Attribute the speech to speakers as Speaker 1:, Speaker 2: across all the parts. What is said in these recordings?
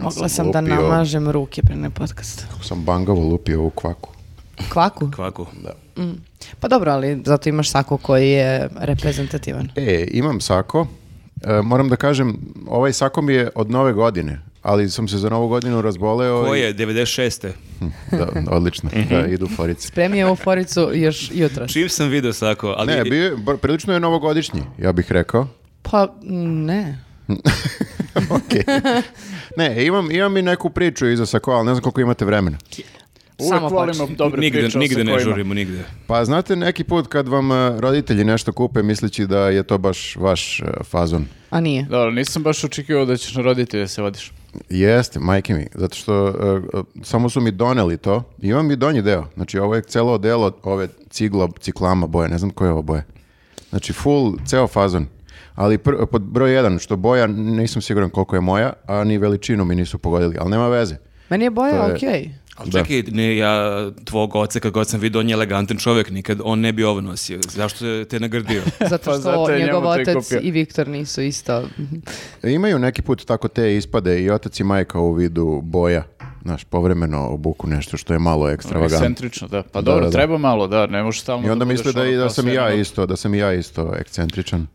Speaker 1: Mogla sam da
Speaker 2: lupio-
Speaker 1: namažem ruke pre ne podcast.
Speaker 2: Kako sam bangavo lupio ovu kvaku.
Speaker 1: Kvaku?
Speaker 3: Kvaku.
Speaker 2: Da.
Speaker 1: Pa dobro, ali zato imaš sako koji je reprezentativan.
Speaker 2: E, imam sako. E, moram da kažem, ovaj sako mi je od nove godine, ali sam se za novu godinu razboleo.
Speaker 3: Ko
Speaker 2: i-
Speaker 3: je? Mhm. 96.
Speaker 2: Da, odlično. da, idu forice.
Speaker 1: Spremi je ovu foricu još jutro.
Speaker 3: Čim sam video sako, ali...
Speaker 2: Ne, bio je, br- prilično je novogodišnji, ja bih rekao.
Speaker 1: Pa ne.
Speaker 2: Okej. Ne, imam, imam i neku priču iza sakoa, ali ne znam koliko imate vremena.
Speaker 4: Uvek
Speaker 1: Samo
Speaker 4: volimo
Speaker 1: plačite.
Speaker 4: dobre
Speaker 3: nigde,
Speaker 4: priče. o
Speaker 3: nigde ne
Speaker 4: sakoima.
Speaker 3: žurimo, nigde.
Speaker 2: Pa znate neki put kad vam e, roditelji nešto kupe misleći da je to baš vaš e, fazon.
Speaker 1: A nije.
Speaker 4: Dobro, nisam baš očekivao da ćeš na roditelje se vodiš.
Speaker 2: Jeste, majke mi, zato što e, e, samo su mi doneli to. Imam i donji deo. Znači ovo je celo delo od ove cigla, ciklama boje, ne znam koje je ovo boje. Znači full, ceo fazon. Ali pr- pod broj jedan, što boja nisam siguran koliko je moja, a ni veličinu mi nisu pogodili, ali nema veze.
Speaker 1: Meni je boja
Speaker 2: To je-
Speaker 1: okej.
Speaker 3: Ali
Speaker 2: Da.
Speaker 3: čekaj, ne, ja tvog oca, kad god sam vidio, on je elegantan čovjek, nikad on ne bi ovo nosio. Zašto te nagradio?
Speaker 1: Zato
Speaker 4: Pa
Speaker 1: što
Speaker 4: zato je njemu
Speaker 1: njegov
Speaker 4: to i
Speaker 1: otac
Speaker 4: kupio.
Speaker 1: i Viktor nisu isto.
Speaker 2: Imaju neki put tako te ispade i otac i majka u vidu boja. Znaš, povremeno obuku nešto što je malo ekstravagantno.
Speaker 4: Ekscentrično, da. Pa
Speaker 2: Da,
Speaker 4: dobro,
Speaker 2: da, da.
Speaker 4: treba malo, da, ne možeš stalno...
Speaker 2: I onda
Speaker 4: budeš
Speaker 2: misle da, i
Speaker 4: ono
Speaker 2: da
Speaker 4: kao
Speaker 2: sam
Speaker 4: sve
Speaker 2: ja
Speaker 4: na-
Speaker 2: isto, da sam i ja isto ekscentričan.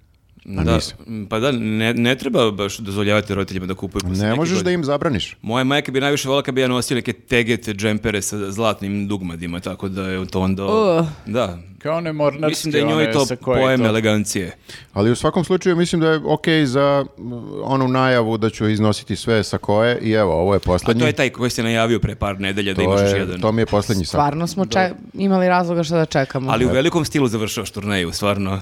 Speaker 2: A
Speaker 3: da,
Speaker 2: nisam.
Speaker 3: pa da, ne, ne treba baš dozvoljavati roditeljima da kupuju posle
Speaker 2: Ne
Speaker 3: neke
Speaker 2: možeš da
Speaker 3: godine.
Speaker 2: im zabraniš.
Speaker 3: Moja majka bi najviše volila kad bi ja nosio neke tegete džempere sa zlatnim dugmadima, tako da je to onda...
Speaker 1: Uh.
Speaker 3: Da.
Speaker 4: Kao one mornarske,
Speaker 3: Mislim da je njoj to pojem elegancije.
Speaker 2: Ali u svakom slučaju mislim da je okej za mm, onu najavu da ću iznositi sve sa koje i evo, ovo je
Speaker 3: A
Speaker 2: poslednji.
Speaker 3: to je taj koji se najavio pre par nedelja da
Speaker 2: Pa To
Speaker 3: imaš još
Speaker 2: je-
Speaker 3: jedan.
Speaker 2: to mi je poslednji sak.
Speaker 1: Stvarno smo ča- imali razloga što da čekamo.
Speaker 3: Ali u velikom stilu završavaš turneju, stvarno.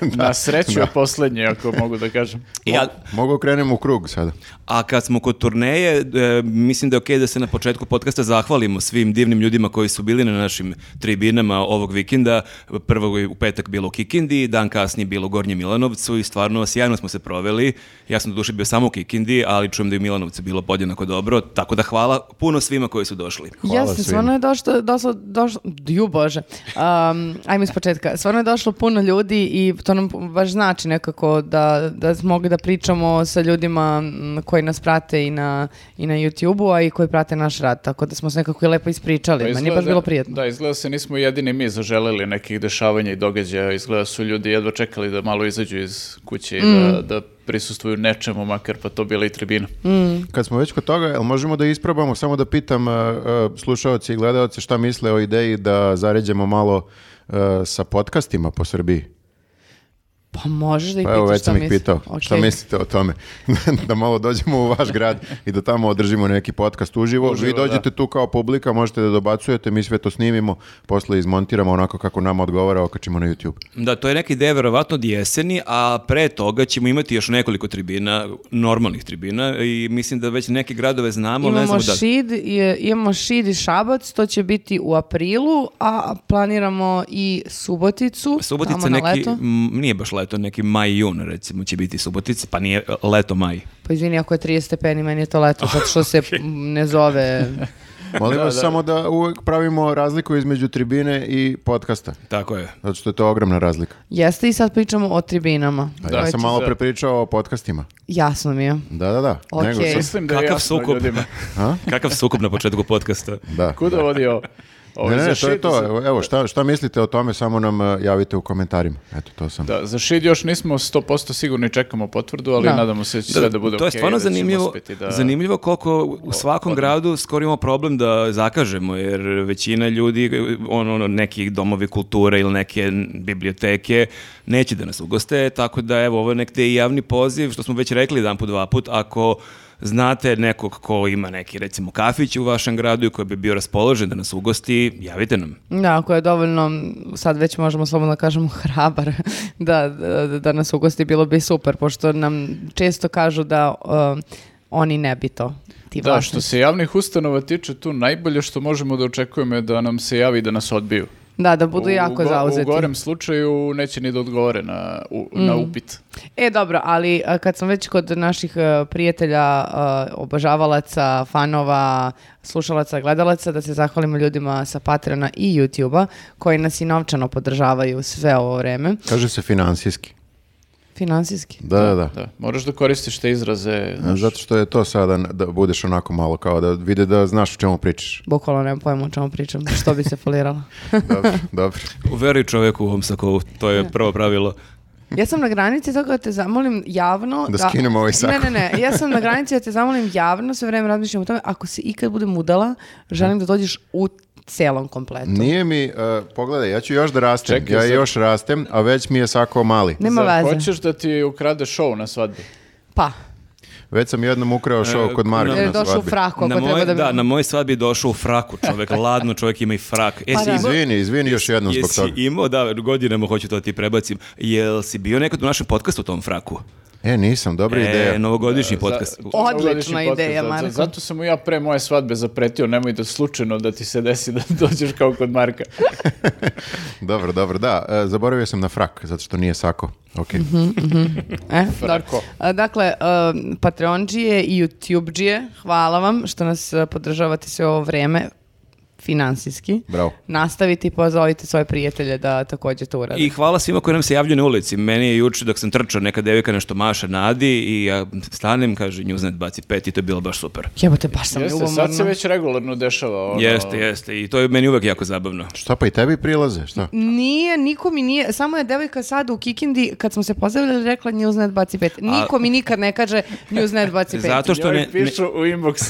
Speaker 4: Na sreću je posljednje, ako mogu da kažem.
Speaker 3: I, a,
Speaker 2: Mogu krenem u krug sada.
Speaker 3: a kad smo kod turneje, e, mislim da je okej da se na početku podcasta zahvalimo svim divnim ljudima koji su bili na našim tribinama ovog vikenda. Prvo je u petak bilo u Kikindi, dan kasnije bilo u Gornjem Milanovcu i stvarno sjajno smo se proveli. Ja sam doduše bio samo u Kikindi, ali čujem da je u Milanovcu bilo podjednako dobro, tako da hvala puno svima koji su došli.
Speaker 2: Hvala
Speaker 1: Jeste,
Speaker 2: svima.
Speaker 1: stvarno je došlo, došlo, došlo, ju bože, um, ajmo iz početka, stvarno je došlo puno ljudi i to nam baš znači nekako da, da smo mogli da pričamo sa ljudima m, koji nas prate i na, i na YouTube-u, a i koji prate naš rad, tako da smo se nekako i lepo ispričali,
Speaker 4: Pa
Speaker 1: meni je baš
Speaker 4: izgleda-
Speaker 1: bilo prijetno.
Speaker 4: Da, izgleda se nismo jedini mi zaželeli nekih dešavanja i događaja. Izgleda su ljudi jedva čekali da malo izađu iz kuće i da,
Speaker 2: Mm.
Speaker 4: da prisustvuju nečemu, makar pa to bila i tribina.
Speaker 2: Kad smo već kod toga, jel možemo da isprobamo, samo da pitam e, e, slušaoci i gledaoci šta misle o ideji da zaređemo malo e, sa podcastima po Srbiji?
Speaker 1: Pa možeš da ih
Speaker 2: Pa evo,
Speaker 1: pitaš
Speaker 2: već
Speaker 1: šta
Speaker 2: sam ih
Speaker 1: misle.
Speaker 2: pitao.
Speaker 1: Okej.
Speaker 2: Šta mislite o tome? da malo dođemo u vaš grad i da tamo održimo neki podcast uživo. Vi
Speaker 4: Uživo,
Speaker 2: dođete tu kao publika, možete da dobacujete, mi sve to snimimo, posle izmontiramo onako kako nam odgovara, okačimo na YouTube.
Speaker 3: Da, to je neka ideja verovatno od jeseni, a pre toga ćemo imati još nekoliko tribina, normalnih tribina i mislim da već neke gradove znamo, ali ne
Speaker 1: Imamo
Speaker 3: znamo da.
Speaker 1: šid, je, imamo šid i šabac, to će biti u aprilu, a planiramo i Suboticu,
Speaker 3: Subotica
Speaker 1: tamo na
Speaker 3: neki,
Speaker 1: leto.
Speaker 3: m, nije baš leto, neki maj i jun recimo će biti Subotica, pa nije leto maj.
Speaker 1: Pa izvini, ako je 30 stepeni, meni je to leto, zato što se m, ne zove...
Speaker 2: Molim vas samo da uvek pravimo razliku između tribine i podcasta.
Speaker 3: Tako je.
Speaker 2: Zato što je to ogromna razlika.
Speaker 1: Jeste i sad pričamo o tribinama.
Speaker 2: A
Speaker 4: Da,
Speaker 2: ja
Speaker 1: Koje
Speaker 2: sam
Speaker 1: će-
Speaker 2: malo
Speaker 4: za-
Speaker 2: prepričao o podcastima.
Speaker 1: Jasno mi je.
Speaker 2: Da, da, da.
Speaker 1: Okej.
Speaker 2: sam-
Speaker 4: Mislim da je
Speaker 3: Kakav
Speaker 4: jasno
Speaker 3: sukob?
Speaker 4: ljudima.
Speaker 3: Kakav sukup na početku podcasta.
Speaker 2: Da.
Speaker 4: Kuda vodi ovo? Ovo
Speaker 2: Ne, ne,
Speaker 4: za
Speaker 2: ne, to je
Speaker 4: šid-
Speaker 2: to.
Speaker 4: za-
Speaker 2: Evo, Evo, šta, šta mislite o tome, samo nam e, javite u komentarima. Eto, to sam.
Speaker 4: Da, za šid još nismo 100% sigurni, čekamo potvrdu, ali
Speaker 1: Da.
Speaker 4: nadamo se da će sve da bude
Speaker 3: to je
Speaker 4: okej,
Speaker 3: stvarno
Speaker 4: da ćemo
Speaker 3: zanimljivo,
Speaker 4: uspeti da-
Speaker 3: zanimljivo koliko u svakom gradu skoro imamo problem da zakažemo, jer većina ljudi, ono, ono, neki domovi kulture ili neke biblioteke neće da nas ugoste, tako da evo, ovo je nekde i javni poziv, što smo već rekli jedan put, dva put, ako znate nekog ko ima neki recimo kafić u vašem gradu i koji bi bio raspoložen da nas ugosti, javite nam.
Speaker 1: Da, ako je dovoljno, sad već možemo slobodno da kažemo hrabar, da, da, da nas ugosti, bilo bi super, pošto nam često kažu da um, oni ne bi to. Ti
Speaker 4: Da,
Speaker 1: vlasnici.
Speaker 4: što se javnih ustanova tiče, tu najbolje što možemo da očekujemo je da nam se javi da nas odbiju.
Speaker 1: Da, da budu
Speaker 4: U-
Speaker 1: jako
Speaker 4: u, go-
Speaker 1: zauzeti.
Speaker 4: U gorem slučaju neće ni da odgovore na, u- na upit.
Speaker 1: E, dobro, ali a, kad sam već kod naših e, prijatelja, e, obožavalaca, fanova, slušalaca, gledalaca, da se zahvalimo ljudima sa Patreona i YouTube-a, koji nas i novčano podržavaju sve ovo vreme.
Speaker 2: Kaže se finansijski.
Speaker 1: Finansijski.
Speaker 2: Da, da, da.
Speaker 4: Da, moraš da koristiš te izraze. znaš.
Speaker 2: Zato što je to sada da budeš onako malo kao da vide da znaš o čemu pričaš.
Speaker 1: Bukvalno nemam pojma o čemu pričam, što bi se folirala.
Speaker 2: Dobro, dobro.
Speaker 3: Veri čoveku u ovom sakovu, to je prvo pravilo.
Speaker 1: Ja sam na granici toga da te zamolim javno...
Speaker 2: Da skinemo ovaj sako.
Speaker 1: Ne, ne, ne. Ja sam na granici da te zamolim javno, sve vreme razmišljam o tome. Ako se ikad budem udala, želim da dođeš u celom kompletu.
Speaker 2: Nije mi, e, pogledaj, ja ću još da rastem.
Speaker 4: Čekaj,
Speaker 2: ja
Speaker 4: sad-
Speaker 2: još rastem, a već mi je sako mali.
Speaker 1: Nema
Speaker 4: Zar
Speaker 1: veze.
Speaker 4: Hoćeš da ti ukrade šou na svadbi?
Speaker 1: Pa.
Speaker 2: Već sam jednom ukrao show kod Marka
Speaker 1: Jer je
Speaker 2: na
Speaker 1: e, došao u
Speaker 2: svadbi.
Speaker 1: fraku, ako
Speaker 3: na
Speaker 1: treba
Speaker 3: moj,
Speaker 1: da...
Speaker 3: da,
Speaker 1: bi-
Speaker 3: na moj svadbi je došao u fraku čovek, ladno čovek ima i frak. E,
Speaker 1: Pa
Speaker 3: si
Speaker 1: da.
Speaker 3: imao-
Speaker 2: Izvini, izvini još jednom zbog
Speaker 3: Jesi
Speaker 2: toga.
Speaker 3: imao, da, godinama hoću to da ti prebacim. Jel si bio nekad u našem podcastu u tom fraku?
Speaker 2: E, nisam, dobra
Speaker 3: E,
Speaker 2: ideja.
Speaker 3: novogodišnji podcast.
Speaker 4: Za-
Speaker 1: Odlična
Speaker 4: godišnji podcast,
Speaker 1: ideja,
Speaker 4: zato-
Speaker 1: Marko.
Speaker 4: Zato sam mu ja pre moje svadbe zapretio, nemoj da slučajno da ti se desi da dođeš kao kod Marka.
Speaker 2: Dobro, dobro, da. E, zaboravio sam na frak, zato što nije sako. Ok.
Speaker 1: E,
Speaker 4: Frako.
Speaker 1: A, Dakle, um, Patreonđije i YouTubeđije, hvala vam što nas uh, podržavate sve ovo vreme finansijski.
Speaker 2: Bravo.
Speaker 1: Nastavite i pozovite svoje prijatelje da također to urade.
Speaker 3: I hvala svima koji nam se javljaju na ulici. Meni je juče dok sam trčao neka devika nešto maša nadi i ja stanem, kaže Newsnet baci pet i to je bilo baš super.
Speaker 1: Jebote, baš sam
Speaker 4: Jeste,
Speaker 1: ljubomorna.
Speaker 4: sad se već regularno dešava. Ono,
Speaker 3: Jeste, jeste. I to je meni uvek jako zabavno.
Speaker 2: Šta pa i tebi prilaze, šta?
Speaker 1: Mm, Nije, niko mi nije, samo je devojka sad u Kikindi, kad smo se pozdravljali, rekla Newsnet baci pet. Niko mi nikad ne kaže Newsnet baci pet.
Speaker 3: Zato što
Speaker 4: Njoj
Speaker 3: ne, ne-
Speaker 4: pišu u inbox.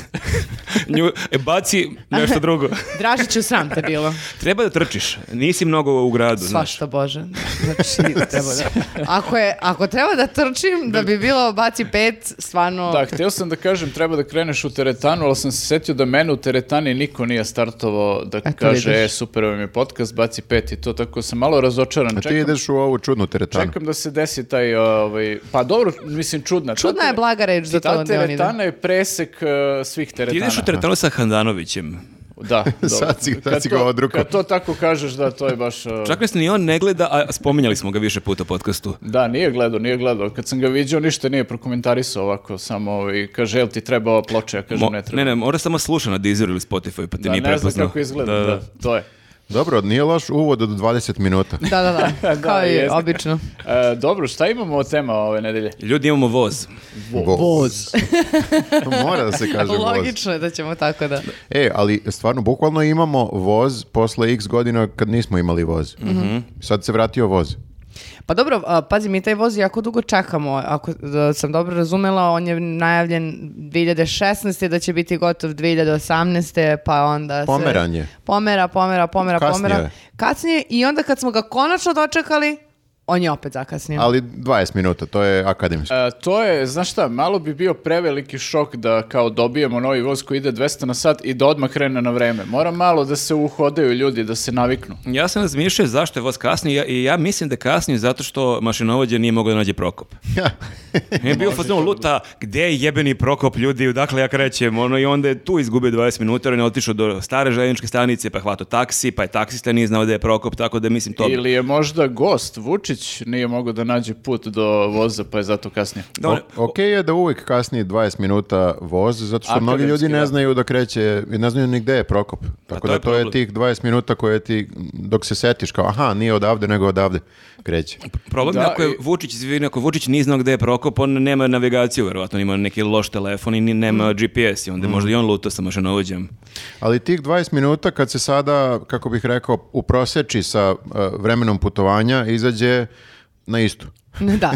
Speaker 3: nju, e, baci nešto drugo.
Speaker 1: Dražiću, sram te bilo.
Speaker 3: Treba da trčiš. Nisi mnogo u gradu, znaš.
Speaker 1: Svašta Bože. Znači, treba da... Ako, je, ako treba da trčim, da bi bilo baci pet, stvarno...
Speaker 4: Da, htio sam da kažem, treba da kreneš u teretanu, ali sam se setio da mene u teretani niko nije startovao da
Speaker 1: Eto,
Speaker 4: kaže,
Speaker 1: vidiš.
Speaker 4: e, super, ovaj mi je podcast, baci pet i to, tako sam malo razočaran.
Speaker 2: A Pa ti
Speaker 4: Čekam,
Speaker 2: ideš u ovu čudnu teretanu.
Speaker 4: čekam da se desi taj, ovaj, pa dobro, mislim, čudna. Ta
Speaker 1: Čudna je
Speaker 4: tere-
Speaker 1: blaga reč za to
Speaker 4: Ta
Speaker 1: da on ide.
Speaker 4: teretana je presek eh, svih
Speaker 3: Ti
Speaker 4: teretana.
Speaker 3: ideš u teretanu sa Handanovićem.
Speaker 4: Da, dobro.
Speaker 2: Sad si- sad
Speaker 4: Kad
Speaker 2: si ga
Speaker 4: to-
Speaker 2: odrukao.
Speaker 4: Kad to tako kažeš, da, to je baš... uh,
Speaker 3: Čak nas ni on ne gleda, a spominjali smo ga više puta u podcastu.
Speaker 4: Da, nije gledao, nije gledao. Kad sam ga vidio, ništa nije prokomentarisao ovako, samo ovaj, kaže, jel ti treba ova ploča? Ja kažem,
Speaker 3: Mo-
Speaker 4: ne treba.
Speaker 3: ne, ne, mora samo sluša na Deezeru ili Spotify, pa te
Speaker 4: da,
Speaker 3: nije
Speaker 4: ne znam
Speaker 3: prepoznao.
Speaker 4: kako izgleda, da, to je.
Speaker 2: Dobro, nije loš uvod od 20 minuta.
Speaker 1: Da, da, da. Kao i
Speaker 4: jeste.
Speaker 1: obično.
Speaker 4: E, dobro, šta imamo od tema ove nedelje?
Speaker 3: Ljudi, imamo voz.
Speaker 2: Voz. Mora da se kaže voz.
Speaker 1: Logično je da ćemo tako da.
Speaker 2: E, ali stvarno, bukvalno imamo voz posle x godina kad nismo imali voz.
Speaker 3: Mhm.
Speaker 2: Sad se vratio voz.
Speaker 1: Pa dobro, a, pazi, mi taj voz jako dugo čekamo. Ako da, sam dobro razumela, on je najavljen 2016. da će biti gotov 2018. pa onda se...
Speaker 2: Pomeran je.
Speaker 1: Pomera, pomera, pomera,
Speaker 2: Kasnije
Speaker 1: pomera.
Speaker 2: je.
Speaker 1: Kasnije i onda kad smo ga konačno dočekali, on je opet zakasnio.
Speaker 2: Ali 20 minuta, to je akademski.
Speaker 4: E, to je, znaš šta, malo bi bio preveliki šok da kao dobijemo novi voz koji ide 200 na sat i da odmah krene na vreme. Mora malo da se uhodaju ljudi, da se naviknu.
Speaker 3: Ja sam razmišljao zašto je voz kasnio ja- i ja mislim da je kasnio zato što mašinovođa nije mogao da nađe Prokop. je bio fazon luta, gde je jebeni Prokop ljudi, odakle ja krećem, ono i onda je tu izgubio 20 minuta, jer on je otišao do stare željezničke stanice, pa je hvatao taksi, pa je taksista nije znao gde je Prokop, tako da mislim to...
Speaker 4: Ili je možda gost, Vučić, nije mogao da nađe put do voza, pa je zato kasnije.
Speaker 3: Da, on-
Speaker 2: O- ok je da uvijek kasni 20 minuta voz, zato što mnogi
Speaker 4: Akademski,
Speaker 2: ljudi ne
Speaker 4: da.
Speaker 2: znaju da kreće, i ne znaju ni gde je Prokop. Tako
Speaker 3: Pa to
Speaker 2: da
Speaker 3: je
Speaker 2: to je
Speaker 3: problem.
Speaker 2: tih 20 minuta koje ti, dok se setiš kao, aha, nije odavde, nego odavde kreće.
Speaker 3: Problem je
Speaker 4: Da,
Speaker 3: ako je
Speaker 4: i-
Speaker 3: Vučić, izvini, ako Vučić nije znao gde je Prokop, on nema navigaciju, verovatno, on ima neki loš telefon i ni- nema
Speaker 4: Mm.
Speaker 3: GPS i onda je možda i on luto sa mašinovođem.
Speaker 2: Ali tih 20 minuta kad se sada, kako bih rekao, uproseči sa uh, vremenom putovanja, izađe na istu.
Speaker 1: da.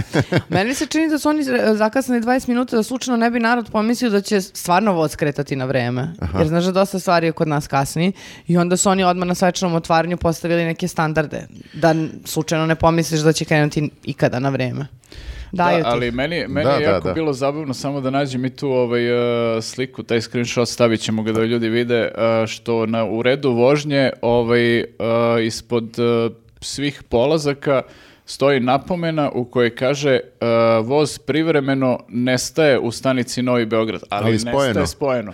Speaker 1: Meni se čini da su oni e, zakasnili 20 minuta da slučajno ne bi narod pomislio da će stvarno voz kretati na vreme. Jer znaš da dosta stvari je kod nas kasni i onda su oni odmah na svečanom otvaranju postavili neke standarde da n- slučajno ne pomisliš da će krenuti ikada na vreme. Daju
Speaker 4: Da,
Speaker 1: ti.
Speaker 4: ali meni, meni
Speaker 2: Da,
Speaker 4: je
Speaker 2: da,
Speaker 4: jako
Speaker 2: da.
Speaker 4: bilo zabavno samo da nađem i tu ovaj, e, sliku, taj screenshot, stavit ćemo ga da ljudi vide, e, što na u redu vožnje ovaj, e, ispod e, svih polazaka stoji napomena u kojoj kaže e, voz privremeno nestaje u stanici Novi Beograd, ali,
Speaker 2: Ali spojeno.
Speaker 4: nestaje spojeno.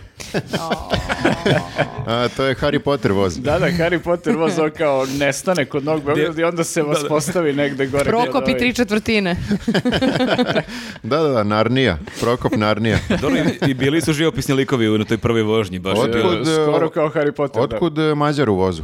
Speaker 2: A, to je Harry Potter voz.
Speaker 4: Da, da, Harry Potter voz on kao nestane kod Novog Beograda i onda se vas postavi negde gore. ovaj,
Speaker 1: Prokop i tri četvrtine.
Speaker 2: Da, da, da, Narnija. Prokop Narnija.
Speaker 3: Dobro, i, i bili su živopisni likovi na toj prvoj vožnji, baš je
Speaker 2: Otkud,
Speaker 3: bilo.
Speaker 4: Otkud, skoro
Speaker 2: e,
Speaker 4: kao Harry Potter. da.
Speaker 2: Otkud e, Mađar u vozu?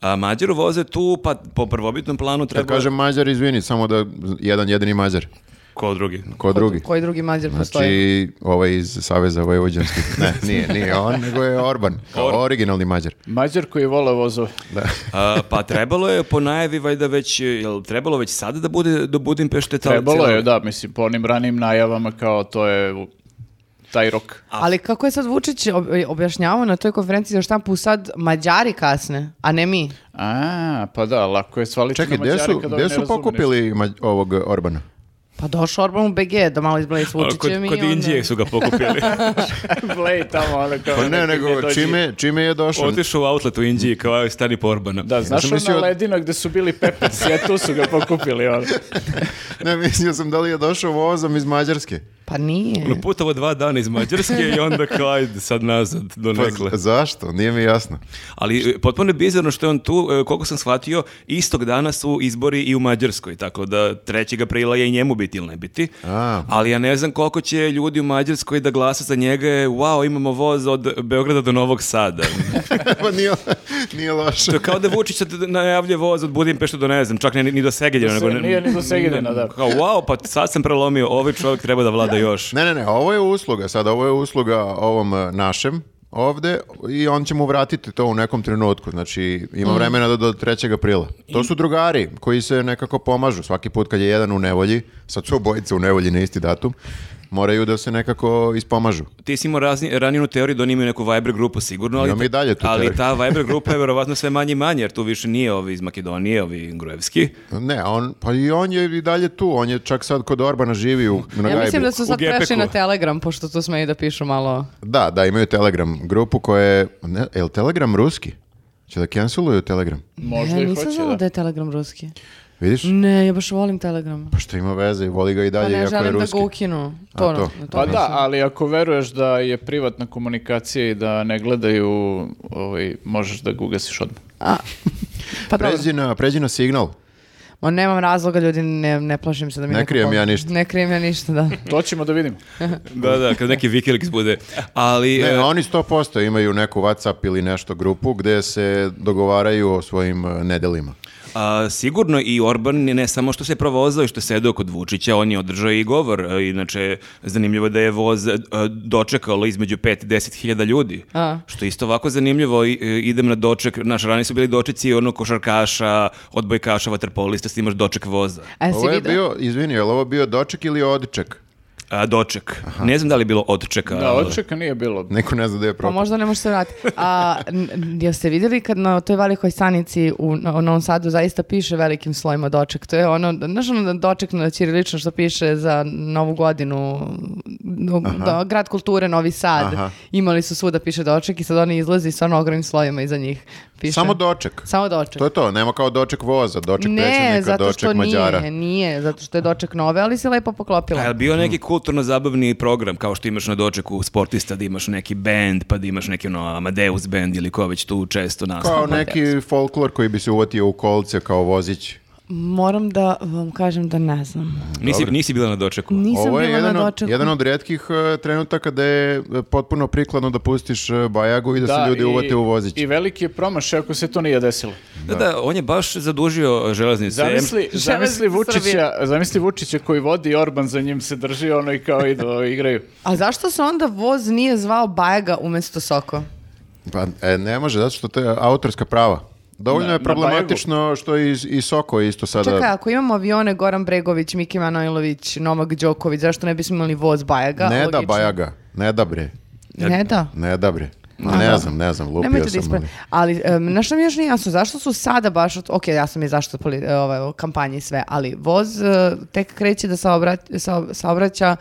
Speaker 3: A Mađaru voze tu, pa po prvobitnom planu treba...
Speaker 2: Kad kažem Mađar, izvini, samo da jedan jedini Mađar.
Speaker 3: Ko drugi?
Speaker 2: Ko drugi?
Speaker 1: Koji drugi mađar postoji?
Speaker 2: Znači, ovaj iz Saveza Vojvođanskih. Ne, nije, nije on, nego je Orban. Kao originalni mađar.
Speaker 4: Mađar koji vole vozove.
Speaker 2: Da.
Speaker 3: A, pa trebalo je po najavi valjda već, jel trebalo već sada da bude do Budimpešte? ta-
Speaker 4: Trebalo
Speaker 3: cijela-
Speaker 4: je, da, mislim, po onim ranim najavama kao to je u- taj rok.
Speaker 1: Ali kako je sad Vučić ob- objašnjavao na toj konferenciji za štampu sad Mađari kasne, a ne mi?
Speaker 4: A, pa da, lako je svaliti
Speaker 2: Čekaj,
Speaker 4: na
Speaker 2: gdje
Speaker 4: Mađare
Speaker 2: su,
Speaker 4: kad oni
Speaker 2: gde
Speaker 4: ne
Speaker 2: su
Speaker 4: razume ništa.
Speaker 2: pokupili mađ- ovog Orbana?
Speaker 1: Pa došao Orban u BG da malo izbledi s
Speaker 3: A, Kod,
Speaker 1: Vučićem i
Speaker 3: kod
Speaker 1: onda-
Speaker 3: Indije su ga pokupili.
Speaker 4: Blej tamo, ono kao...
Speaker 2: Pa ne,
Speaker 4: neki gdje
Speaker 2: nego
Speaker 4: dođi-
Speaker 2: čime, čime je došao?
Speaker 3: Otišao u outlet u Indiji kao je stani po Orbana.
Speaker 4: Da, znaš
Speaker 2: sam mislio-
Speaker 4: ona ledina gde su bili pepeci, a tu su ga pokupili, ono.
Speaker 2: Ne, mislio sam da li je došao vozom iz Mađarske.
Speaker 1: Pa nije.
Speaker 3: Ono, putovo dva dana iz Mađarske i onda kao ajde sad nazad do
Speaker 2: Pa
Speaker 3: nekle.
Speaker 2: z- zašto? Nije mi jasno.
Speaker 3: Ali e, potpuno je bizarno što je on tu, e, koliko sam shvatio, istog dana su izbori i u Mađarskoj, tako da 3. aprila je i njemu biti ili ne biti.
Speaker 2: A.
Speaker 3: Ali ja ne znam koliko će ljudi u Mađarskoj da glasa za njega, je, wow, imamo voz od Beograda do Novog Sada.
Speaker 2: pa nije, nije loše.
Speaker 3: to je kao da Vučić sad najavlje voz od Budimpešte do ne znam, čak ne, ni do Segedina.
Speaker 4: Do Se- nije ni do Segedina, da.
Speaker 3: Kao, wow, pa sad sam prelomio, ovaj čovjek treba da vlada još.
Speaker 2: Ne, ne, ne, ovo je usluga sad, ovo je usluga ovom e, našem ovde i on će mu vratiti to u nekom trenutku, znači ima
Speaker 1: Mm.
Speaker 2: vremena do, do 3. aprila. To su drugari koji se nekako pomažu, svaki put kad je jedan u nevolji, sad su obojica u nevolji na isti datum, moraju da se nekako ispomažu.
Speaker 3: Ti si imao razni, ranijenu teoriju da oni imaju neku Viber grupu sigurno, ali,
Speaker 2: Imam i dalje tu
Speaker 3: ali
Speaker 2: teoriju.
Speaker 3: ta Viber grupa je verovatno sve manje i manje, jer tu više nije ovi iz Makedonije, ovi Grujevski.
Speaker 2: Ne, on, pa i on je i dalje tu, on je čak sad kod Orbana živi u, na
Speaker 1: Ja mislim
Speaker 2: Gajbi.
Speaker 1: da su sad
Speaker 3: U gepeku.
Speaker 1: prešli na Telegram, pošto tu smeju da pišu malo...
Speaker 2: Da, da, imaju Telegram grupu koja je, ne, je li Telegram ruski? Će da canceluju Telegram?
Speaker 4: Možda
Speaker 1: ne,
Speaker 4: i
Speaker 1: nisam
Speaker 4: hoće,
Speaker 1: znala da.
Speaker 4: da.
Speaker 1: je Telegram ruski.
Speaker 2: Vidiš?
Speaker 1: Ne, ja baš volim Telegram.
Speaker 2: Pa što ima veze i voli ga i
Speaker 1: Mm. Pa
Speaker 2: dalje,
Speaker 1: ne
Speaker 2: iako je
Speaker 1: želim da
Speaker 2: ruski.
Speaker 1: ga ukinu.
Speaker 2: A,
Speaker 1: To, ono,
Speaker 2: to.
Speaker 1: na to
Speaker 4: Pa
Speaker 1: mislim.
Speaker 4: da, ali ako veruješ da je privatna komunikacija i da ne gledaju, ovaj, možeš da ga ugasiš odmah.
Speaker 1: A, pa dobro.
Speaker 2: Pređi na, pređi na signal.
Speaker 1: Ma, nemam razloga, ljudi, ne, ne plašim se da mi
Speaker 2: Ne
Speaker 1: neko
Speaker 2: krijem
Speaker 1: pomogne.
Speaker 2: ja ništa.
Speaker 1: Ne krijem ja ništa, da.
Speaker 4: To ćemo da vidimo.
Speaker 3: Da, da, kad neki Wikileaks bude. Ali,
Speaker 2: Ne,
Speaker 3: e,
Speaker 2: oni 100% imaju neku WhatsApp ili nešto grupu gde se dogovaraju o svojim e, nedelima.
Speaker 3: a, sigurno i Orban je ne samo što se provozao i što je sedeo kod Vučića, on je održao i govor. E, Inače, zanimljivo je da je voz e, dočekalo između 5 i 10 hiljada ljudi.
Speaker 1: A.
Speaker 3: Što je isto ovako zanimljivo, I, e, idem na doček, naš rani su bili dočeci ono košarkaša, odbojkaša, vaterpolista, snimaš doček voza.
Speaker 1: A jesi
Speaker 2: Ovo je
Speaker 1: vidio?
Speaker 2: bio, izvini, je li ovo bio doček ili odček?
Speaker 3: A, doček. Ne znam da li je bilo odčeka.
Speaker 4: Da,
Speaker 3: ali-
Speaker 4: odčeka nije bilo.
Speaker 2: Neko ne zna da je
Speaker 1: Pa
Speaker 2: propao.
Speaker 1: možda ne može se vratiti. A, n- n- jeste vidjeli kad na toj velikoj stanici u, na- u Novom Sadu zaista piše velikim slojima doček? To je ono, znaš ono doček na ćirilično što piše za Novu godinu, no, da, grad kulture Novi Sad.
Speaker 2: Aha.
Speaker 1: Imali su svuda piše doček i sad oni izlazi sa ono ogromnim slojima iza njih. Piše.
Speaker 2: Samo doček.
Speaker 1: Samo doček.
Speaker 2: To je to, nema kao doček voza, doček
Speaker 1: ne,
Speaker 2: predsjednika,
Speaker 1: zato što
Speaker 2: doček mađara.
Speaker 1: nije, nije, zato što je doček nove, ali se lepo poklopila.
Speaker 3: A je li bio neki kulturno-zabavni program, kao što imaš na dočeku sportista, da imaš neki band, pa da imaš neki ono Amadeus band ili ko već tu često nastupa.
Speaker 2: Kao neki folklor koji bi se uvatio u kolce kao vozić.
Speaker 1: Moram da vam kažem da ne znam.
Speaker 3: Nisi, nisi bila na dočeku.
Speaker 1: Nisam
Speaker 2: Ovo je
Speaker 1: bila
Speaker 2: jedan,
Speaker 1: na
Speaker 2: od,
Speaker 1: dočeku.
Speaker 2: jedan od redkih e, trenutaka da je e, potpuno prikladno da pustiš e, bajagu i da, se ljudi
Speaker 4: i-
Speaker 2: uvate u vozić.
Speaker 4: I veliki je promašaj ako se to nije desilo.
Speaker 3: Da, da, on je baš zadužio železnicu.
Speaker 4: Zamisli,
Speaker 1: Želez-
Speaker 4: zamisli, Vučića,
Speaker 1: Srbije.
Speaker 4: zamisli Vučića koji vodi i Orban za njim se drži ono i kao idu, ovaj, igraju.
Speaker 1: A zašto se onda voz nije zvao Bajaga umjesto Soko?
Speaker 2: Pa e, ne može, zato što to je autorska prava. Dovoljno
Speaker 4: Na-
Speaker 2: je
Speaker 4: na
Speaker 2: problematično što i, i Soko isto sada...
Speaker 1: Čekaj, ako imamo avione Goran Bregović, Miki Manojlović, Novak Đoković, zašto ne bismo imali voz Bajaga?
Speaker 2: ne da
Speaker 1: Logično.
Speaker 2: bajaga, ne da bre,
Speaker 1: Ne da.
Speaker 2: ne da bre. Ma ne znam, ne znam, lupio
Speaker 1: Nemojte da
Speaker 2: sam.
Speaker 1: ispra-
Speaker 2: ali-
Speaker 1: Ali, um, na što mi još nije jasno, zašto su sada baš, od... ok, ja sam i zašto poli... e, ovaj, o kampanji i sve, ali voz e, tek kreće da saobrać- sa- saobraća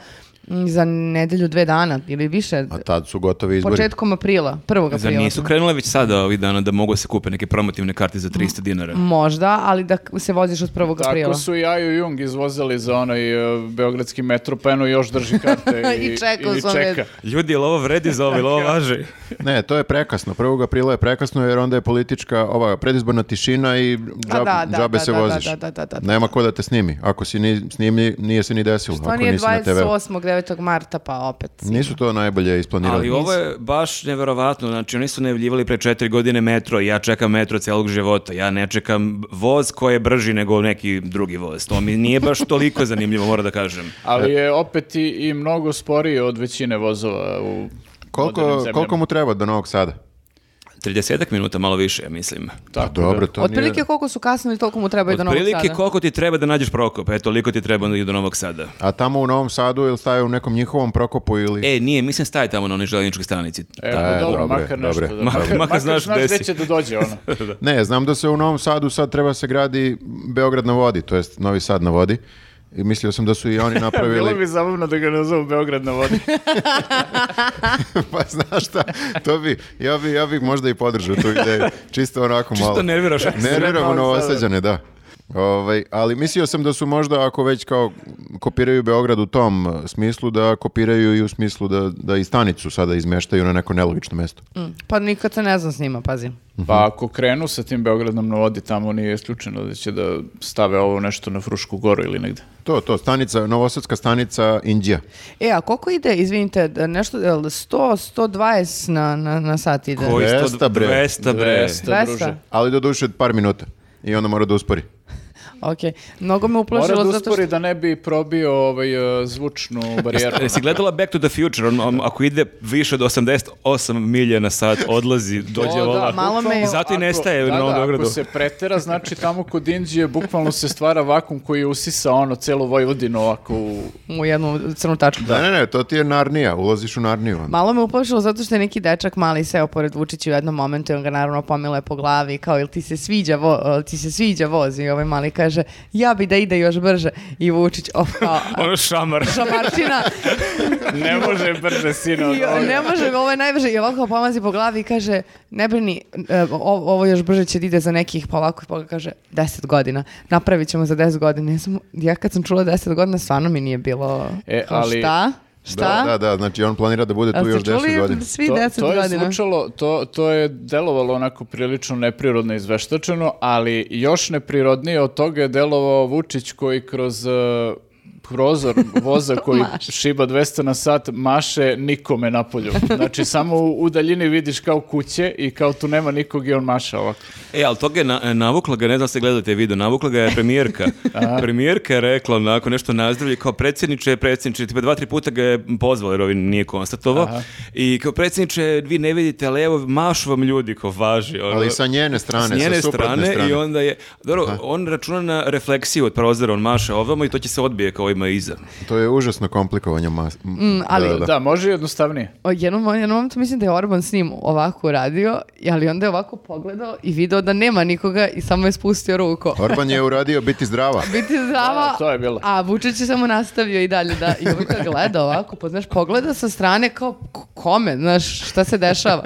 Speaker 1: m, za nedelju, dve dana ili više,
Speaker 2: A tad su gotovi izbori.
Speaker 1: početkom aprila, prvog
Speaker 3: Zar
Speaker 1: aprila.
Speaker 3: nisu krenule već sada ovih dana da mogu se kupe neke promotivne karte za 300 dinara?
Speaker 1: Možda, ali da k- se voziš od prvog aprila.
Speaker 4: Tako su i Aju Jung izvozili za onaj e, beogradski metro, pa eno još drži karte i,
Speaker 1: I čeka u
Speaker 4: i
Speaker 1: svom redu.
Speaker 4: čeka.
Speaker 3: Ljudi, jel ovo vredi za ovo, jel ovo važi?
Speaker 2: Ne, to je prekasno. 1. aprila je prekasno jer onda je politička ova predizborna tišina i
Speaker 1: Pa
Speaker 2: džab-
Speaker 1: da, da,
Speaker 2: džabe
Speaker 1: da,
Speaker 2: se
Speaker 1: da,
Speaker 2: voziš.
Speaker 1: da, da, da, da, da.
Speaker 2: Nema ko da te snimi. Ako si ni, snimi, nije se ni desilo.
Speaker 1: To
Speaker 2: ako
Speaker 1: nije
Speaker 2: nisi na TV-u.
Speaker 1: 28. 9. 9. marta, pa opet.
Speaker 2: Nisu to najbolje isplanirali.
Speaker 3: Ali ovo je baš neverovatno, znači oni su najavljivali pre četiri godine metro i ja čekam metro celog života, ja ne čekam voz koji je brži nego neki drugi voz, to mi nije baš toliko zanimljivo, moram da kažem.
Speaker 4: Ali je opet i, i mnogo sporiji od većine vozova u modernim
Speaker 2: Koliko,
Speaker 4: zemljama.
Speaker 2: koliko mu treba do Novog Sada?
Speaker 3: 30 minuta, malo više, ja mislim.
Speaker 2: Tako, dobro, to nije-
Speaker 1: Otprilike koliko su kasnili, toliko mu treba i do Novog
Speaker 3: Otprilike
Speaker 1: Sada.
Speaker 3: koliko ti treba da nađeš Prokop, e, toliko ti treba onda i do Novog Sada.
Speaker 2: A tamo u Novom Sadu ili staje u nekom njihovom Prokopu ili...
Speaker 3: E, nije, mislim staje tamo na onoj željezničkoj stanici.
Speaker 4: Evo,
Speaker 2: E,
Speaker 4: dobro,
Speaker 2: dobro,
Speaker 4: makar nešto.
Speaker 2: dobro.
Speaker 4: da-
Speaker 3: Makar- makar znaš gde si.
Speaker 4: će da dođe ono.
Speaker 2: Ne, znam da se u Novom Sadu sad treba se gradi Beograd na vodi, to jest Novi Sad na vodi. I mislio sam da su i oni
Speaker 4: Bilo
Speaker 2: napravili...
Speaker 4: bi zabavno da ga nazovu Beograd na vodi.
Speaker 2: pa znaš šta, to bi, ja bi, ja bi možda i podržao tu ideju. Čisto onako malo.
Speaker 3: Čisto nerviraš.
Speaker 2: Nerviramo
Speaker 4: Srednjeg Novog
Speaker 2: novosađane, da. Ovaj, ali mislio sam da su možda, ako već kao kopiraju Beograd u tom eh, smislu, da kopiraju i u smislu da, da i stanicu sada izmeštaju na neko nelogično mesto.
Speaker 1: Mm, Pa nikad se ne znam s njima, pazi.
Speaker 4: Pa ako krenu sa tim Beogradom na vodi, tamo nije isključeno da će da stave ovo nešto na Frušku goru ili negde.
Speaker 2: To, to, stanica, novosadska stanica Indija.
Speaker 1: E, a koliko ide, izvinite, da nešto, jel 100, 120 na, na, na sat ide?
Speaker 3: Koji sto-
Speaker 2: 200 bre.
Speaker 3: 200 bre.
Speaker 4: 200,
Speaker 1: 200?
Speaker 4: druže.
Speaker 2: Ali do duše par minuta. I onda mora da uspori.
Speaker 1: Ok, mnogo me
Speaker 4: Mora
Speaker 1: uplašilo
Speaker 4: da
Speaker 1: zato što...
Speaker 4: uspori da ne bi probio ovaj, e, zvučnu barijeru.
Speaker 3: Jesi gledala Back to the Future? On, on- ako ide više od 88 milja na sat, odlazi, dođe
Speaker 4: O, da,
Speaker 3: vola.
Speaker 1: malo me je-
Speaker 3: Zato i nestaje u
Speaker 4: da,
Speaker 3: Novom
Speaker 4: da,
Speaker 3: Beogradu.
Speaker 4: Ako se pretera, znači tamo kod Indije bukvalno se stvara vakum koji usisa ono celu Vojvodinu ovako u...
Speaker 1: U jednu crnu tačku.
Speaker 2: Da, ne, ne, to ti je Narnija, ulaziš u Narniju. onda.
Speaker 1: Malo me uplašilo zato što je neki dečak mali seo pored Vučića u jednom momentu i on ga naravno pomile po glavi kao ili ti se sviđa, vo, jel ti se sviđa voz i ovaj mali kaže ja bi da ide još brže i Vučić of kao
Speaker 3: Ono šamar.
Speaker 1: šamarčina
Speaker 4: Ne može brže, sine, od
Speaker 1: i ne može, ovo je najbrže i ovako pomazi po glavi i kaže ne brini, e, o- ovo još brže će da ide za nekih pa ovako pa kaže 10 godina, napravit ćemo za 10 godina. Ja, sam, ja kad sam čula 10 godina stvarno mi nije bilo
Speaker 4: E,
Speaker 1: kao,
Speaker 4: ali-
Speaker 1: šta? Šta?
Speaker 2: Da, da, da, znači on planira da bude tu
Speaker 1: Jel
Speaker 2: još
Speaker 1: ste
Speaker 2: 10
Speaker 1: čuli
Speaker 2: godina.
Speaker 1: svi
Speaker 4: To,
Speaker 1: 10
Speaker 4: to je
Speaker 1: godina?
Speaker 4: zvučalo, to, to je delovalo onako prilično neprirodno i izveštačeno, ali još neprirodnije od toga je delovao Vučić koji kroz e, prozor voza koji šiba 200 na sat maše nikome na polju. Znači samo u, u daljini vidiš kao kuće i kao tu nema nikog i on maša ovako.
Speaker 3: E, ali toga je na, navukla ga, ne znam se gledate video, navukla ga je premijerka. premijerka je rekla onako nešto nazdravlje kao predsjedniče, predsjedniče, tipa dva, tri puta ga je pozvao jer ovi nije konstatovao. I kao predsjedniče, vi ne vidite, ali evo mašu vam ljudi kao važi. ono.
Speaker 2: Ali sa njene strane,
Speaker 3: S njene
Speaker 2: sa suprotne
Speaker 3: strane,
Speaker 2: strane.
Speaker 3: i onda je, dobro, on računa na refleksiju od prozora, on maša ovamo i to će se odbije kao ima iza.
Speaker 2: To je užasno komplikovanje mas...
Speaker 1: Mm, ali-
Speaker 2: da, da.
Speaker 4: Da, može i jednostavnije.
Speaker 1: O, jednom, jednom momentu mislim da je Orban s njim ovako radio, ali onda je ovako pogledao i video da nema nikoga i samo je spustio ruku.
Speaker 2: Orban je uradio biti zdrava.
Speaker 1: Biti zdrava,
Speaker 4: Da, to je bilo.
Speaker 1: a Vučić je samo nastavio i dalje da i uvijek ga gleda ovako, pa znaš, pogleda sa strane kao k- kome, znaš, šta se dešava.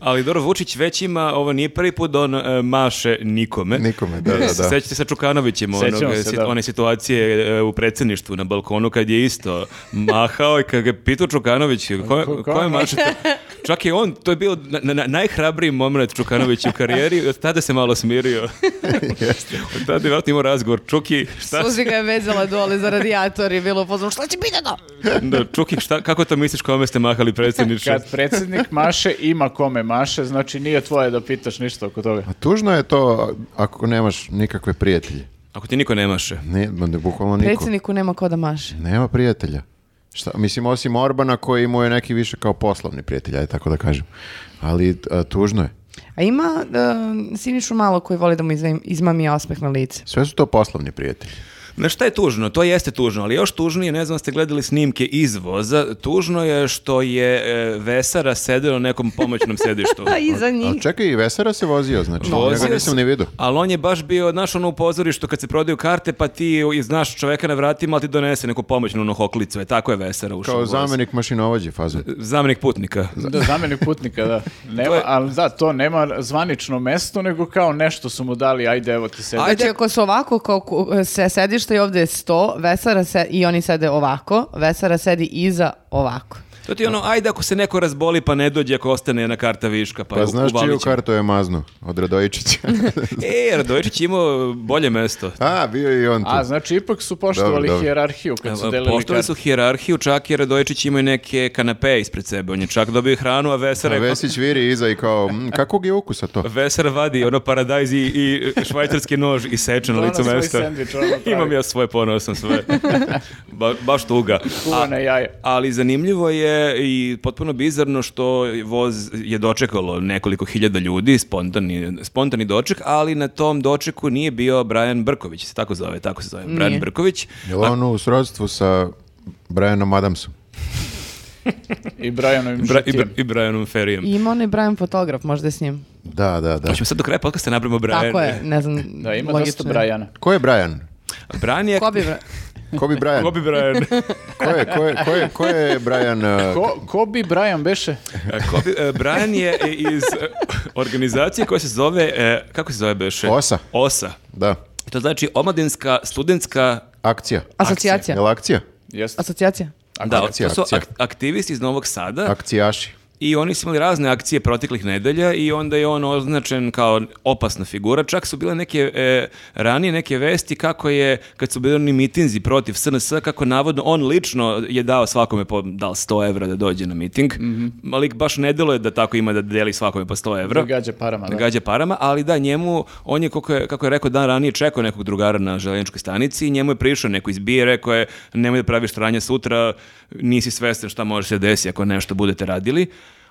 Speaker 3: Ali dobro, Vučić već ima, ovo nije prvi put da on e, maše nikome. E,
Speaker 2: Nikome, da, da, da.
Speaker 3: Sećate se sa Čukanovićem,
Speaker 4: Sećamo
Speaker 3: onog,
Speaker 4: se,
Speaker 3: sit-
Speaker 4: da.
Speaker 3: one situacije e, u predsjedništvu na balkonu kad je isto mahao i kad ga je pitao Čukanović, koje, koje mašete? Čak i on, to je bio na- na- na- najhrabriji moment Čukanovića u karijeri, i od tada se malo smirio. od tada je vjerojatno imao razgovor. Čuki, šta,
Speaker 1: Suzi ga je vezala dole za radijator i bilo pozvano, šta će biti da?
Speaker 3: da, Čuki, šta, kako to misliš kome ste mahali predsjedniče?
Speaker 4: Kad predsjednik maše, ima kome maše, znači nije tvoje da pitaš ništa oko toga.
Speaker 2: A tužno je to ako nemaš nikakve prijatelje.
Speaker 3: Ako ti niko ne maše.
Speaker 2: Ne, ma ne, bukvalno niko.
Speaker 1: Predsjedniku nema ko da maše.
Speaker 2: Nema prijatelja. Šta, mislim, osim Orbana koji mu je neki više kao poslovni prijatelj, ajde tako da kažem. Ali a, tužno je.
Speaker 1: A ima e, Sinišu malo koji voli da mu izve- izmami osmeh na lice.
Speaker 2: Sve su to poslovni prijatelji.
Speaker 3: Na šta je tužno? To jeste tužno, ali još tužnije, ne znam ste gledali snimke iz voza, tužno je što je e, Vesara sedeo na nekom pomoćnom sedištu.
Speaker 1: A iza
Speaker 2: Ali
Speaker 1: njih.
Speaker 2: čekaj, i Vesera se vozio, znači.
Speaker 3: Vozio
Speaker 2: Njega nisam
Speaker 3: se,
Speaker 2: ni vidio.
Speaker 3: Ali on je baš bio, znaš, ono u pozorištu kad se prodaju karte, pa ti i znaš čoveka na vratima, ali ti donese neku pomoćnu ono hoklicu. E, tako je Vesara ušao u
Speaker 2: Kao
Speaker 3: voz.
Speaker 2: zamenik mašinovođe fazon.
Speaker 3: Pa, Zamenik putnika.
Speaker 4: Da, zamjenik putnika, da. Nema, ali da, to nema zvanično mesto, nego kao nešto su mu dali, ajde, evo ti sedi.
Speaker 1: Znači, ako su ovako, kao ku- e, se sedište i ovdje je sto, Vesara se, i oni sede ovako, Vesara sedi iza ovako.
Speaker 3: To ti je ono, ajde ako se neko razboli pa ne dođe, ako ostane jedna karta viška, pa,
Speaker 2: Pa znaš čiju
Speaker 3: uvalit ćemo.
Speaker 2: kartu je maznu? Od Radojičića.
Speaker 3: E, Radojičić je imao bolje mesto.
Speaker 2: A, bio je i on tu.
Speaker 4: A, znači, ipak su poštovali
Speaker 2: Dobro, dobro.
Speaker 4: hijerarhiju kad su delili
Speaker 3: Poštovali
Speaker 4: karte.
Speaker 3: su hijerarhiju, čak i Radojičić imao i neke kanape ispred sebe. On je čak dobio i hranu, a Vesera
Speaker 2: A
Speaker 3: je
Speaker 2: Vesić viri iza i kao, "Mm, kakvog je ukusa to?
Speaker 3: Vesar vadi ono paradajz i, i švajcarski nož i seče na
Speaker 4: Ono
Speaker 3: licu
Speaker 4: svoj
Speaker 3: mesta.
Speaker 4: sendvič, ono pravi.
Speaker 3: Imam ja svoje ponosan sve. Ba- baš tuga.
Speaker 4: Kuvana jaja.
Speaker 3: Ali zanimljivo je i potpuno bizarno što voz je dočekalo nekoliko hiljada ljudi, spontani, spontani doček, ali na tom dočeku nije bio Brian Brković, se tako zove, tako se zove, Brian Brković.
Speaker 2: Je li on u srodstvu sa Brianom Adamsom?
Speaker 4: I Brianovim
Speaker 3: Bra- i,
Speaker 4: šutijem.
Speaker 3: Bra- i Brianom Ferijem.
Speaker 1: I ima onaj Brian fotograf, možda je s njim.
Speaker 2: Da, da, da.
Speaker 3: Hoćemo sad do kraja podcasta napravimo Brian.
Speaker 1: Tako je, ne znam,
Speaker 4: Da, ima
Speaker 1: logično
Speaker 4: dosta
Speaker 1: je.
Speaker 4: Brajana.
Speaker 2: Ko je Brian?
Speaker 3: Brian je...
Speaker 1: Ko bi Bra-
Speaker 2: Ko bi Brian?
Speaker 3: Ko bi Brian?
Speaker 2: Ko je, ko je, ko je, ko je Brian? uh,
Speaker 4: Ko, ko bi Brajan beše?
Speaker 3: Ko bi- e, Brian je iz e, organizacije koja se zove, e, kako se zove beše?
Speaker 2: Osa.
Speaker 3: Osa.
Speaker 2: Da,
Speaker 3: To znači omladinska, studentska,
Speaker 2: akcija.
Speaker 1: Asocijacija.
Speaker 2: Je li akcija?
Speaker 4: Jeste.
Speaker 1: Asocijacija.
Speaker 3: da,
Speaker 2: Akcija,
Speaker 3: to su
Speaker 2: akcija.
Speaker 3: ak- aktivisti iz Novog Sada
Speaker 2: Akcijaši.
Speaker 3: i oni su imali razne akcije proteklih nedelja i onda je on označen kao opasna figura. Čak su bile neke e, ranije neke vesti kako je, kad su bili oni mitinzi protiv SNS, kako navodno on lično je dao svakome po, da li 100 evra da dođe na miting. Malik baš ne deluje da tako ima da deli svakome po 100 evra.
Speaker 4: Da gađa parama, da.
Speaker 3: gađa parama, ali da, njemu, on je, kako je, kako je rekao dan ranije, čekao nekog drugara na željezničkoj stanici i njemu je prišao neko iz bije, rekao je, nemoj da praviš tranje sutra, nisi svestan šta može se desiti ako nešto budete radili.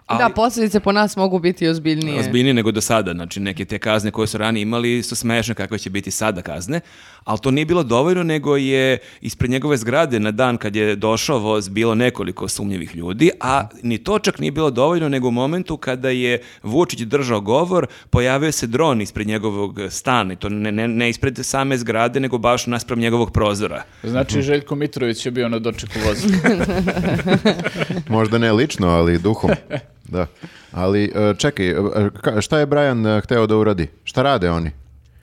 Speaker 3: Ali,
Speaker 1: Da, posljedice po nas mogu biti ozbiljnije.
Speaker 3: Ozbiljnije nego do sada, znači neke te kazne koje su ranije imali su smešne kakve će biti sada kazne, ali to nije bilo dovoljno nego je ispred njegove zgrade na dan kad je došao voz bilo nekoliko sumnjivih ljudi, a ni to čak nije bilo dovoljno nego u momentu kada je Vučić držao govor, pojavio se dron ispred njegovog stana i to ne, ne, ne ispred same zgrade nego baš naspram njegovog prozora. Mhm.
Speaker 4: Znači, Željko Mitrović je bio na dočeku voza.
Speaker 2: Možda ne lično, ali duhom. Da. Ali uh, čekaj, uh, ka- šta je Brian uh, hteo da uradi? Šta rade oni?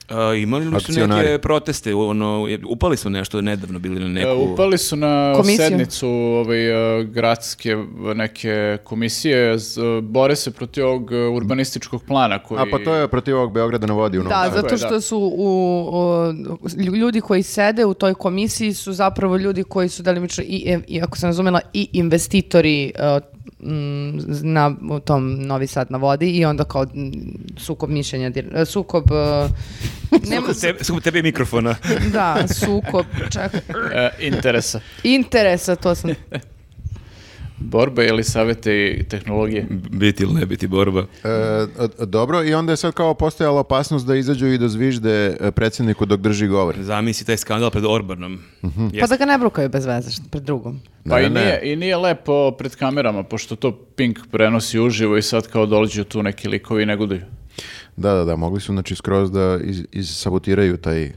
Speaker 3: A, E, imali li su
Speaker 2: Akcionari.
Speaker 3: neke proteste, ono, upali su nešto nedavno bili na neku...
Speaker 4: E, Upali su na
Speaker 1: Komisiju.
Speaker 4: sednicu ovaj, e, gradske neke komisije, z- e, bore se protiv ovog e, urbanističkog plana koji...
Speaker 2: A pa to je protiv ovog Beograda na vodi. u Novom
Speaker 1: Da,
Speaker 2: Sadu.
Speaker 1: zato
Speaker 4: je,
Speaker 1: što
Speaker 4: da.
Speaker 1: su u, o, lju- ljudi koji sede u toj komisiji su zapravo ljudi koji su delimično i, e, i ako sam razumela i investitori e, m, na u tom Novi Sad na vodi i onda kao m, sukob mišljenja, dir- e, sukob e, nema-
Speaker 3: Skup tebe, skup tebe i mikrofona.
Speaker 1: da, sukob čak,
Speaker 4: e, interesa.
Speaker 1: interesa, to sam
Speaker 4: Borbe ili savete i tehnologije.
Speaker 3: Biti ili ne biti borba.
Speaker 2: E, d- dobro, i onda je sad kao postojala opasnost da izađu i da zvižde e, predsjedniku dok drži govor.
Speaker 3: Zamisli taj skandal pred Orbanom.
Speaker 1: Pa
Speaker 2: Mhm.
Speaker 3: Jeste.
Speaker 1: da ga ne brukaju bez veze što- pred drugom.
Speaker 4: Pa
Speaker 2: Ne,
Speaker 4: i,
Speaker 2: ne.
Speaker 4: nije, i nije lepo pred kamerama, pošto to Pink prenosi uživo i sad kao dođu tu neki likovi i negoduju.
Speaker 2: Da, da, da, mogli su znači skroz da iz, sabotiraju taj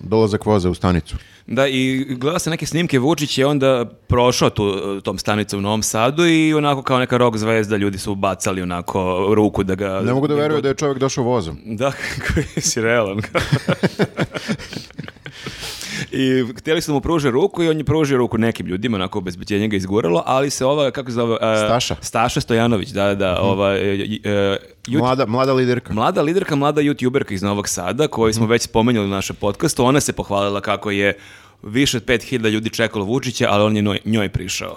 Speaker 2: dolazak voza u stanicu.
Speaker 3: Da, i gleda se neke snimke, Vučić je onda prošao tu, tom stanicom u Novom Sadu i onako kao neka rock zvezda ljudi su bacali onako ruku da ga...
Speaker 2: Ne mogu da veruju da je čovjek došao vozom.
Speaker 3: Da, kako si realan. I htjeli su da mu pruže ruku i on je pružio ruku nekim ljudima, onako obezbeđenje ga izguralo, ali se ova, kako se zove... e,
Speaker 2: Staša. Mhm.
Speaker 3: Staša Stojanović, da, da, ova... e, e, jut-
Speaker 2: Mlada, mlada liderka.
Speaker 3: Mlada liderka, mlada youtuberka iz Novog Sada, koju
Speaker 4: Mhm.
Speaker 3: smo već spomenuli u našem podcastu, ona se pohvalila kako je više od 5000 ljudi čekalo Vučića, ali on je noj- njoj prišao.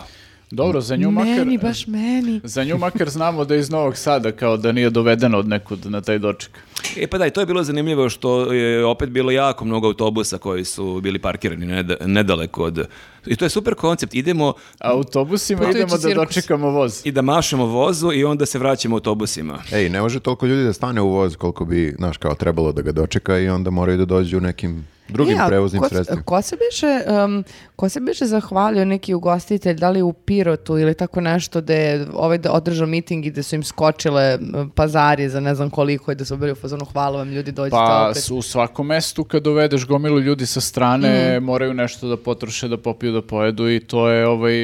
Speaker 4: Dobro, za nju
Speaker 1: Meni,
Speaker 4: makar...
Speaker 1: baš meni.
Speaker 4: Za nju makar znamo da je iz Novog Sada, kao da nije dovedena od nekud na taj doček.
Speaker 3: E pa da, i to je bilo zanimljivo što je opet bilo jako mnogo autobusa koji su bili parkirani neda- nedaleko od... I to je super koncept, idemo
Speaker 4: Autobusima
Speaker 1: Putujući
Speaker 4: idemo da
Speaker 1: cirkus.
Speaker 4: dočekamo voz.
Speaker 3: i da mašemo vozu i onda se vraćamo autobusima.
Speaker 2: Ej, ne može toliko ljudi da stane u voz koliko bi, znaš, kao trebalo da ga dočeka i onda moraju da dođu nekim drugim
Speaker 1: E, a
Speaker 2: prevoznim
Speaker 1: ko,
Speaker 2: sredstvima.
Speaker 1: Ko se biše, um, ko se biše zahvalio neki ugostitelj, da li u Pirotu ili tako nešto, da je ovaj da- održao miting i da su im skočile m, pazari za ne znam koliko i da su bili u fazonu hvala vam ljudi, dođite
Speaker 4: Pa
Speaker 1: opet.
Speaker 4: su u svakom mestu kad dovedeš gomilu ljudi sa
Speaker 1: Mhm.
Speaker 4: strane moraju nešto da potroše, da popiju, da pojedu i to je ovaj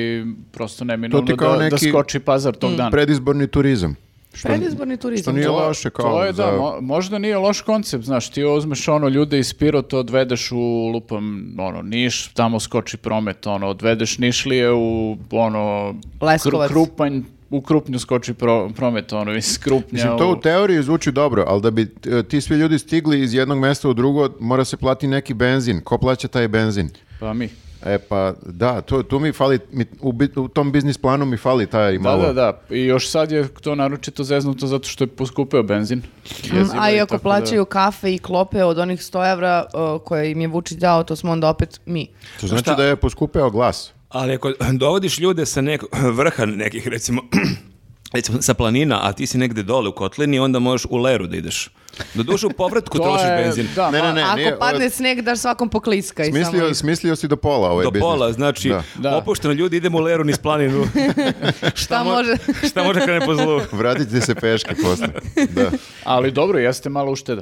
Speaker 4: prosto neminovno
Speaker 2: To ti kao
Speaker 4: da, da
Speaker 2: neki-
Speaker 1: Mm.
Speaker 4: skoči pazar tog dana.
Speaker 2: Predizborni turizam. Što,
Speaker 1: Predizborni turizam.
Speaker 2: što nije loše kao
Speaker 4: to je,
Speaker 2: za...
Speaker 4: da, mo- možda nije loš koncept, znaš, ti uzmeš ono ljude iz Pirota, odvedeš u lupam, ono, Niš, tamo skoči promet, ono, odvedeš Nišlije u, ono,
Speaker 1: Leskovac.
Speaker 4: Krupanj, u Krupnju skoči pro- promet, ono, iz Krupnja
Speaker 2: Mislim, to u teoriji zvuči dobro, ali da bi e, ti svi ljudi stigli iz jednog mesta u drugo, mora se plati neki benzin. Ko plaća taj benzin?
Speaker 4: Pa mi.
Speaker 2: E pa, da, to, tu mi fali, mi, u, bi- u tom biznis planu mi fali taj
Speaker 4: Da,
Speaker 2: malo.
Speaker 4: da, da. I još sad je to naročito zeznuto zato što je poskupeo benzin. Jezivo
Speaker 1: Mm, Mhm, A
Speaker 4: je,
Speaker 1: i ako
Speaker 4: tako da-
Speaker 1: plaćaju kafe i klope od onih 100 evra uh, koje im je Vučić dao, to smo onda opet mi.
Speaker 2: To znači
Speaker 3: Šta?
Speaker 2: da je poskupeo glas.
Speaker 3: Ali ako dovodiš ljude sa nekog vrha nekih, recimo, recimo sa planina, a ti si negde dole u kotlini, onda možeš u leru da ideš. Doduše u povratku
Speaker 4: To
Speaker 3: trošiš
Speaker 4: je-
Speaker 3: benzin.
Speaker 4: Da,
Speaker 2: Ne,
Speaker 4: ma-
Speaker 2: ne, ne,
Speaker 1: Ako
Speaker 2: nije,
Speaker 1: padne
Speaker 2: ovo-
Speaker 1: sneg, daš svakom pokliska i samo...
Speaker 2: smislio,
Speaker 1: ih.
Speaker 2: smislio si do pola ovaj
Speaker 3: Do
Speaker 2: biznis.
Speaker 3: pola, znači,
Speaker 2: Da.
Speaker 4: Da.
Speaker 3: opušteno ljudi, idemo u leru niz planinu.
Speaker 1: Šta može?
Speaker 3: šta može krene po zlu?
Speaker 2: Vratite se peške posle. Da.
Speaker 4: Ali dobro, jeste malo ušteda.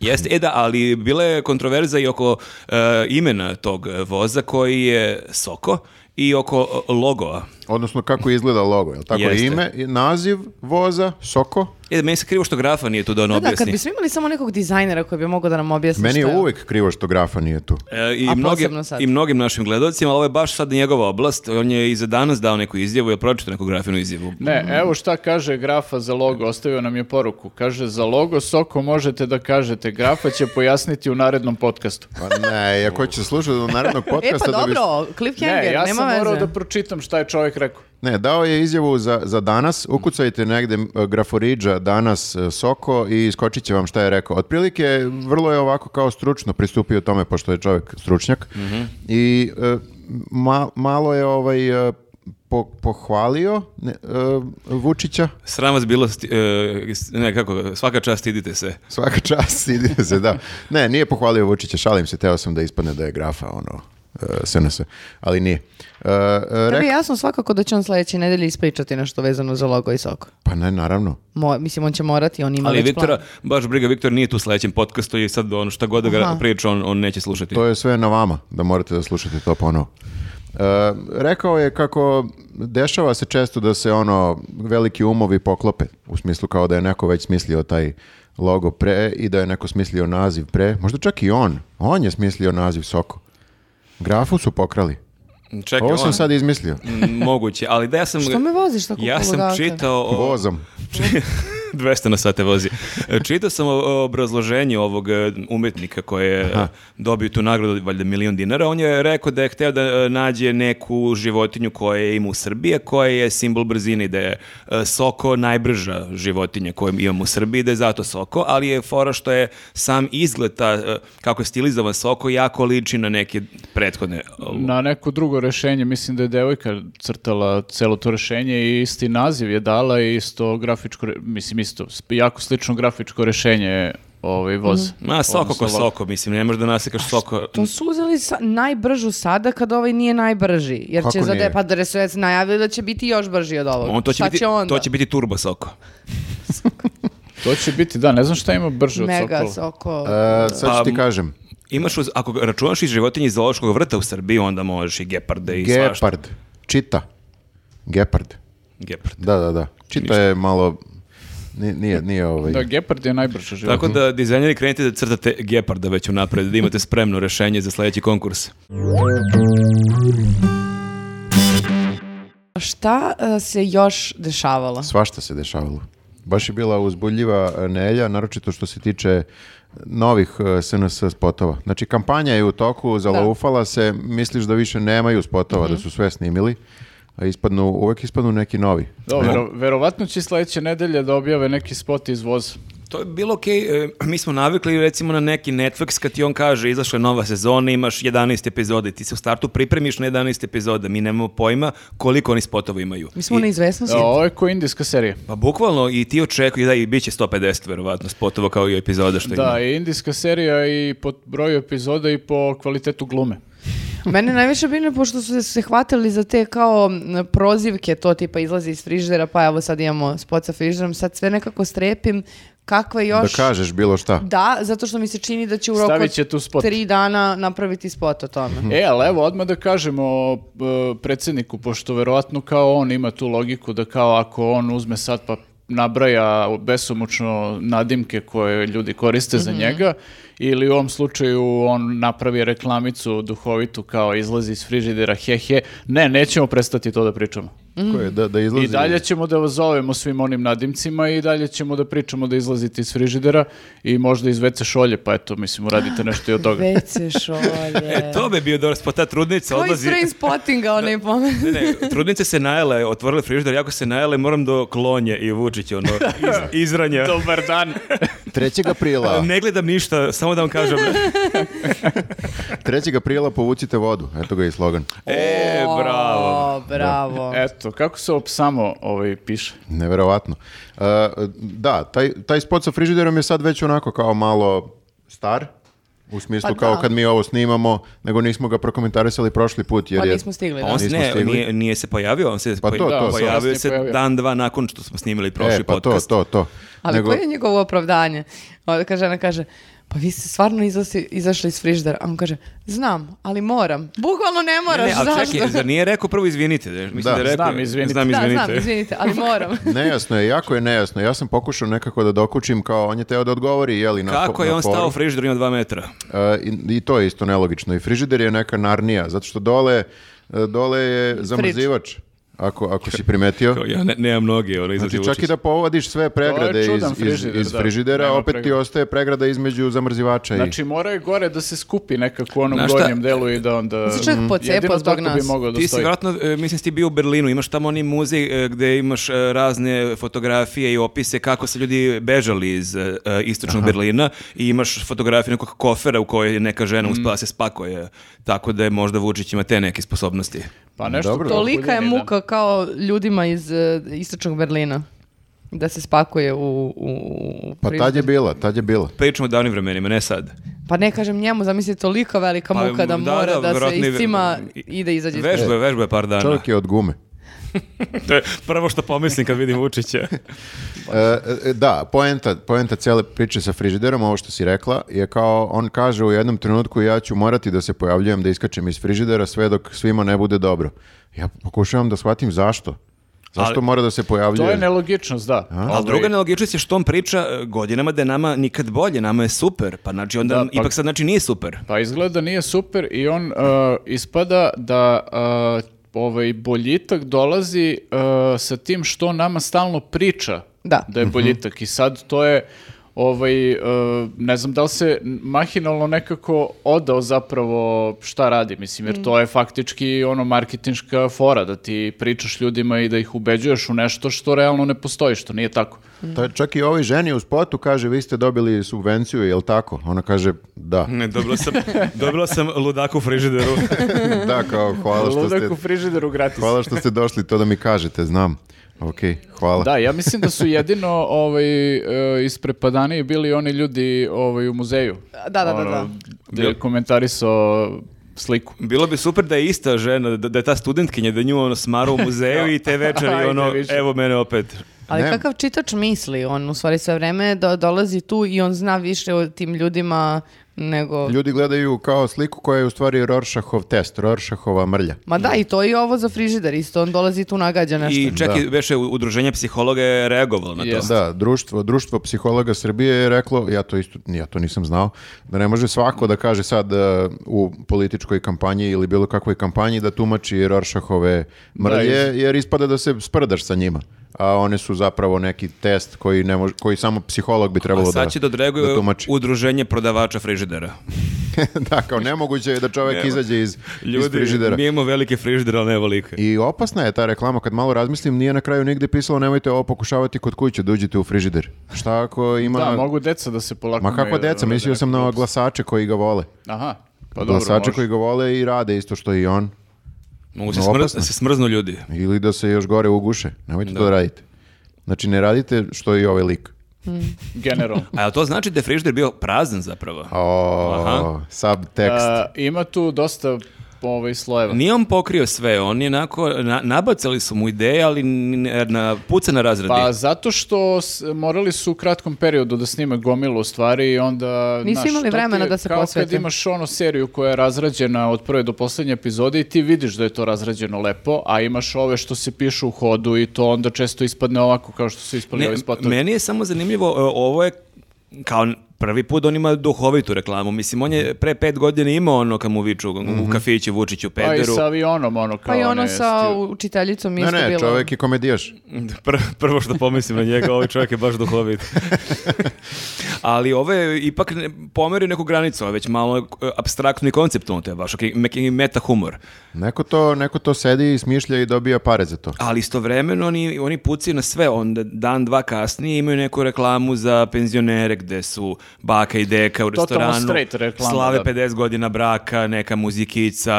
Speaker 3: Jeste, e da, ali bila je kontroverza i oko e, imena tog voza koji je Soko i oko e, logoa.
Speaker 2: Odnosno kako izgleda logo, je li tako?
Speaker 3: Jeste.
Speaker 2: Ime, i naziv voza, soko.
Speaker 3: E, meni se krivo što grafa nije tu da on
Speaker 1: Da, da,
Speaker 3: objasni.
Speaker 1: kad bismo imali samo nekog dizajnera koji bi mogao da nam objasni
Speaker 2: Meni
Speaker 1: šta
Speaker 2: je uvek krivo što grafa nije tu.
Speaker 3: E, i,
Speaker 1: A
Speaker 3: mnoge,
Speaker 1: posebno sad.
Speaker 3: I mnogim našim gledalcima, ali ovo je baš sad njegova oblast. On je i za danas dao neku izjavu, je pročito neku grafinu izjavu.
Speaker 1: Mm.
Speaker 4: Ne, evo šta kaže grafa za logo, ostavio nam je poruku. Kaže, za logo Soko možete da kažete, grafa će pojasniti u narednom podcastu.
Speaker 2: Pa ne, ako će slušati do narednog
Speaker 1: E
Speaker 2: podcasta...
Speaker 1: pa
Speaker 2: da bi-
Speaker 1: dobro,
Speaker 4: Ne,
Speaker 1: cliffhanger,
Speaker 4: ja
Speaker 1: nema
Speaker 4: sam
Speaker 1: veze.
Speaker 4: morao da pročitam šta je čovjek rekao.
Speaker 2: Ne, dao je izjavu za, za danas, ukucajte negde e, Graforidža, danas e, Soko i skočit će vam šta je rekao. Otprilike, vrlo je ovako kao stručno pristupio tome, pošto je čovjek stručnjak. I e, ma- malo je ovaj... e, po- pohvalio ne, e, Vučića.
Speaker 3: Sram vas bilo, sti- e, s- ne, kako, svaka čast stidite se.
Speaker 2: Svaka čast, ide se, da. Ne, nije pohvalio Vučića, šalim se, teo sam da ispadne da je grafa, ono, e, SNS, ali nije. E, e,
Speaker 1: Tebi
Speaker 2: rek-
Speaker 1: je jasno svakako da će on sledeće nedelje ispričati nešto vezano za logo i soko.
Speaker 2: Pa ne, naravno.
Speaker 1: Mo, mislim, on će morati, on ima
Speaker 3: Ali
Speaker 1: već
Speaker 3: Viktora,
Speaker 1: plan.
Speaker 3: baš briga, Viktor nije tu u sledećem podcastu i sad ono šta god da ga
Speaker 1: Aha.
Speaker 3: priča, on, on neće slušati.
Speaker 2: To je sve na vama, da morate da slušate to ponovo. E, rekao je kako dešava se često da se ono veliki umovi poklope, u smislu kao da je neko već smislio taj logo pre i da je neko smislio naziv pre. Možda čak i on. On je smislio naziv Soko. Grafu su pokrali.
Speaker 3: Čekaj,
Speaker 2: Ovo sam
Speaker 3: on-
Speaker 2: sad izmislio.
Speaker 3: Mm, Moguće, ali da ja sam...
Speaker 1: Što me voziš tako
Speaker 3: Ja sam
Speaker 1: poludaka?
Speaker 3: čitao... o-
Speaker 2: Vozom.
Speaker 3: 200 na sate vozi. E, Čitao sam o- o obrazloženju ovog e, umetnika koji je e, dobio tu nagradu, valjda milion dinara. On je rekao da je hteo da e, nađe neku životinju koja je ima u Srbiji, a koja je simbol brzine, da je e, soko najbrža životinja koju imamo u Srbiji, da je zato soko, ali je fora što je sam izgled ta, e, kako je stilizovan soko, jako liči na neke prethodne... e,
Speaker 4: Na neko drugo rešenje, mislim da je devojka crtala celo to rešenje i isti naziv je dala i isto grafičko, re- mislim isto, sp- jako slično grafičko rešenje ovaj voz.
Speaker 3: Ma, soko ko soko, mislim, ne možeš da nasekaš soko.
Speaker 1: To su uzeli sa, najbržu sada kad ovaj nije najbrži. Jer
Speaker 2: Kako
Speaker 1: će za
Speaker 2: nije?
Speaker 1: pa da Resuec najavio da će biti još brži od ovog.
Speaker 3: On, Ono, to, će
Speaker 1: Šta
Speaker 3: biti,
Speaker 1: će onda?
Speaker 3: to će biti turbo soko.
Speaker 4: To će biti, da, ne znam šta ima brže od
Speaker 1: Mega
Speaker 4: Sokola.
Speaker 1: soko.
Speaker 2: E, sad ću ti
Speaker 3: Pa,
Speaker 2: kažem.
Speaker 3: Imaš, uz- ako računaš i životinje iz zoološkog vrta u Srbiji, onda možeš i geparde i svašta.
Speaker 2: Gepard. Čita. Gepard.
Speaker 3: Gepard.
Speaker 2: Da, da, da. Čita je malo... ni- Nije, nije ovaj...
Speaker 4: Da, Gepard je najbrže život.
Speaker 3: Tako da dizajneri krenite da crtate geparda već unapred, da imate spremno rešenje za sledeći konkurs.
Speaker 1: Šta e, se još dešavalo?
Speaker 2: Svašta se dešavalo. Baš je bila uzbudljiva e, nelja, naročito što se tiče novih e, SNS spotova. Znači, kampanja je u toku, zalaufala se, misliš da više nemaju spotova, da su sve snimili, a ispadnu, uvek ispadnu neki novi.
Speaker 4: Dobro, verovatno će sledeće nedelje da objave neki spot iz voza.
Speaker 3: To je bilo okej, e, mi smo navikli recimo na neki Netflix kad ti on kaže izašla je nova sezona, imaš 11 epizode, ti se u startu pripremiš na 11 epizoda, mi nemamo pojma koliko oni spotova imaju.
Speaker 1: Mi smo u
Speaker 3: I-
Speaker 1: neizvesnosti.
Speaker 4: Ovo je ko indijska serija.
Speaker 3: Pa bukvalno i ti očekuj, da i bit će 150 verovatno spotova kao i epizoda što ima.
Speaker 4: Da, i indijska serija i po broju epizoda i po kvalitetu glume.
Speaker 1: Mene najviše brine pošto su se hvatili za te kao m, prozivke, to tipa izlazi iz frižidera, pa evo sad imamo spot sa frižiderom, sad sve nekako strepim kakve
Speaker 2: Da
Speaker 1: još...
Speaker 2: kažeš bilo šta.
Speaker 1: Da, zato što mi se čini da će u roku
Speaker 4: Stavit će tu spot.
Speaker 1: tri dana napraviti spot o tome.
Speaker 4: E, ali evo, odmah da kažemo e, predsjedniku, pošto verovatno kao on ima tu logiku da kao ako on uzme sad pa nabraja besomučno nadimke koje ljudi koriste za njega ili u ovom slučaju on napravi reklamicu duhovitu kao izlazi iz frižidera hehe, ne, nećemo prestati to da pričamo.
Speaker 2: Ko je, da, da izlazi...
Speaker 4: I dalje ćemo da vas zovemo svim onim nadimcima i dalje ćemo da pričamo da izlazite iz frižidera i možda iz WC šolje, pa eto, mislim, uradite nešto i od toga.
Speaker 1: Već se šolje.
Speaker 3: E, to bi bio dobar spot, ta trudnica
Speaker 1: Koji
Speaker 3: odlazi...
Speaker 1: train spottinga onaj pomen?
Speaker 3: Ne, ne, trudnice se najele, otvorile frižider, jako se najele, moram do klonje i Vučić, ono, iz, izranja.
Speaker 4: Dobar dan.
Speaker 2: 3. aprila.
Speaker 3: Ne gledam ništa, samo da vam kažem.
Speaker 2: 3. aprila povucite vodu. Eto ga i slogan.
Speaker 3: E, bravo.
Speaker 1: O, bravo.
Speaker 4: Eto, kako se op samo ovaj, piše?
Speaker 2: Neverovatno. E, da, taj, taj spot sa frižiderom je sad već onako kao malo star. U smislu
Speaker 1: Pa
Speaker 2: kao
Speaker 1: da.
Speaker 2: kad mi ovo snimamo, nego nismo ga prokomentarisali prošli put. Jer
Speaker 1: Pa
Speaker 2: je-
Speaker 1: nismo stigli.
Speaker 3: Pa
Speaker 1: da.
Speaker 3: on se,
Speaker 2: Nismo
Speaker 3: ne,
Speaker 2: stigli.
Speaker 3: nije, nije se pojavio, on se
Speaker 2: Pa
Speaker 3: poj-
Speaker 2: to, to, to.
Speaker 3: pojavio se
Speaker 4: Kasnije pojavio.
Speaker 3: dan, dva nakon što smo snimili prošli
Speaker 2: E, pa to,
Speaker 3: podcast.
Speaker 2: to, to.
Speaker 1: Ali
Speaker 2: Nego-
Speaker 1: koje je njegovo opravdanje? Onda kaže, žena kaže, pa vi ste stvarno izlasli- izašli iz frižidera. A on kaže, znam, ali moram. Bukvalno ne moraš,
Speaker 3: Ne, ne, ali
Speaker 1: zašto?
Speaker 3: čekaj, zar nije rekao prvo izvinite? Da, mislim da,
Speaker 2: Da.
Speaker 3: je rekao,
Speaker 4: Znam, izvinite.
Speaker 3: Znam,
Speaker 1: Da,
Speaker 3: izvinite.
Speaker 1: znam, izvinite, ali moram.
Speaker 2: Nejasno je, jako je nejasno. Ja sam pokušao nekako da dokučim kao on je teo da odgovori, jeli, na
Speaker 3: Kako
Speaker 2: na
Speaker 3: je on
Speaker 2: forum.
Speaker 3: stao u frižideru ima dva metra?
Speaker 2: E, i, I to je isto nelogično. I frižider je neka narnija, zato što dole, e, dole je zamrzivač, ako, ako si primetio.
Speaker 3: Kao, ja ne, nemam noge, ono izlazi
Speaker 2: Znači čak i da povadiš sve pregrade iz,
Speaker 4: čudan
Speaker 2: iz-
Speaker 4: frižider,
Speaker 2: iz
Speaker 4: da.
Speaker 2: frižidera,
Speaker 4: Nema
Speaker 2: opet ti
Speaker 4: pregrade.
Speaker 2: ostaje pregrada između zamrzivača i...
Speaker 4: Znači, mora je gore da se skupi nekako u onom
Speaker 3: Znaš šta?
Speaker 4: gornjem delu i da onda...
Speaker 1: Se čovjek
Speaker 4: Mm.
Speaker 1: pocepao
Speaker 4: Jedino
Speaker 1: zbog
Speaker 4: tako
Speaker 1: nas.
Speaker 4: bi mogao da
Speaker 3: Ti si
Speaker 4: stoji.
Speaker 3: vjerojatno, e, mislim, si ti bio u Berlinu, imaš tamo oni muzej e, gde imaš e, razne fotografije i opise kako se ljudi bežali iz e, e, istočnog Berlina i imaš fotografiju nekog kofera u kojoj je neka
Speaker 4: Mm.
Speaker 3: žena uspela se spakuje, tako da je možda Vučić ima te neke sposobnosti.
Speaker 4: Pa nešto
Speaker 2: Dobro.
Speaker 4: kao
Speaker 1: Tolika je
Speaker 4: Buljani, da.
Speaker 1: muka kao ljudima iz e, istočnog Berlina da se spakuje u... u, u
Speaker 2: Pa tad je
Speaker 1: frižider.
Speaker 2: bila, tad je bila.
Speaker 3: Pričamo o davnim vremenima, ne sad.
Speaker 1: Pa ne kažem njemu, zamisli tolika velika
Speaker 3: Pa,
Speaker 1: muka da,
Speaker 3: da,
Speaker 1: mora
Speaker 3: da,
Speaker 1: da, se
Speaker 3: verovatno i-
Speaker 1: iscima i da izađe. iz-
Speaker 3: Vežbe, vežbe par dana.
Speaker 2: Čovjek je od gume.
Speaker 3: To je prvo što pomislim kad vidim Vučića.
Speaker 2: E, e, da, poenta, poenta cijele priče sa frižiderom, ovo što si rekla, je kao on kaže u jednom trenutku ja ću morati da se pojavljujem, da iskačem iz frižidera sve dok svima ne bude dobro. Ja pokušavam da shvatim zašto. Zašto
Speaker 3: Ali-
Speaker 2: mora da se
Speaker 4: To je
Speaker 2: pojavljuje?
Speaker 4: nelogičnost, da. Ovaj,
Speaker 3: Ali druga nelogičnost je što on priča e, godinama da je nama nikad bolje, nama je super, pa znači onda
Speaker 4: Da, pa-
Speaker 3: ipak sad znači nije super.
Speaker 4: Pa izgleda da nije super i on uh, ispada da uh, ovaj boljitak dolazi uh, sa tim što nama stalno priča
Speaker 1: Da.
Speaker 2: Mhm.
Speaker 4: da je boljitak i sad to je ovaj, uh, ne znam da li se mahinalno nekako odao zapravo šta radi, mislim, jer to je faktički ono marketinška fora, da ti pričaš ljudima i da ih ubeđuješ u nešto što realno ne postoji, što nije tako.
Speaker 2: Ta, čak i ovoj ženi u spotu kaže vi ste dobili subvenciju, jel tako? Ona kaže da.
Speaker 3: Ne, dobila sam, dobila sam ludaku u frižideru.
Speaker 2: da, kao hvala što ste,
Speaker 4: Ludak u frižideru gratis.
Speaker 2: hvala što ste došli to da mi kažete, znam. Ok, hvala.
Speaker 4: Da, ja mislim da su jedino ovaj, e, isprepadaniji bili oni ljudi ovaj, u muzeju.
Speaker 1: Da, da, da, da.
Speaker 4: Ono, gde je komentarisao sliku.
Speaker 3: Bilo bi super da je ista žena, da, da je ta studentkinja, da nju ono smara u muzeju i te večeri
Speaker 4: Ajde,
Speaker 3: ono,
Speaker 4: više.
Speaker 3: evo mene opet.
Speaker 1: Ali
Speaker 2: Ne.
Speaker 1: kakav čitač misli, on u stvari sve vreme do, dolazi tu i on zna više o tim ljudima nego...
Speaker 2: Ljudi gledaju kao sliku koja je u stvari Rorschachov test, Rorschachova mrlja.
Speaker 1: Ma da, i to je i ovo za frižider, isto on dolazi i tu nagađa nešto.
Speaker 3: I čak
Speaker 2: Da.
Speaker 3: i veše udruženje psihologa je reagovalo na to.
Speaker 4: Jeste.
Speaker 2: Da, društvo, društvo psihologa Srbije je reklo, ja to isto, ja to nisam znao, da ne može svako da kaže sad e, u političkoj kampanji ili bilo kakvoj kampanji da tumači Rorschachove mrlje, jer ispada da se sprdaš sa njima. A one su zapravo neki test koji, ne može, koji samo psiholog bi
Speaker 3: A
Speaker 2: trebalo da,
Speaker 3: sad će da odreaguje
Speaker 2: da tumači.
Speaker 3: udruženje prodavača frižidera.
Speaker 2: da, kao nemoguće je da čovek
Speaker 3: Nema.
Speaker 2: izađe iz, iz
Speaker 3: Ljudi,
Speaker 2: frižidera.
Speaker 3: mi imamo velike frižidere, ali ne velike.
Speaker 2: I opasna je ta reklama, kad malo razmislim, nije na kraju nigde pisalo nemojte ovo pokušavati kod kuće, da uđete u frižider. Šta ako ima...
Speaker 4: Da, mogu deca da se polako...
Speaker 2: Ma kako
Speaker 4: umeju da
Speaker 2: deca,
Speaker 4: rade
Speaker 2: mislio sam na
Speaker 4: nekakve gluposti.
Speaker 2: glasače koji ga vole.
Speaker 4: Aha, pa dobro,
Speaker 2: glasače
Speaker 4: može.
Speaker 2: koji ga vole i rade isto što i on.
Speaker 3: Mogu se,
Speaker 2: No,
Speaker 3: smr-
Speaker 2: opasno.
Speaker 3: se smrznu ljudi.
Speaker 2: Ili da se još gore uguše. Nemojte to da radite. Znači, ne radite što i ovaj lik.
Speaker 4: Generalno.
Speaker 3: A jel to znači da je frižider bio prazan zapravo?
Speaker 2: O,
Speaker 3: Aha.
Speaker 4: E,
Speaker 2: subtekst.
Speaker 4: A, ima tu dosta ovaj, slojeva.
Speaker 3: Nije on pokrio sve, on je onako, na, nabacali su mu ideje, ali n- na, puca na razradi.
Speaker 4: Pa zato što s- morali su u kratkom periodu da snime gomilu stvari i onda...
Speaker 1: Nisu
Speaker 4: znaš,
Speaker 1: imali
Speaker 4: to ti je
Speaker 1: vremena da se
Speaker 4: kao Kao kad
Speaker 1: posvete.
Speaker 4: imaš ono seriju koja je razrađena od prve do poslednje epizode i ti vidiš da je to razrađeno lepo, a imaš ove što se pišu u hodu i to onda često ispadne ovako kao što su ispali
Speaker 3: Ne,
Speaker 4: ovi spotovi.
Speaker 3: meni je samo zanimljivo, e, ovo je kao prvi put on ima duhovitu reklamu. Mislim, on je pre pet godina imao ono kad mu viču u kafiću, Vučiću,
Speaker 4: Pa i
Speaker 3: Pederu.
Speaker 4: sa avionom, ono kao...
Speaker 1: Pa i ono
Speaker 4: one
Speaker 1: sa
Speaker 4: sti-
Speaker 1: učiteljicom
Speaker 2: Ne,
Speaker 1: isto
Speaker 2: ne,
Speaker 1: bilo.
Speaker 2: čovjek je komedijaš.
Speaker 3: Pr- prvo što pomislim na njega, ovaj čovjek je baš duhovit. Ali ovo je ipak ne, pomerio neku granicu, ovo je već malo abstraktno i konceptualno, to je baš okay, neki meta humor.
Speaker 2: Neko to, neko to sedi i smišlja i dobija pare za to.
Speaker 3: Ali istovremeno oni, oni pucaju na sve, onda dan, dva kasnije imaju neku reklamu za penzionere gde su baka i deka u
Speaker 4: Totalno
Speaker 3: restoranu,
Speaker 4: straight reklama,
Speaker 3: slave
Speaker 4: da.
Speaker 3: 50 godina braka, neka muzikica,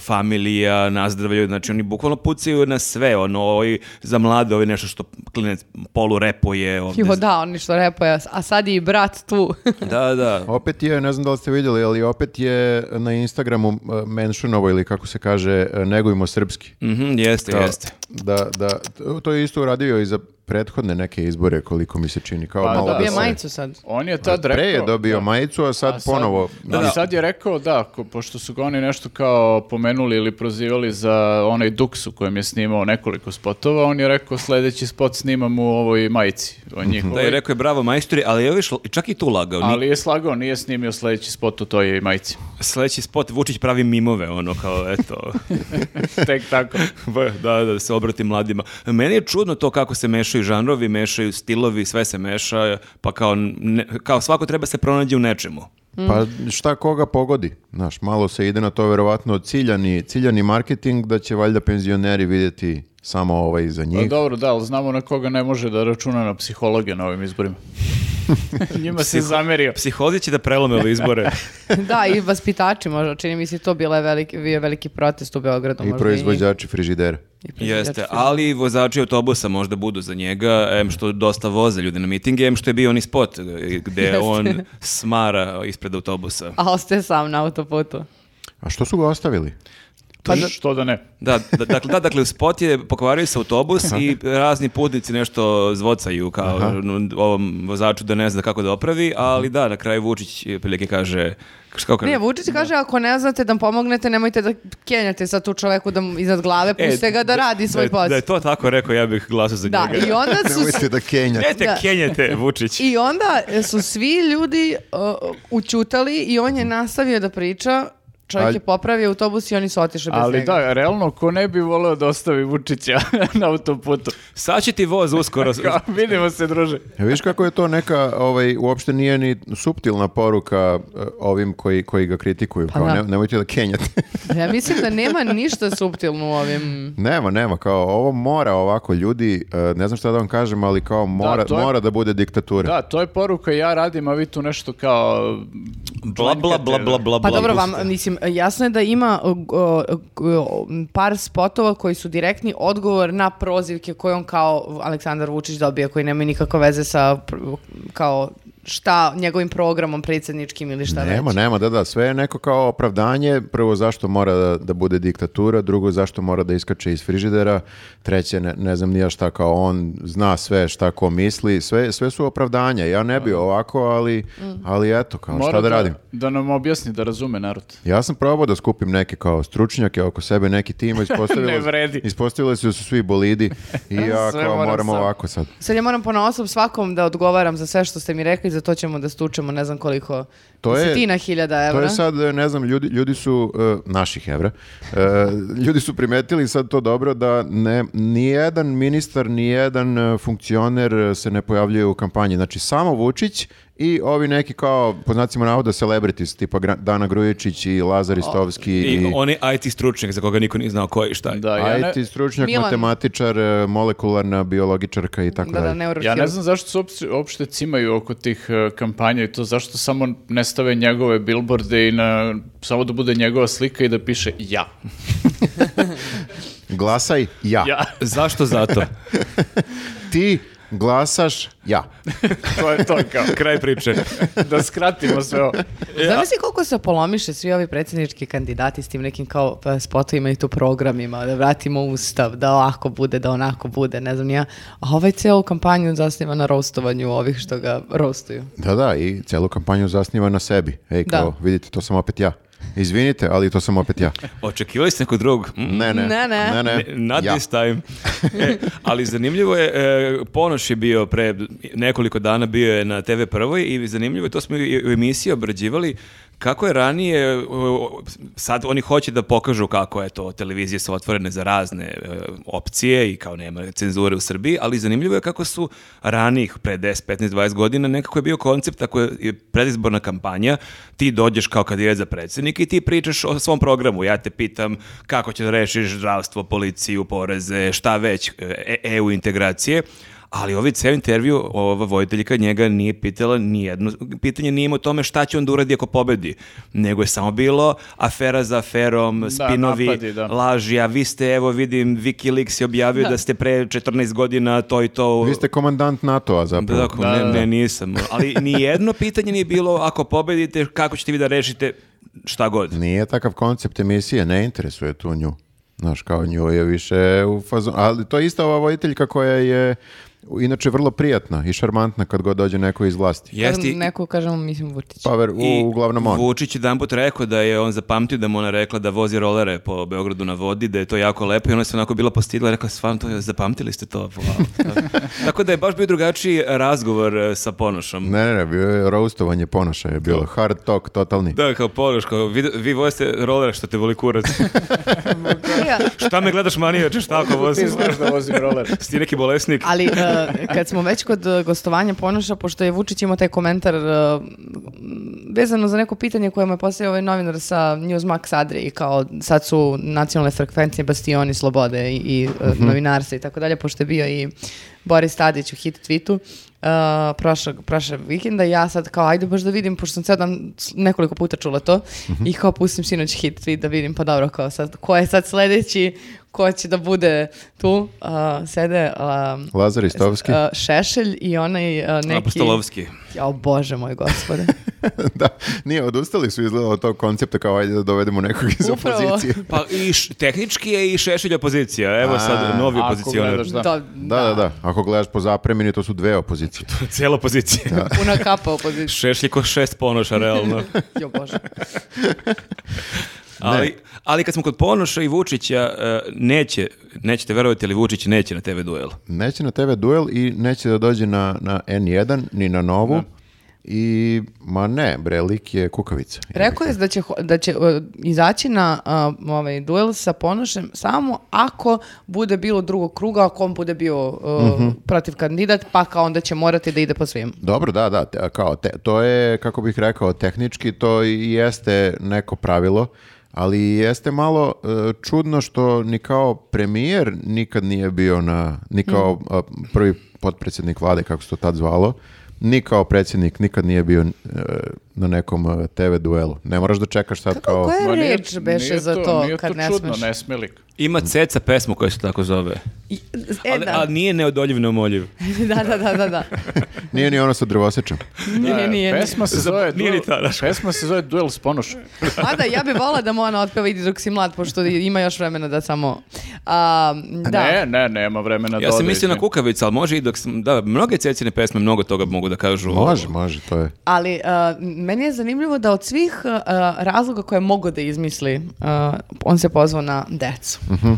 Speaker 3: familija, nazdravljaju, znači oni bukvalno pucaju na sve, ono, ovaj, za mlade, ovo je nešto što klinec polu repuje ovde.
Speaker 1: Hiho, da, on ništa repoja, a sad je i brat tu.
Speaker 3: Da, da.
Speaker 2: Opet je, ne znam da li ste vidjeli, ali opet je na Instagramu e, menšunovo ili kako se kaže, e, negujmo srpski.
Speaker 3: Mhm, jeste,
Speaker 2: Kao,
Speaker 3: jeste.
Speaker 2: Da, da, to je isto uradio i za prethodne neke izbore, koliko mi se čini. Kao
Speaker 4: Pa
Speaker 2: malo
Speaker 4: da.
Speaker 2: da
Speaker 1: Dobije
Speaker 2: se-
Speaker 1: majicu sad.
Speaker 4: On je tad rekao...
Speaker 2: Pa Pre je dobio
Speaker 4: da.
Speaker 2: majicu, a sad,
Speaker 4: A sad-
Speaker 2: ponovo.
Speaker 4: Da, ali sad je rekao, da, ko- pošto su ga oni nešto kao pomenuli ili prozivali za onaj duks u kojem je snimao nekoliko spotova, on je rekao sljedeći spot snimam u ovoj majici. O
Speaker 3: Da, i rekao je bravo majstori, ali je oviš, čak i tu lagao. Ni-
Speaker 4: Ali je slagao, nije snimio sljedeći spot u toj majici.
Speaker 3: Sljedeći spot, Vučić pravi mimove, ono kao, eto,
Speaker 4: Tek tako.
Speaker 3: Ba, da, da se obrati mladima. Meni je čudno to kako se mešaju žanrovi, mešaju stilovi, sve se meša, pa kao, ne- kao svako treba se pronađe u nečemu.
Speaker 2: Pa šta koga pogodi? Znaš, malo se ide na to verovatno ciljani, ciljani marketing da će valjda penzioneri vidjeti samo ovaj za
Speaker 4: Pa
Speaker 2: njih.
Speaker 4: dobro, da, ali znamo na koga ne može da računa na psihologe na ovim izborima. Njima se zamerio.
Speaker 3: Psihozi će da prelome ove izbore.
Speaker 1: da, i vaspitači možda, čini mi se to bila je veliki, bio veliki protest u Beogradu.
Speaker 2: I
Speaker 1: možda
Speaker 2: proizvođači frižidera.
Speaker 1: i proizvođači
Speaker 3: Jeste,
Speaker 1: filma.
Speaker 3: ali i vozači autobusa možda budu za njega, em što dosta voze ljudi na mitinge, em što je bio onaj spot e, gde
Speaker 1: Jeste.
Speaker 3: on smara ispred autobusa.
Speaker 1: A ostaje sam na autoputu.
Speaker 2: A što su ga ostavili?
Speaker 4: Pa što da ne.
Speaker 3: Da, da, dakle, da, dakle, spot je pokvario se autobus i razni putnici nešto zvocaju kao n- ovom vozaču da ne zna kako da opravi, ali da, na kraju Vučić e, prilike kaže, kaš- kako kaže?
Speaker 1: Nije, Vučić kaže, ako ne znate da mu pomognete, nemojte da kenjate sa tu čoveku da mu iznad glave,
Speaker 3: E,
Speaker 1: pustite ga da radi svoj
Speaker 3: da, je-
Speaker 1: posao.
Speaker 3: Da je to tako rekao, ja bih glasao za
Speaker 1: Da,
Speaker 3: njega.
Speaker 1: i onda su...
Speaker 2: Nemojte da Kenja.
Speaker 3: Nemojte
Speaker 1: da.
Speaker 3: kenjate, Vučić.
Speaker 1: I onda su svi ljudi uh, učutali i on je nastavio da priča, čovjek
Speaker 2: Ali-
Speaker 1: je popravio autobus i oni su otišli bez
Speaker 4: Ali
Speaker 1: njega.
Speaker 4: da, realno, ko ne bi voleo da ostavi Vučića na autoputu?
Speaker 3: Sad će ti voz uskoro.
Speaker 4: Kao, vidimo se, druže.
Speaker 2: E, Viš kako je to neka, ovaj, uopšte nije ni suptilna poruka e, ovim koji, koji ga kritikuju. Kao,
Speaker 1: da.
Speaker 2: ne- nemojte da kenjate.
Speaker 1: Ja mislim da nema ništa suptilno u ovim...
Speaker 2: nema, nema. Kao, ovo mora ovako ljudi, e, ne znam šta da vam kažem, ali kao mora
Speaker 4: to
Speaker 2: da,
Speaker 4: je-
Speaker 2: mora da bude diktatura.
Speaker 4: Da, to je poruka, ja radim, a vi tu nešto kao...
Speaker 3: bla, bla, bla, bla, bla,
Speaker 1: Pa
Speaker 3: bla.
Speaker 1: dobro, vam, mislim, jasno je da ima o, o, o, par spotova koji su direktni odgovor na prozivke koje on kao Aleksandar Vučić dobija, koji nemaju nikakve veze sa pr- kao šta njegovim programom predsjedničkim ili šta
Speaker 2: Nema,
Speaker 1: već.
Speaker 2: nema, da, da, sve je neko kao opravdanje, prvo zašto mora da, da bude diktatura, drugo zašto mora da iskače iz frižidera, treće ne, ne znam nija šta kao on zna sve šta ko misli, sve, sve su opravdanja, ja ne bi ovako, ali, ali eto, kao šta da radim.
Speaker 4: Da nam objasni, da razume narod.
Speaker 2: Ja sam probao da skupim neke kao stručnjake oko sebe, neki tim, a ispostavilo,
Speaker 4: Ne vredi.
Speaker 2: ispostavilo se da su svi bolidi i ja
Speaker 4: Sve
Speaker 2: kao
Speaker 4: moram
Speaker 2: moram
Speaker 4: sam.
Speaker 2: ovako sad.
Speaker 1: Sad ja moram ponaosob svakom da odgovaram za sve što ste mi rekli, za to ćemo da stučemo ne znam koliko
Speaker 2: To je-
Speaker 1: desetina hiljada evra.
Speaker 2: To je sad, ne znam, ljudi, ljudi su, e, naših evra, e, ljudi su primetili sad to dobro da ne, nijedan ministar, nijedan e, funkcioner e, se ne pojavljuje u kampanji. Znači, samo Vučić i ovi neki kao, po znacima navoda, celebrities, tipa Gra- Dana Grujičić i Lazar Istovski i,
Speaker 3: I on je IT stručnjak za koga niko nije znao koji i šta je.
Speaker 4: Da, ja ne,
Speaker 2: IT stručnjak,
Speaker 1: Milan.
Speaker 2: matematičar, e, molekularna biologičarka i tako
Speaker 1: Da, da,
Speaker 2: dalje.
Speaker 1: neurohirurg.
Speaker 4: ja ne znam zašto se uopšte, uopšte cimaju oko tih e, kampanja i to zašto samo ne stave njegove bilborde i na, samo da bude njegova slika i da piše ja.
Speaker 2: Glasaj, ja.
Speaker 4: Ja.
Speaker 3: Zašto zato?
Speaker 2: Ti glasaš ja.
Speaker 4: to je to kao.
Speaker 3: Kraj priče.
Speaker 4: Da skratimo sve ovo.
Speaker 1: Zamisli koliko se polomiše svi ovi predsjednički kandidati s tim nekim kao pa, spotovima i tu programima, da vratimo ustav, da ovako bude, da onako bude, ne znam ni ja. A ovaj cijelu kampanju zasniva na roastovanju ovih što ga rostuju.
Speaker 2: Da, da, i celu kampanju zasniva na sebi. Ej,
Speaker 1: Da.
Speaker 2: kao, vidite, to sam opet ja. Izvinite, ali to sam opet ja.
Speaker 3: Očekivali ste nekog drugog? Mm,
Speaker 2: Ne, ne.
Speaker 1: Ne, ne.
Speaker 2: ne,
Speaker 3: Ne, Not
Speaker 2: ja.
Speaker 3: this time. E, ali zanimljivo je, e, Ponoš je bio pre nekoliko dana bio je na TV Prvoj i zanimljivo je, to smo i u emisiji obrađivali, kako je ranije, e, o- sad oni hoće da pokažu kako je to, televizije su otvorene za razne e, opcije i kao nema cenzure u Srbiji, ali zanimljivo je kako su ranih, pre 10, 15, 20 godina, nekako je bio koncept, ako je predizborna kampanja, ti dođeš kao kandidat za predsjednik i ti pričaš o svom programu. Ja te pitam kako ćeš da rešiš zdravstvo, policiju, poreze, šta već, e, EU integracije. Ali ovi ceo intervju, ova vojiteljka njega nije pitala ni jedno pitanje, nije imao o tome šta će on da uradi ako pobedi, nego je samo bilo afera za aferom, spinovi,
Speaker 4: napadi, da.
Speaker 3: laži, a vi ste, evo vidim, Wikileaks je objavio da, ste pre 14 godina to i to...
Speaker 2: Vi ste komandant NATO-a zapravo.
Speaker 3: Da, ako ne, ne, nisam. Ali ni jedno pitanje nije bilo ako pobedite, kako ćete vi da rešite šta god.
Speaker 2: Nije takav koncept emisije, ne interesuje tu nju. Znaš, kao nju je više u fazonu. Ali to je ista ova vojiteljka koja je inače vrlo prijatna i šarmantna kad god dođe neko iz vlasti.
Speaker 3: Jeste i-
Speaker 1: Kažem, Neko, kažem, mislim, Vučić.
Speaker 2: Paver, u, uglavnom on.
Speaker 3: Vučić je put rekao da je on zapamtio da mu ona rekla da vozi rolere po Beogradu na vodi, da je to jako lepo i ona se onako bila postigla i rekla, stvarno to je, zapamtili ste to? Wow. Tako da je baš bio drugačiji razgovor e, sa Ponošom.
Speaker 2: Ne, ne, ne, bio je roastovanje ponoša, je bilo hard talk, totalni.
Speaker 3: Da, kao Ponoš, kao, vi, vi vozite rolere što te voli kurac.
Speaker 1: Ja,
Speaker 3: šta me gledaš manijače, šta ako
Speaker 4: Ti
Speaker 3: vozim?
Speaker 4: znaš da vozim roller.
Speaker 3: Sti neki bolesnik?
Speaker 1: Ali e, kad smo već kod e, gostovanja Ponoša, pošto je Vučić imao taj komentar e, vezano za neko pitanje koje mu je postavio ovaj novinar sa Newsmax Adri i kao sad su nacionalne frekvencije bastioni slobode i, i e, novinarstva i tako dalje, pošto je bio i Boris Tadić u hit tweetu e, prošlog, prošlog vikenda i ja sad kao ajde baš da vidim, pošto sam cijel dan s- nekoliko puta čula to i kao pustim sinoć hit tweet da vidim pa dobro kao sad, ko je sad sledeći ko će da bude tu, e, sede e,
Speaker 2: Lazar Istovski.
Speaker 1: Uh, Šešelj i onaj uh, neki...
Speaker 3: Apostolovski.
Speaker 1: Jao, bože moj gospode.
Speaker 2: da, nije, odustali su izgledalo od tog koncepta kao ajde da dovedemo nekog iz
Speaker 1: Upravo.
Speaker 2: opozicije.
Speaker 3: Pa i š- tehnički je i Šešelj opozicija. Evo sad
Speaker 2: A,
Speaker 3: novi
Speaker 4: ako
Speaker 3: opozicioner.
Speaker 4: gledaš, da.
Speaker 1: Da,
Speaker 2: Da, da, da. Ako gledaš po zapremini, to su dve opozicije.
Speaker 3: Cijela opozicija.
Speaker 1: Puna kapa u poziciji.
Speaker 3: Šešlj ko šest ponoša, realno.
Speaker 1: Jo, bože.
Speaker 3: ali, ali kad smo kod Ponoša i Vučića, e, neće, nećete verovati, ali Vučić neće na TV duel.
Speaker 2: Neće na TV duel i neće da dođe na, na N1, ni na Novu. I, ma ne, bre, lik je kukavica.
Speaker 1: Rekao je da će, ho- da će uh, izaći na uh, ovaj duel sa Ponošem samo ako bude bilo drugog kruga, ako on bude bio uh,
Speaker 2: Mhm.
Speaker 1: protiv kandidat, pa kao onda će morati da ide po svim.
Speaker 2: Dobro, da, da, te- kao, te- to je, kako bih rekao, tehnički to i jeste neko pravilo, ali jeste malo e, čudno što ni kao premijer nikad nije bio na, ni kao a, prvi potpredsjednik vlade, kako se to tad zvalo, ni kao predsjednik nikad nije bio e, na nekom e, TV duelu. Ne moraš da čekaš sad kao...
Speaker 1: Koja
Speaker 4: Ma
Speaker 1: je
Speaker 4: nije-
Speaker 1: reč beše
Speaker 4: nije
Speaker 1: za to
Speaker 4: nije
Speaker 1: kad ne
Speaker 4: čudno,
Speaker 1: smeš?
Speaker 4: ne sme lik.
Speaker 2: Mm.
Speaker 3: Ima Ceca pesmu koja se tako zove.
Speaker 1: I- E,
Speaker 3: Ali,
Speaker 1: da.
Speaker 3: ali nije neodoljiv, neomoljiv.
Speaker 1: da, da, da, da, da.
Speaker 2: Nije ni ono sa drvosečem.
Speaker 1: Nije, nije, nije.
Speaker 4: E, Pesma se zove,
Speaker 3: nije ni ta,
Speaker 4: duel,
Speaker 3: znaš.
Speaker 4: pesma se zove Duel s Ponošom.
Speaker 1: Mada, ja bih volila da mu ona otpeva Idi dok si mlad, pošto ima još vremena da samo... A, da.
Speaker 4: Ne, ne, nema vremena
Speaker 2: Pa
Speaker 4: da
Speaker 3: Ja sam
Speaker 4: ode
Speaker 3: mislio
Speaker 4: iz nje.
Speaker 3: na Kukavica, ali može i dok sam... Da, mnoge Cecine pesme mnogo toga mogu da kažu.
Speaker 2: Može, može, to je.
Speaker 1: Ali uh, meni je zanimljivo da od svih uh, razloga koje mogu da izmisli, uh, on se pozvao na decu.
Speaker 3: Mhm.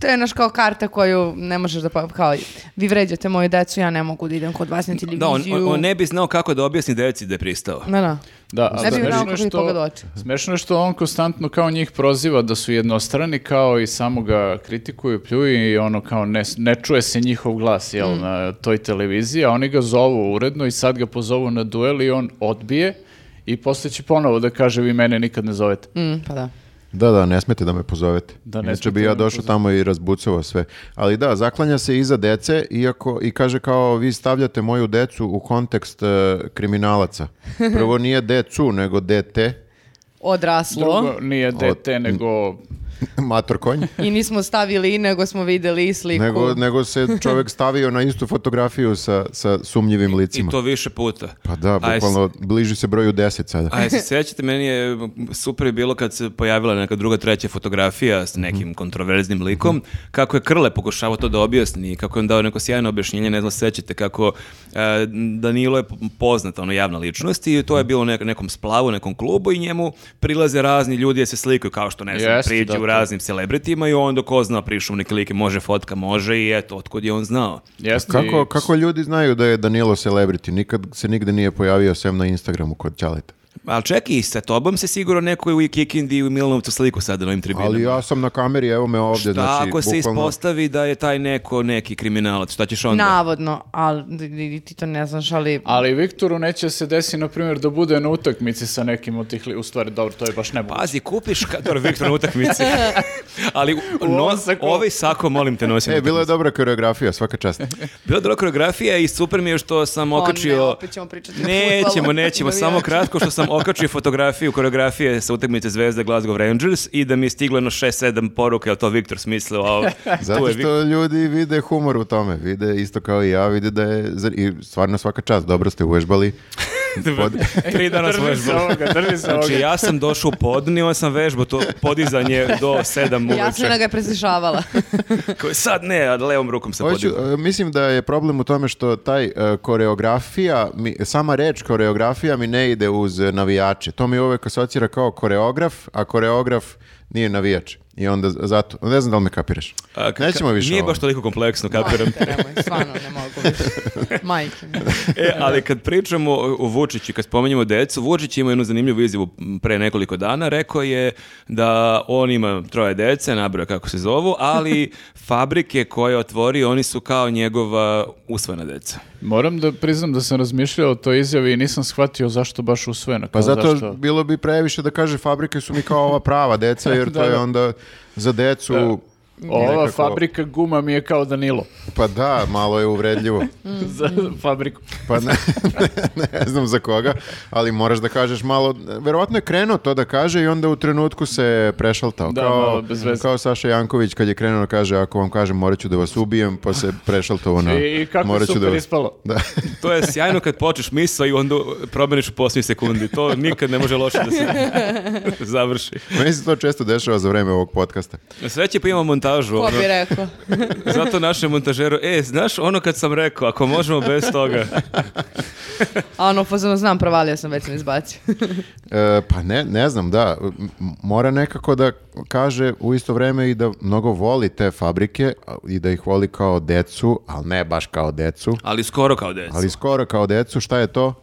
Speaker 1: To je naš kao karta koju ne možeš da... Pa, kao, vi vređate moju decu, ja ne mogu da idem kod vas na televiziju.
Speaker 3: Da, on, on- on ne bi znao kako da objasni deci da je pristao.
Speaker 1: Da, da.
Speaker 4: Da, ali
Speaker 1: Ne bi
Speaker 4: smešno
Speaker 1: znao
Speaker 4: je
Speaker 1: kako bi
Speaker 4: što-
Speaker 1: pogledao oči.
Speaker 4: Smešno je što on konstantno kao njih proziva da su jednostrani kao i samo ga kritikuju, pljuju i ono kao ne, ne čuje se njihov glas jel, na toj televiziji, a oni ga zovu uredno i sad ga pozovu na duel i on odbije i posle će ponovo da kaže vi mene nikad ne zovete.
Speaker 1: Mm, pa da.
Speaker 2: Da, da, ne smete da me pozovete.
Speaker 4: Da,
Speaker 2: Da,
Speaker 4: ne
Speaker 2: ne Inače
Speaker 4: smete
Speaker 2: bi
Speaker 4: da
Speaker 2: ja
Speaker 4: me
Speaker 2: došao tamo i razbucao sve. Ali da, zaklanja se iza dece iako, i kaže kao vi stavljate moju decu u kontekst e, kriminalaca. Prvo nije decu, nego dete.
Speaker 1: Odraslo.
Speaker 4: Drugo, nije dete, nego
Speaker 2: Mator konj.
Speaker 1: I nismo stavili i nego smo videli i sliku.
Speaker 2: Nego, nego se čovjek stavio na istu fotografiju sa, sa sumnjivim
Speaker 3: I
Speaker 2: licima.
Speaker 3: to više puta.
Speaker 2: Pa da,
Speaker 3: A jes-
Speaker 2: bukvalno bliži se broju 10 sada.
Speaker 3: A se sjećate, meni je super je bilo kad se pojavila neka druga, treća fotografija s
Speaker 4: Mhm.
Speaker 3: nekim kontroverznim likom, kako je Krle pokušavao to da objasni, kako je on dao neko sjajno objašnjenje, ne znam, sećate kako e, Danilo je poznata, ono, javna ličnost i
Speaker 4: Mhm.
Speaker 3: to je bilo u nek- nekom splavu, nekom klubu i njemu prilaze razni ljudi da se slikaju, kao što, ne znam,
Speaker 4: Jeste,
Speaker 3: priđu
Speaker 4: da, to-
Speaker 3: raznim celebritima i onda ko zna prišu neke like, može fotka, može i eto, otkud je on znao.
Speaker 4: Jeste
Speaker 2: Kako,
Speaker 4: i-
Speaker 2: kako ljudi znaju da je Danilo celebrity? Nikad se nigde nije pojavio sem na Instagramu kod Ćaleta.
Speaker 3: Ali čekaj, sa tobom se sigurno neko u Kikindi i u Milanovcu sliku sada na ovim tribinama.
Speaker 2: Ali ja sam na kameri, evo me ovdje.
Speaker 3: Šta
Speaker 2: znači,
Speaker 3: ako se
Speaker 2: bukvalno-
Speaker 3: ispostavi da je taj neko neki kriminalac, šta ćeš onda?
Speaker 1: Navodno, ali i ti to ne znaš, ali...
Speaker 4: Ali Viktoru neće se desi, na primjer, da bude na utakmici sa nekim od tih... li- U stvari, dobro, to je baš nemoguće.
Speaker 3: Pazi, kupiš Kator Viktor na utakmici. Ali u- no,
Speaker 4: ovom sakou.
Speaker 3: ovaj sako, molim te, nosim.
Speaker 2: E, bila je dobra koreografija, svaka čast.
Speaker 3: Bila je dobra koreografija i super mi je što sam
Speaker 1: O ne,
Speaker 3: okačio...
Speaker 1: opet ćemo pričati o
Speaker 3: Nećemo,
Speaker 1: fudbalu.
Speaker 3: nećemo, samo kratko što sam okačio fotografiju koreografije sa utakmice Zvezda Glasgow Rangers i da mi je stiglo jedno 6-7 poruka, je to Viktor smislio, a ovo- tu
Speaker 2: Zato
Speaker 3: je
Speaker 2: što
Speaker 3: Viktor.
Speaker 2: ljudi vide humor u tome, vide isto kao i ja, vide da je, zar- i stvarno svaka čast, dobro ste uvežbali. Pod-
Speaker 3: Tri dana smo
Speaker 4: Drži
Speaker 3: još
Speaker 4: se ovoga, drži se
Speaker 3: Znači,
Speaker 4: ovoga.
Speaker 3: ja sam došao u podnio, sam vežbao to podizanje do 7 uveče.
Speaker 1: Jasmina ga je preslišavala.
Speaker 3: Koji sad ne, a levom rukom se
Speaker 2: Hoću,
Speaker 3: podigao.
Speaker 2: e, mislim da je problem u tome što taj e, koreografija, mi, sama reč koreografija mi ne ide uz e, navijače. To mi uvek asocira kao koreograf, a koreograf nije navijač. I onda z- zato, ne znam da li me kapiraš.
Speaker 3: A, ka-
Speaker 2: Nećemo više
Speaker 3: Nije
Speaker 2: o ovom.
Speaker 3: baš toliko kompleksno, kapiram.
Speaker 1: Majke, nemoj, stvarno ne mogu više. Majke. mi.
Speaker 3: e, ali kad pričamo o o Vučiću, kad spomenjemo decu, Vučić ima jednu zanimljivu izjavu pre nekoliko dana. Rekao je da on ima troje dece, nabrao kako se zovu, ali fabrike koje je otvorio, oni su kao njegova usvojena deca.
Speaker 4: Moram da priznam da sam razmišljao o toj izjavi i nisam shvatio zašto baš usvojeno.
Speaker 2: Pa
Speaker 4: kao
Speaker 2: zato
Speaker 4: zašto-
Speaker 2: bilo bi previše da kaže fabrike su mi kao ova prava deca, jer to
Speaker 4: Da,
Speaker 2: je
Speaker 4: da.
Speaker 2: onda za decu...
Speaker 4: Ova
Speaker 2: nekako-
Speaker 4: fabrika guma mi je kao Danilo.
Speaker 2: Pa da, malo je uvredljivo.
Speaker 4: za fabriku.
Speaker 2: Pa ne, ne, ne znam za koga, ali moraš da kažeš malo, verovatno je krenuo to da kaže i onda u trenutku se prešaltao.
Speaker 4: Da,
Speaker 2: kao,
Speaker 4: malo bez veze.
Speaker 2: kao Saša Janković kad je krenuo kaže, ako vam kažem morat ću da vas ubijem, pa se prešaltao na...
Speaker 4: I, i kako
Speaker 2: "Morat ću
Speaker 4: super
Speaker 2: da vas-"
Speaker 4: ispalo.
Speaker 2: Da.
Speaker 3: To je sjajno kad počneš misao i onda promeniš u posljednjoj sekundi. To nikad ne može loše da se završi.
Speaker 2: Meni se to često dešava za vreme ovog podcasta.
Speaker 3: Na sreće pa imamo montažu.
Speaker 1: Ko
Speaker 3: ono.
Speaker 1: bi rekao?
Speaker 3: Zato našem montažeru, e, znaš ono kad sam rekao, ako možemo bez toga.
Speaker 1: A ono, pozorno znam, provalio sam, već sam izbacio.
Speaker 2: E, pa ne, ne znam, da. M- Mora nekako da kaže u isto vreme i da mnogo voli te fabrike a- i da ih voli kao decu, ali ne baš kao decu,
Speaker 3: Ali skoro kao deca.
Speaker 2: ali skoro kao decu. Šta je to?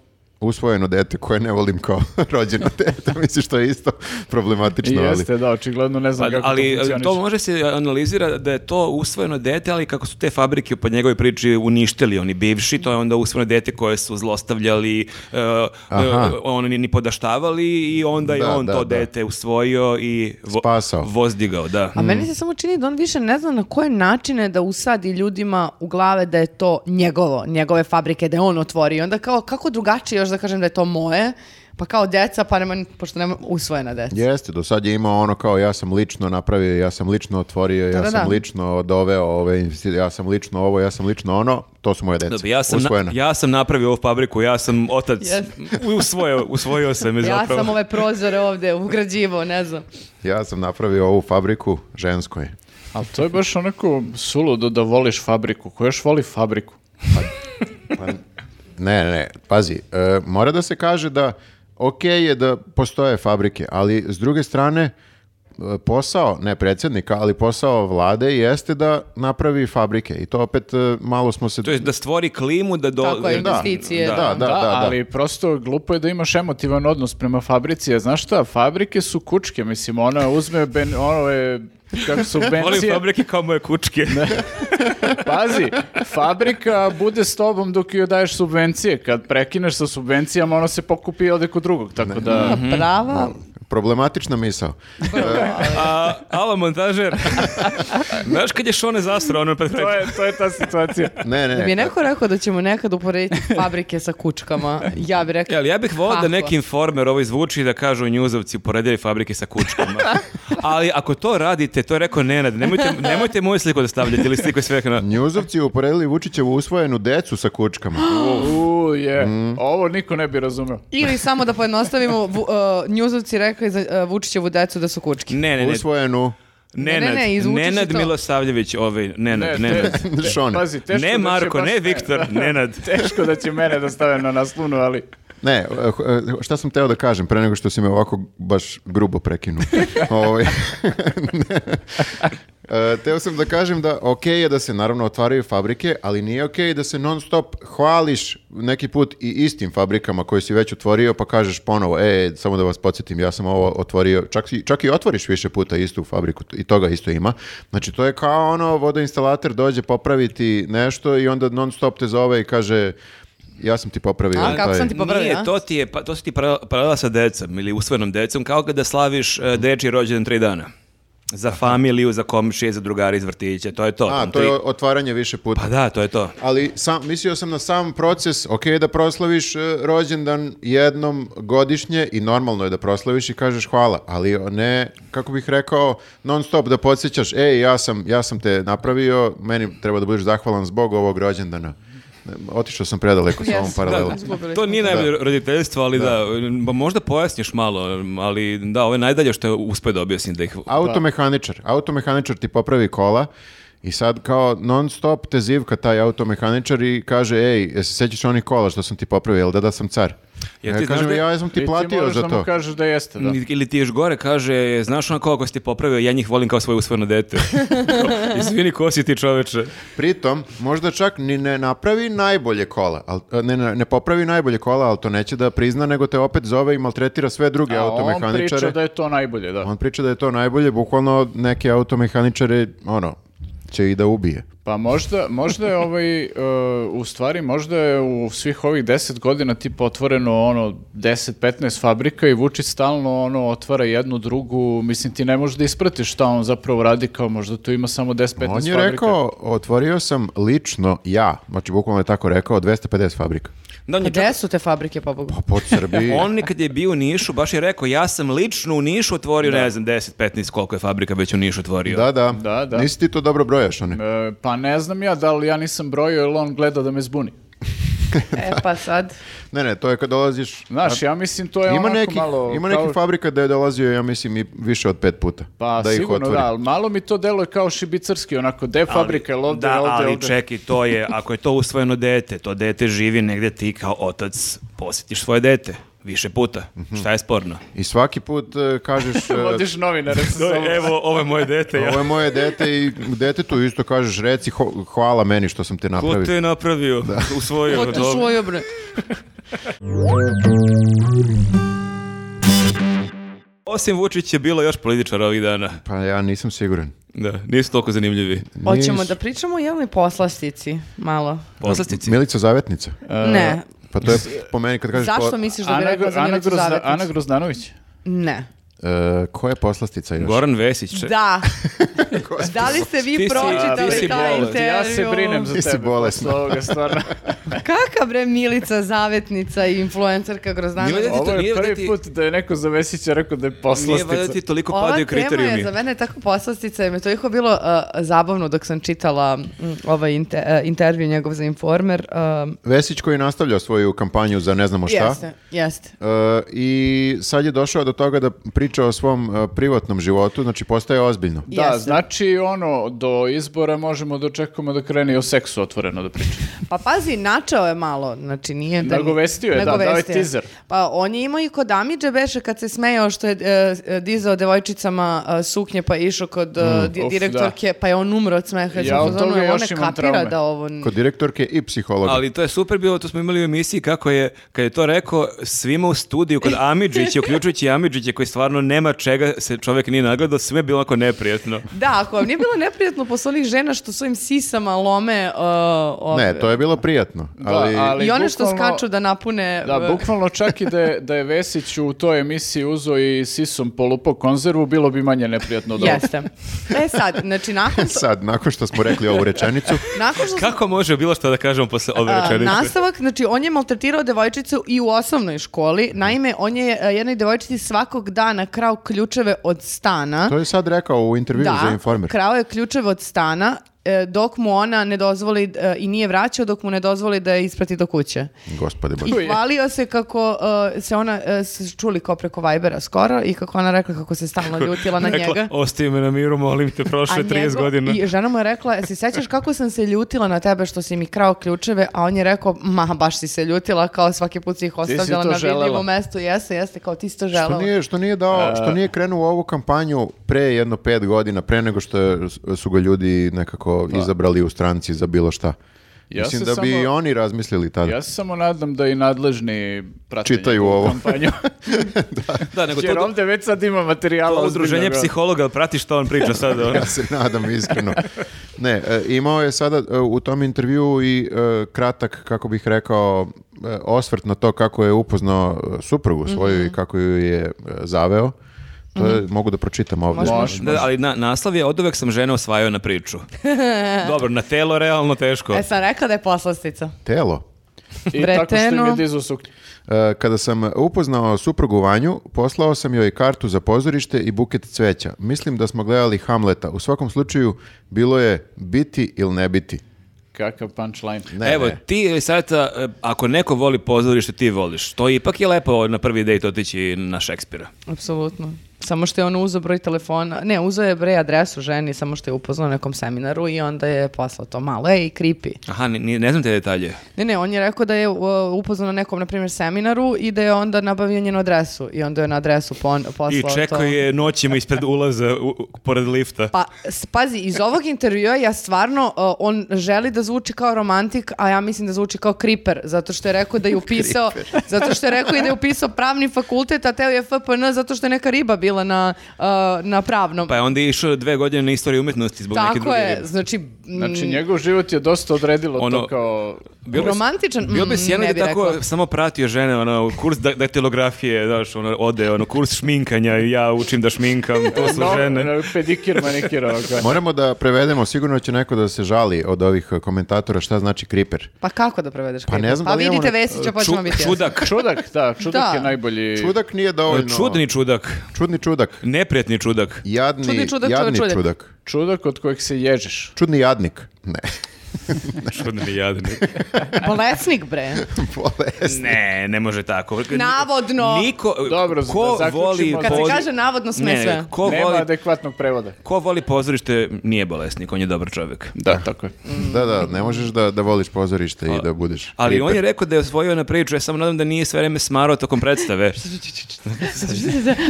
Speaker 2: Usvojeno dete koje ne volim kao rođeno dete. Misliš to je isto
Speaker 4: I
Speaker 2: problematično, ali...
Speaker 4: jeste, da, očigledno ne znam
Speaker 3: Pa,
Speaker 4: kako
Speaker 3: ali
Speaker 4: to funkcioniše.
Speaker 3: to može se analizira da je to usvojeno dete, ali kako su te fabrike po njegovoj priči uništili oni bivši, to je onda usvojeno dete koje su zlostavljali, e, e,
Speaker 2: Aha.
Speaker 3: oni ni podaštavali i onda je
Speaker 2: Da,
Speaker 3: on
Speaker 2: da,
Speaker 3: to
Speaker 2: da.
Speaker 3: dete usvojio i vo-
Speaker 2: Spasao. Mm.
Speaker 3: vozdigao, da.
Speaker 1: A meni se samo čini da on više ne zna na koje načine da usadi ljudima u glave da je to njegovo, njegove fabrike, da je on otvorio. I onda kao, kako drugačije još da kažem da je to moje? Pa kao deca, pa nema, pošto nema usvojena deca.
Speaker 2: Jeste, do sad je imao ono kao ja sam lično napravio, ja sam lično otvorio, ja
Speaker 1: Da, da,
Speaker 2: sam
Speaker 1: da.
Speaker 2: lično doveo ove investicije, ja sam lično ovo, ja sam lično ono, to su moje deca.
Speaker 3: Dobro, ja, sam na-
Speaker 2: Usvojena.
Speaker 3: ja sam napravio ovu fabriku, ja sam otac,
Speaker 1: Yes.
Speaker 3: usvojio, usvojio sam je
Speaker 1: Ja
Speaker 3: zapravo.
Speaker 1: sam ovaj- ove prozore ovde ugrađivao, ne znam.
Speaker 2: ja sam napravio ovu fabriku ženskoj.
Speaker 4: Ali to je baš onako suludo da voliš fabriku. Ko još voli fabriku?
Speaker 2: Ne, ne, pazi, e, mora da se kaže da ok je da postoje fabrike, ali s druge strane e, posao, ne predsjednika, ali posao vlade jeste da napravi fabrike i to opet e, malo smo se...
Speaker 3: To je da stvori klimu da do...
Speaker 1: Tako je, investicije.
Speaker 3: Da,
Speaker 1: Da,
Speaker 2: da, da, da, da.
Speaker 4: ali prosto glupo je da imaš emotivan odnos prema fabrici. A znaš šta, fabrike su kučke, mislim, ona uzme ben, ono je, kako su
Speaker 3: Volim
Speaker 4: bencije.
Speaker 3: fabrike kao moje kučke.
Speaker 4: Pazi, fabrika bude s tobom dok joj daješ
Speaker 3: Mm.
Speaker 4: subvencije. Kad prekineš sa subvencijama, ono se pokupi i ode kod drugog, tako da...
Speaker 1: Prava,
Speaker 2: problematična misao.
Speaker 3: A, alo, montažer. Znaš kad je Šone zasrao ono pred
Speaker 4: To je, to je ta situacija.
Speaker 2: Ne, ne,
Speaker 1: Da mi je
Speaker 2: ne.
Speaker 1: neko rekao da ćemo nekad uporediti fabrike sa kučkama, ja bih rekao...
Speaker 3: E, Ali ja bih volao da
Speaker 1: Kako?
Speaker 3: neki informer ovo izvuči da kažu njuzovci uporedili fabrike sa kučkama. Ali ako to radite, to je rekao Nenad, nemojte, nemojte moju sliku da stavljate ili sliku sve na...
Speaker 2: Njuzovci uporedili Vučićevu usvojenu decu sa kučkama.
Speaker 4: U, je.
Speaker 2: Mhm.
Speaker 4: Ovo niko ne bi razumeo.
Speaker 1: Ili samo da pojednostavimo, vu, uh, njuzovci rekli za uh, Vučićevu decu da su kučki.
Speaker 3: Ne, ne, ne.
Speaker 2: Usvojenu
Speaker 1: ne,
Speaker 3: Nenad,
Speaker 1: ne, izvuči se
Speaker 3: Nenad
Speaker 1: to.
Speaker 3: Milosavljević, ovaj, Nenad,
Speaker 4: Ne,
Speaker 3: Nenad.
Speaker 4: te-
Speaker 2: Šone.
Speaker 4: Pazi, teško da
Speaker 3: Ne
Speaker 4: će
Speaker 3: Marko,
Speaker 4: baš
Speaker 3: ne
Speaker 4: mene-
Speaker 3: Viktor, Nenad.
Speaker 4: Teško da će mene da stavim na naslovnu, ali
Speaker 2: Ne, eh, eh, šta sam teo da kažem pre nego što si me ovako baš grubo prekinuo. Ovaj, ne. Eh, teo sam da kažem da ok je da se naravno otvaraju fabrike, ali nije ok da se non stop hvališ neki put i istim fabrikama koje si već otvorio pa kažeš ponovo, e, samo da vas podsjetim, ja sam ovo otvorio, čak, i- čak i otvoriš više puta istu fabriku i toga isto ima. Znači to je kao ono, vodoinstalater dođe popraviti nešto i onda non stop te zove i kaže ja sam ti popravio.
Speaker 1: A, kako
Speaker 2: taj-
Speaker 1: sam ti popravila,
Speaker 3: Nije,
Speaker 1: a?
Speaker 3: to ti je, pa, to si ti para- paralela sa decom ili usvojenom decom, kao kada slaviš uh, dečji rođendan tri dana. Za familiju, za komšije, za drugari iz vrtića, to je to.
Speaker 2: A,
Speaker 3: Pa Tam
Speaker 2: to
Speaker 3: tri-
Speaker 2: je otvaranje više puta.
Speaker 3: Pa da, to je to.
Speaker 2: Ali sam, mislio sam na sam proces, ok je da proslaviš e, rođendan jednom godišnje i normalno je da proslaviš i kažeš hvala, ali ne, kako bih rekao, non stop da podsjećaš, ej, ja sam, ja sam te napravio, meni treba da budeš zahvalan zbog ovog rođendana. Ne, Otišao sam predaleko sa ovom
Speaker 1: Jes,
Speaker 2: paralelom.
Speaker 1: Izgubili
Speaker 3: To
Speaker 1: smo.
Speaker 3: nije najbolje roditeljstvo, ali da, m, pa možda pojasniš malo, ali da, ovo je najdalje što je uspio da objasnim da ih...
Speaker 2: Automehaničar, automehaničar ti popravi kola i sad kao non stop te zivka taj automehaničar i kaže, ej, jel se sećaš onih kola što sam ti popravio, jel da da sam car?
Speaker 3: Jel
Speaker 2: Ja
Speaker 3: ti znaš
Speaker 2: kažem,
Speaker 3: da-
Speaker 2: ja sam ti platio
Speaker 4: moraš
Speaker 2: za
Speaker 4: da
Speaker 2: to.
Speaker 4: mu kažeš da jeste, da.
Speaker 3: Ili ti još gore kaže, znaš onako ako si ti popravio, ja njih volim kao svoje usvojeno dete. Kao, Izvini, ko si ti čoveče?
Speaker 2: Pritom, možda čak ni ne napravi najbolje kola, al, ne, ne, ne popravi najbolje kola, ali to neće da prizna, nego te opet zove i maltretira sve druge
Speaker 4: A on
Speaker 2: automehaničare.
Speaker 4: priča da je to najbolje, da.
Speaker 2: On priča da je to najbolje, bukvalno neke automehaničare, ono, će i da ubije.
Speaker 4: Pa možda, možda je ovaj, e, u stvari, možda je u svih ovih 10 godina tipa otvoreno ono 10-15 fabrika i Vučić stalno ono otvara jednu drugu, mislim ti ne možeš da ispratiš šta on zapravo radi kao možda tu ima samo 10-15 fabrika.
Speaker 2: On je rekao, otvorio sam lično ja, znači bukvalno je tako rekao, 250 fabrika.
Speaker 3: Da, on
Speaker 1: Pa
Speaker 3: je čak-
Speaker 1: Gde su te fabrike, pobogu?
Speaker 2: Pa po Srbiji,
Speaker 3: On kad je bio u Nišu, baš je rekao, ja sam lično u Nišu otvorio, ne znam, 10, 15, koliko je fabrika već u Nišu otvorio.
Speaker 2: da, da,
Speaker 4: Da, da.
Speaker 2: nisi ti to dobro brojaš, oni.
Speaker 4: E, pa ne znam ja da li ja nisam brojio ili on gleda da me zbuni.
Speaker 1: E, pa sad...
Speaker 2: Ne, ne, to je kad dolaziš...
Speaker 4: Znaš, ja mislim to je
Speaker 2: Ima
Speaker 4: onako
Speaker 2: nekih,
Speaker 4: malo...
Speaker 2: ima nekih
Speaker 4: kao-
Speaker 2: fabrika da je dolazio, ja mislim, i više od pet puta.
Speaker 4: Pa
Speaker 2: da ih
Speaker 4: sigurno
Speaker 2: otvori.
Speaker 4: da, ali malo mi to deluje kao šibicarski, onako, de
Speaker 3: Ali-
Speaker 4: fabrika, jel ovde,
Speaker 3: da,
Speaker 4: jel ovde,
Speaker 3: ali
Speaker 4: jel ovde.
Speaker 3: čekaj, to je, ako je to usvojeno dete, to dete živi negde ti kao otac posjetiš svoje dete više puta.
Speaker 4: Mhm.
Speaker 3: Šta je sporno?
Speaker 2: I svaki put e, kažeš... e,
Speaker 4: Vodiš novinare sa sobom.
Speaker 3: Evo, ovo je moje dete, ja.
Speaker 2: Ovo je moje dete i detetu isto kažeš reci ho- hvala meni što sam te
Speaker 3: Ko
Speaker 2: napravio.
Speaker 3: te je napravio? Usvojio.
Speaker 1: Ko te
Speaker 3: dobro.
Speaker 1: čuo, bre?
Speaker 3: Osim Vučić je bilo još političara ovih dana.
Speaker 2: Pa ja nisam siguran.
Speaker 3: Da, nisu toliko zanimljivi.
Speaker 1: Hoćemo da pričamo o jelnoj poslastici, malo.
Speaker 3: Poslastici.
Speaker 2: Milica Zavetnica.
Speaker 1: ne.
Speaker 2: Pa to je po meni kad kažeš...
Speaker 1: Zašto
Speaker 2: e, po-
Speaker 1: misliš da bi
Speaker 4: Ana,
Speaker 1: rekla
Speaker 4: Gro-
Speaker 1: za
Speaker 4: Ana,
Speaker 1: Milicu
Speaker 4: Grozda-
Speaker 1: Zavetnicu?
Speaker 4: Ana Grozdanović.
Speaker 1: Ne.
Speaker 2: E, koja je poslastica još?
Speaker 3: Goran Vesić. če-
Speaker 1: Da. da li ste vi
Speaker 3: Ti si-
Speaker 1: pročitali
Speaker 3: ti si
Speaker 1: taj
Speaker 3: bolan.
Speaker 1: intervju?
Speaker 4: Ja se brinem za
Speaker 2: Ti si
Speaker 4: tebe.
Speaker 2: bolesna.
Speaker 4: posle ovoga, stvarno.
Speaker 1: Kaka bre Milica Zavetnica i influencerka Grozdanović?
Speaker 3: Milica-
Speaker 4: Ovo
Speaker 3: Nije
Speaker 4: je
Speaker 3: da
Speaker 4: prvi
Speaker 3: ti-
Speaker 4: put da je neko za Vesića rekao da je
Speaker 3: Nije valjda
Speaker 4: poslastica.
Speaker 3: ti toliko
Speaker 1: Ova
Speaker 3: padaju
Speaker 1: tema
Speaker 3: kriterijumi.
Speaker 1: je za mene tako poslastica i me toliko bilo uh, zabavno dok sam čitala mm, ovaj inte- uh, intervju njegov za Informer. um,
Speaker 2: Vesić koji nastavlja svoju kampanju za ne
Speaker 4: Pa
Speaker 2: znamo šta.
Speaker 1: Jeste, jeste.
Speaker 2: E, I sad je došao do toga da priča o svom e, privatnom životu, znači postaje ozbiljno.
Speaker 4: Da,
Speaker 1: Jeste.
Speaker 4: znači ono, do izbora možemo da očekujemo da krene i o seksu otvoreno da priča.
Speaker 1: Pa pazi, načeo je malo, znači nije... Da,
Speaker 4: Nagovestio je, da, dao je
Speaker 1: Nagovestio
Speaker 4: teaser.
Speaker 1: Pa on je imao i kod Amidže beše kad se smejao što je e, dizao devojčicama e, suknje pa je išao kod e, di-
Speaker 4: Mm, Uf,
Speaker 1: direktorke pa je on umro od smeha. jer
Speaker 4: Ja
Speaker 1: sam
Speaker 4: od
Speaker 1: u fazonu,
Speaker 4: toga
Speaker 1: "Jel on
Speaker 4: još
Speaker 1: ne
Speaker 4: imam
Speaker 1: kapira
Speaker 4: traume."
Speaker 1: da ovo...
Speaker 2: Kod direktorke i psihologa.
Speaker 3: Ali to je super bilo, to smo imali u emisiji kako je, kad je to rekao, svima u studiju, kod Amidžića, uključujući Amidžića koji stvarno nema čega, se čovjek nije nagledao, sve je bilo onako neprijatno.
Speaker 1: Da, ako vam nije bilo neprijatno posle onih žena što svojim sisama lome... e, ove-
Speaker 2: Ne, to je bilo prijatno. ali,
Speaker 4: ali-
Speaker 1: I one što
Speaker 4: bukvalno-
Speaker 1: skaču da napune...
Speaker 4: Da,
Speaker 1: e,
Speaker 4: bukvalno čak i da je, da je Vesić u toj emisiji uzo i sisom polupo konzervu, bilo bi manje neprijatno od ovog.
Speaker 1: Jeste. E sad, znači nakon,
Speaker 2: sad, nakon što smo rekli ovu rečenicu,
Speaker 1: nakon što
Speaker 3: Kako može bilo što da kažemo posle ove
Speaker 1: A,
Speaker 3: rečenice?
Speaker 1: nastavak, znači on je maltretirao devojčicu i u osnovnoj školi. Naime, on je e, jednoj devojčici svakog dana krao ključeve od stana.
Speaker 2: to je sad rekao u intervju za Informer.
Speaker 1: krao je ključeve od stana e, dok mu ona ne dozvoli e, i nije vraćao dok mu ne dozvoli da je isprati do kuće.
Speaker 2: Gospode Bože.
Speaker 1: I hvalio se kako e, se ona e, s- čuli kao preko Vibera skoro i kako ona rekla kako se stalno ljutila na
Speaker 3: Rekla,
Speaker 1: njega.
Speaker 3: Ostavi me na miru, molim te, prošlo je 30
Speaker 1: njegov-
Speaker 3: godina.
Speaker 1: I žena mu je rekla, se sećaš kako sam se ljutila na tebe što si mi krao ključeve, a on je rekao, ma baš si se ljutila, kao svaki put si ih
Speaker 4: si
Speaker 1: ostavljala
Speaker 4: to
Speaker 1: na
Speaker 4: želela."
Speaker 1: vidljivom mestu, jeste, jeste, kao ti si to
Speaker 2: Što
Speaker 1: želela.
Speaker 2: nije, što nije dao,
Speaker 4: E.
Speaker 2: što nije krenuo u ovu kampanju pre jedno pet godina, pre nego što je- su ga ljudi nekako izabrali u stranci za bilo šta.
Speaker 4: Ja
Speaker 2: Mislim
Speaker 4: se
Speaker 2: da bi
Speaker 4: samo-
Speaker 2: i oni razmislili tada.
Speaker 4: Ja se samo nadam da i nadležni prate
Speaker 2: Čitaju
Speaker 4: njegovu
Speaker 2: ovo.
Speaker 4: kampanju.
Speaker 3: Da, nego
Speaker 4: Jer
Speaker 3: to,
Speaker 4: ovdje već sad ima materijala.
Speaker 3: to udruženje
Speaker 4: ozbiljnog.
Speaker 3: psihologa, prati što on priča sad. ono.
Speaker 2: Pa ja se nadam iskreno. Ne, e, imao je sada e, u tom intervju i e, kratak, kako bih rekao, e, osvrt na to kako je upoznao e, suprugu svoju i kako ju je e, zaveo. To je, mogu da pročitam ovdje.
Speaker 4: Može.
Speaker 3: Da, ali na, naslov je od uvek sam žene osvajao na priču. Dobro, na telo realno teško.
Speaker 1: E sam rekla da je poslastica.
Speaker 2: Telo.
Speaker 4: I tako što im je
Speaker 1: Breteno.
Speaker 4: dizu suknju.
Speaker 2: E, Kada sam upoznao suprugu Vanju, poslao sam joj kartu za pozorište i buket cveća. Mislim da smo gledali Hamleta. U svakom slučaju, bilo je biti ili ne biti.
Speaker 4: Kakav punchline.
Speaker 2: Ne,
Speaker 3: Evo,
Speaker 2: ne.
Speaker 3: ti e, sad, ako neko voli pozorište, ti voliš. To ipak je lepo na prvi dejt otići na Šekspira.
Speaker 1: Apsolutno. Samo što je on uzeo broj telefona, ne, uzeo je broj adresu ženi, samo što je upoznao na nekom seminaru i onda je poslao to malo, ej, creepy.
Speaker 3: Aha, ni- ni- ne znam te detalje.
Speaker 1: Ne, ne, on je rekao da je uh, upoznao na nekom, na primjer, seminaru i da je onda nabavio njenu adresu i onda je na adresu pon, poslao
Speaker 3: I
Speaker 1: Pa
Speaker 3: čekao
Speaker 1: to.
Speaker 3: je noćima ispred ulaza, u- u- pored lifta.
Speaker 1: Pa, s- pazi, iz ovog intervjua ja stvarno, uh, on želi da zvuči kao romantik, a ja mislim da zvuči kao kriper, zato što je rekao da je upisao, zato što je rekao i da je upisao pravni fakultet, a teo je FPN zato što je neka riba bila na, uh, na pravnom.
Speaker 3: Pa je onda išao dve godine na istoriju umetnosti zbog neke
Speaker 1: Tako
Speaker 3: druge
Speaker 1: je,
Speaker 3: ribe.
Speaker 1: znači, m,
Speaker 4: Znači, njegov život je dosta odredilo
Speaker 3: Ono-
Speaker 4: to kao...
Speaker 3: Bilo bi-
Speaker 1: romantičan,
Speaker 3: Bio bi
Speaker 1: mm,
Speaker 3: sjajno
Speaker 1: ne
Speaker 3: da
Speaker 1: bi
Speaker 3: tako
Speaker 1: rekla.
Speaker 3: samo pratio žene, ono, kurs da- daktilografije, znaš, ono, ode, ono, kurs šminkanja i ja učim da šminkam, to su
Speaker 4: No,
Speaker 3: žene.
Speaker 4: no, pedikir, manikir, ovo kao.
Speaker 2: Moramo da prevedemo, sigurno će neko da se žali od ovih komentatora šta znači kriper.
Speaker 1: Pa kako da prevedeš?
Speaker 2: Pa ne
Speaker 1: kriper?
Speaker 2: znam
Speaker 1: pa
Speaker 2: da li imamo
Speaker 1: vidite
Speaker 2: ne-
Speaker 1: Vesića, pa ćemo
Speaker 3: ono- Ču-
Speaker 1: biti jasni.
Speaker 3: čudak.
Speaker 4: Čudak, da, čudak
Speaker 1: Da.
Speaker 4: je najbolji...
Speaker 2: Čudak nije dovoljno...
Speaker 3: Čudni čudak.
Speaker 2: Čudni čudak.
Speaker 3: Neprijatni čudak.
Speaker 2: Jadni,
Speaker 1: Čudni čudak,
Speaker 2: jadni
Speaker 1: čudak.
Speaker 2: čudak.
Speaker 4: Čudak od kojeg se ježiš.
Speaker 2: Čudni jadnik. Ne,
Speaker 3: Čudni jadni.
Speaker 1: Pa Bolesnik, bre.
Speaker 2: bolest.
Speaker 3: Ne, ne može tako.
Speaker 1: Navodno.
Speaker 3: Niko,
Speaker 4: Dobro, da
Speaker 3: ko
Speaker 4: zaključimo
Speaker 3: voli...
Speaker 4: da-
Speaker 1: Kad se
Speaker 3: poz-
Speaker 1: kaže navodno sme
Speaker 3: Pa Ne,
Speaker 1: sve.
Speaker 3: Ko
Speaker 4: Nema
Speaker 3: voli,
Speaker 4: adekvatnog prevoda.
Speaker 3: ko voli pozorište nije bolesnik, on je dobar čovjek.
Speaker 4: Da, E, tako je.
Speaker 1: Mm.
Speaker 2: Da, da, ne možeš da, da voliš pozorište i da budeš
Speaker 3: Ali
Speaker 2: kriper.
Speaker 3: on je rekao da je osvojio na priču, ja samo nadam da nije sve vreme smarao tokom predstave.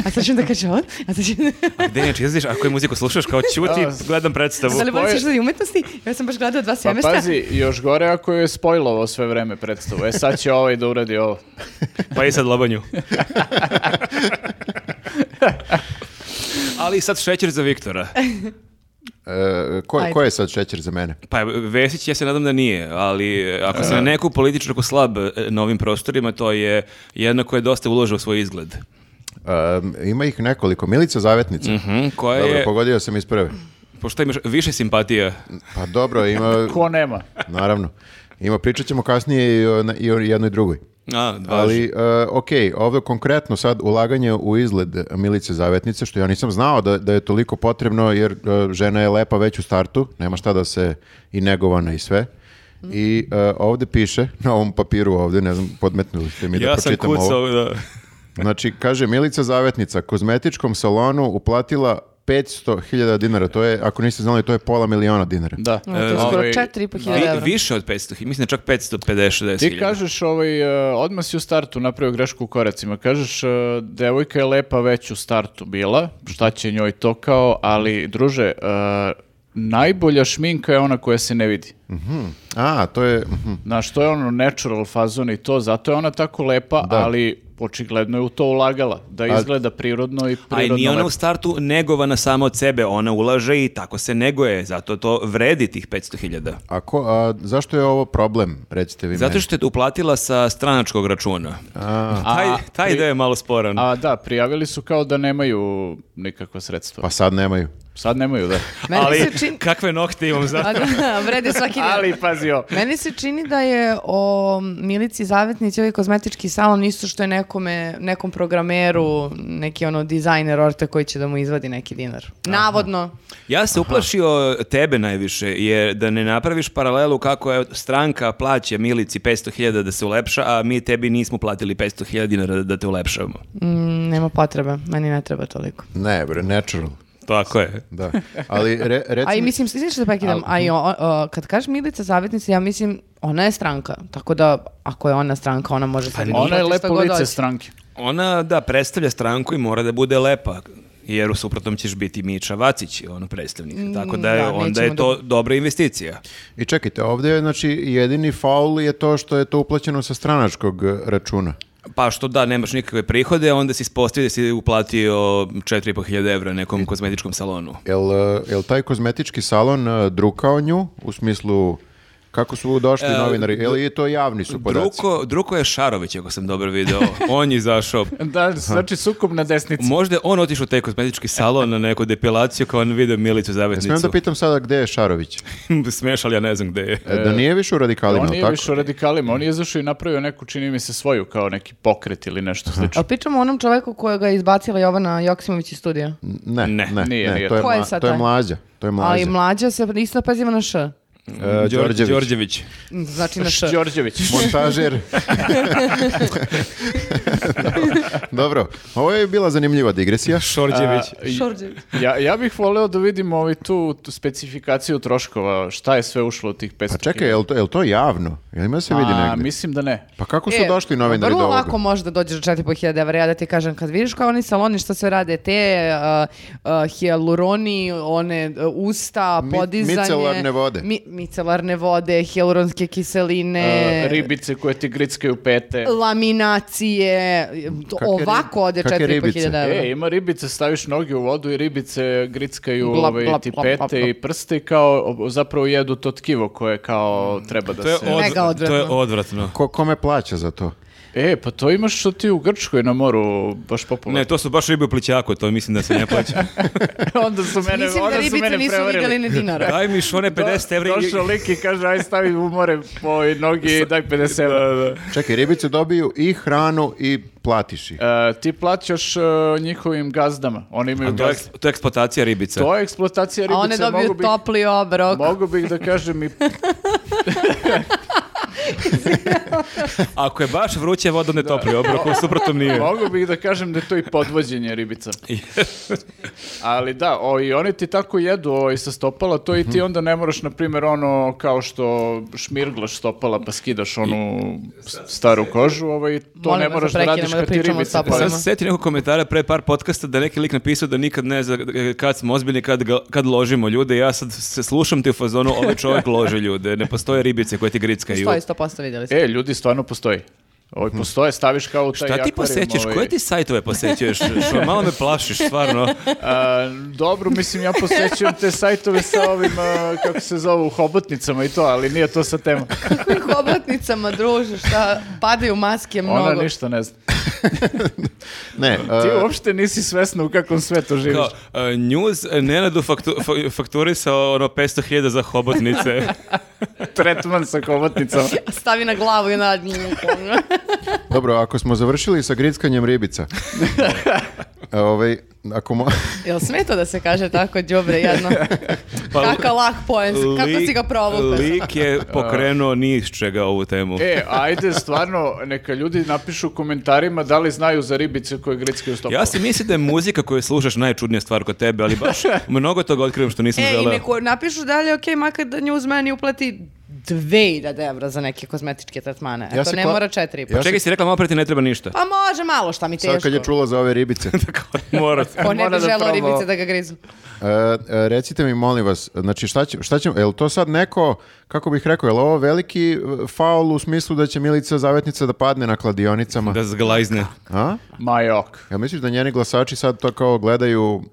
Speaker 1: A sad ću da kaže on? A sad ću da...
Speaker 3: A gde inače izlaziš? Ako je muziku slušaš kao ćuti,
Speaker 4: Da.
Speaker 3: gledam predstavu.
Speaker 1: Da li
Speaker 4: Koje-
Speaker 1: voliš izgledi umetnosti? Ja sam baš gledala dva
Speaker 4: Pa
Speaker 1: semestra.
Speaker 4: pazi, još gore ako je spojlovo sve vreme predstavu. E sad će ovaj da uradi ovo.
Speaker 3: Pa i sad lobanju. Ali sad šećer za Viktora.
Speaker 2: E, ko,
Speaker 1: Ajde.
Speaker 2: ko je sad šećer za mene?
Speaker 3: Pa Vesić, ja se nadam da nije, ali e, ako se na neku političarku slab e, na ovim prostorima, to je jedna koja je dosta uložila u svoj izgled.
Speaker 2: Um, ima ih nekoliko. Milica Zavetnica.
Speaker 3: Hm, koja
Speaker 2: Dobro,
Speaker 3: je,
Speaker 2: pogodio sam iz prve.
Speaker 3: pošto imaš više simpatija,
Speaker 2: Pa dobro, ima,
Speaker 4: Ko nema?
Speaker 2: naravno. Ima, pričat ćemo kasnije i o, i o jednoj drugoj.
Speaker 3: a, ali...
Speaker 2: Ali, e, ok, ovdje konkretno sad ulaganje u izgled Milice Zavetnice, što ja nisam znao da, da je toliko potrebno, jer e, žena je lepa već u startu, nema šta da se i negovana i sve.
Speaker 3: Mhm.
Speaker 2: I e, ovdje piše, na ovom papiru ovdje, ne znam, podmetnuli ste mi da
Speaker 3: ja sam
Speaker 2: pročitam ovo.
Speaker 3: kucao, da.
Speaker 2: Znači, kaže Milica Zavetnica, kozmetičkom salonu uplatila 500.000 dinara. To je, ako niste znali, to je pola miliona dinara.
Speaker 4: Da.
Speaker 1: No, to je skoro
Speaker 4: Ovaj,
Speaker 1: četiri i po
Speaker 3: Vi-
Speaker 1: hiljada evra.
Speaker 3: više od 500, hi- mislim da čak 550 hiljada.
Speaker 4: Ti kažeš ovaj, e, odmah si u startu napravio grešku u koracima. Kažeš, e, devojka je lepa već u startu bila, šta će njoj to kao, ali druže, e, najbolja šminka je ona koja se ne vidi.
Speaker 2: Mhm. A, to je... mhm.
Speaker 4: Znaš, to je ono natural fazon i to, zato je ona tako lepa, ali očigledno je u to ulagala, da izgleda prirodno i
Speaker 3: A i
Speaker 4: prirodno
Speaker 3: nije ono ona
Speaker 4: lepo.
Speaker 3: u startu negovana sama od sebe, ona ulaže i tako se neguje, zato to vredi tih 500.000.
Speaker 2: A, ko- a zašto je ovo problem, recite vi
Speaker 3: Zato
Speaker 2: meni?
Speaker 3: što je uplatila sa stranačkog računa. taj
Speaker 4: A,
Speaker 3: taj
Speaker 4: pri-
Speaker 3: deo je malo sporan.
Speaker 4: A da, prijavili su kao da nemaju nikakva sredstva.
Speaker 2: Pa sad nemaju.
Speaker 4: Sad nemaju, da.
Speaker 1: Meni
Speaker 3: Ali
Speaker 1: se čini...
Speaker 3: kakve nokte imam za...
Speaker 1: A da, vredi svaki dinar.
Speaker 4: Ali, pazi ovo.
Speaker 1: Meni se čini da je o Milici Zavetnici ovaj kozmetički salon isto što je nekome, nekom programeru, neki ono dizajner orta koji će da mu izvadi neki dinar. Navodno.
Speaker 3: Ja se uplašio tebe najviše, jer da ne napraviš paralelu kako je stranka plaća Milici 500.000 da se ulepša, a mi tebi nismo platili 500.000 dinara da te ulepšavamo.
Speaker 1: Mm, nema potrebe, meni ne treba toliko.
Speaker 2: Ne, bre, natural.
Speaker 3: Tako je.
Speaker 2: Da. Ali, re, reci
Speaker 1: A i
Speaker 2: mi-
Speaker 1: mislim, znaš što da prekidam, a i o- o- kad kažeš Milica Zavetnica, ja mislim, ona je stranka, tako da ako je ona stranka, ona može sebi da
Speaker 4: Pa Ona je
Speaker 1: plati šta
Speaker 4: lepo
Speaker 1: god
Speaker 4: lice
Speaker 1: hoće.
Speaker 4: stranke.
Speaker 3: Ona, da, predstavlja stranku i mora da bude lepa, jer u suprotnom ćeš biti Miča Vacić, ono predstavnik. Tako da, je-
Speaker 1: Mm, da,
Speaker 3: onda
Speaker 1: nećemo
Speaker 3: je to dobra investicija.
Speaker 2: I čekajte, ovdje je, znači, jedini faul je to što je to uplaćeno sa stranačkog eh, računa.
Speaker 3: Pa što da, nemaš nikakve prihode, onda si ispostavio da si uplatio 4.500 evra nekom kozmetičkom salonu.
Speaker 2: Jel, eh, jel taj kozmetički salon eh, drukao nju, u smislu, kako su došli
Speaker 4: Eh,
Speaker 2: novinari, jel je to javni su podaci?
Speaker 3: Druko, Druko je Šarović, ako sam dobro video. On je izašao.
Speaker 4: Da, znači sukob na desnici.
Speaker 3: Možda je on otišao u taj kozmetički salon na neku depilaciju kao on vidio Milicu
Speaker 2: Smijem
Speaker 3: Zavetnicu.
Speaker 2: da pitam sada gde je Šarović?
Speaker 3: Smeš, ali ja ne znam gde je.
Speaker 2: E, da nije više u radikalima,
Speaker 4: On
Speaker 2: jel
Speaker 4: Eh, nije
Speaker 2: tako?
Speaker 4: više u radikalima, on je izašao i napravio neku, čini mi se, svoju, kao neki pokret ili nešto slično.
Speaker 1: Ali pričamo o onom čoveku kojega je izbacila Jovana Joksimović iz studija.
Speaker 2: Ne, ne, ne,
Speaker 4: Nije, nije.
Speaker 2: To, je
Speaker 1: Ko je
Speaker 2: mla-
Speaker 1: sad
Speaker 2: to je
Speaker 1: taj?
Speaker 2: mlađa. To je mlađa.
Speaker 1: Ali mlađa se isto napaziva na š.
Speaker 2: E, Đorđević.
Speaker 3: Đorđević.
Speaker 1: Znači na š.
Speaker 4: Đorđević.
Speaker 2: Montažer. Dobro, ovo je bila zanimljiva digresija.
Speaker 3: Šorđević.
Speaker 1: Šorđević.
Speaker 4: Ja, ja bih voleo da vidim ovaj tu, tu specifikaciju troškova, šta je sve ušlo u tih 500
Speaker 2: Pa čekaj, je li to, je li to javno? Je li ima da se vidi
Speaker 4: A,
Speaker 2: negdje?
Speaker 4: mislim da ne.
Speaker 2: Pa kako su došli novinari do
Speaker 1: E, vrlo
Speaker 2: ovoga?
Speaker 1: lako možda dođeš do 4.500 evra, ja da ti kažem, kad vidiš kao oni saloni što sve rade, te uh, uh, hijaluroni, one uh, usta,
Speaker 2: Mi-
Speaker 1: podizanje.
Speaker 2: micelarne vode.
Speaker 1: Mi, micelarne vode, hijaluronske kiseline,
Speaker 2: Uh,
Speaker 4: E, ribice koje ti grickaju pete.
Speaker 1: laminacije,
Speaker 2: Kakve rib-
Speaker 1: ovako ode
Speaker 2: kakve
Speaker 1: 4.500
Speaker 2: ribice?
Speaker 1: evra.
Speaker 4: E, ima ribice, staviš noge u vodu i ribice grickaju
Speaker 1: Blap,
Speaker 4: ovaj,
Speaker 1: blap,
Speaker 4: ti
Speaker 1: blap,
Speaker 4: pete
Speaker 1: blap, blap.
Speaker 4: i prste i kao o- zapravo jedu to tkivo koje kao
Speaker 2: Mm.
Speaker 4: treba da
Speaker 3: To je,
Speaker 4: se...
Speaker 3: od-
Speaker 1: Mega odvratno.
Speaker 3: to je odvratno.
Speaker 2: Ko, kome plaća za to?
Speaker 4: E, pa to imaš što ti u Grčkoj na moru baš popularno.
Speaker 3: Ne, to su baš ribe u plićaku, to mislim da se ne plaća.
Speaker 4: onda su mene,
Speaker 1: Mislim da
Speaker 4: onda ono su
Speaker 1: ribice
Speaker 4: mene
Speaker 1: nisu
Speaker 4: prevarili.
Speaker 1: vidjeli ni dinara.
Speaker 3: Daj mi šone 50 evra i...
Speaker 4: Došao lik i kaže, aj stavi u more po nogi i daj 50 evra.
Speaker 2: Čekaj, ribice dobiju i hranu i platiš ih.
Speaker 4: E, ti plaćaš e, njihovim gazdama. Oni imaju
Speaker 3: To je,
Speaker 4: gazd...
Speaker 3: to je eksploatacija ribica.
Speaker 4: To je eksploatacija
Speaker 1: A
Speaker 4: ribice.
Speaker 1: one dobiju
Speaker 4: mogu bih,
Speaker 1: topli obrok.
Speaker 4: Mogu bih da kažem i...
Speaker 3: Ako je baš vruće, voda ne topli obrok, u suprotnom nije.
Speaker 4: Mogu bih da kažem da je to i podvođenje ribica. Ali da, o, i oni ti tako jedu o, i sa stopala, to i ti
Speaker 1: Mhm.
Speaker 4: onda ne moraš, na primjer, ono kao što šmirglaš stopala pa skidaš onu s- staru kožu, ovaj, to
Speaker 1: Molim
Speaker 4: ne
Speaker 1: vas da
Speaker 4: moraš da,
Speaker 1: prekinemo
Speaker 4: radiš
Speaker 1: da
Speaker 4: kad ti
Speaker 1: pričamo o
Speaker 4: ribice.
Speaker 1: stopalama.
Speaker 3: Sad se seti nekog komentara pre par podcasta da neki lik napisao da nikad ne zna kad smo ozbiljni, kad, ga- kad ložimo ljude. Ja sad se slušam ti u fazonu, ovaj čovjek lože ljude. Ne postoje ribice koje ti grickaju.
Speaker 1: Stoji 100% vidjeli ste.
Speaker 4: E, ljudi stvarno postoji. Ovaj,
Speaker 1: Mhm.
Speaker 4: postoje, staviš kao u taj
Speaker 3: Šta ti
Speaker 4: akvarijum,
Speaker 3: posećeš?
Speaker 4: ovaj-
Speaker 3: Koje ti sajtove posećuješ? Što malo me plašiš, stvarno.
Speaker 4: A, dobro, mislim, ja posjećujem te sajtove sa ovim, a, kako se zovu, hobotnicama i to, ali nije to sa tema.
Speaker 1: Kakvim hobotnicama, druže, šta, padaju maske mnogo.
Speaker 4: Ona ništa ne zna.
Speaker 2: Ne,
Speaker 4: Ti
Speaker 2: e,
Speaker 4: uopšte nisi svesna u kakvom svetu živiš.
Speaker 3: Kao, e, news, e, Nenadu faktu, fa- fakturisao ono 500.000 za hobotnice.
Speaker 4: Tretman sa hobotnicama.
Speaker 1: Stavi na glavu i na...
Speaker 2: dobro, ako smo završili sa grickanjem ribica, e, ovaj, ako mo-
Speaker 1: Jel sme to da se kaže tako, đubre, jedno? Kakav lak poen, kako
Speaker 3: Pa- Lik-
Speaker 1: si ga provukao?
Speaker 3: Lik je pokrenuo ni iz čega ovu temu.
Speaker 4: E, ajde, stvarno, neka ljudi napišu u komentarima da li znaju za ribice koje gritske ustopaju.
Speaker 3: Ja si mislim da je muzika koju slušaš najčudnija stvar kod tebe, ali baš mnogo toga otkrivam što nisam
Speaker 1: E, i
Speaker 3: želeo.
Speaker 1: neko napišu dalje, ok, makar da nju uz meni uplati 2000 evra za neke kozmetičke tretmane.
Speaker 2: Ja
Speaker 1: Eto,
Speaker 2: se
Speaker 1: ne
Speaker 2: kla-
Speaker 1: mora 4,5.
Speaker 2: Ja se-
Speaker 3: Čekaj, si rekla malo pre ti ne treba ništa.
Speaker 1: Pa može malo, šta mi teško.
Speaker 2: Sad kad je čula za ove ribice.
Speaker 3: Tako, mora.
Speaker 1: On ne
Speaker 3: mora
Speaker 1: bi
Speaker 3: da
Speaker 1: želao
Speaker 3: proba-
Speaker 1: ribice da ga grizu.
Speaker 2: E, e, recite mi, molim vas, znači šta će, šta će, je li to sad neko, kako bih rekao, je li ovo veliki e, faul u smislu da će Milica Zavetnica da padne na kladionicama?
Speaker 3: Da zglajzne.
Speaker 2: A?
Speaker 4: Majok.
Speaker 2: Ja misliš da njeni glasači sad to kao gledaju,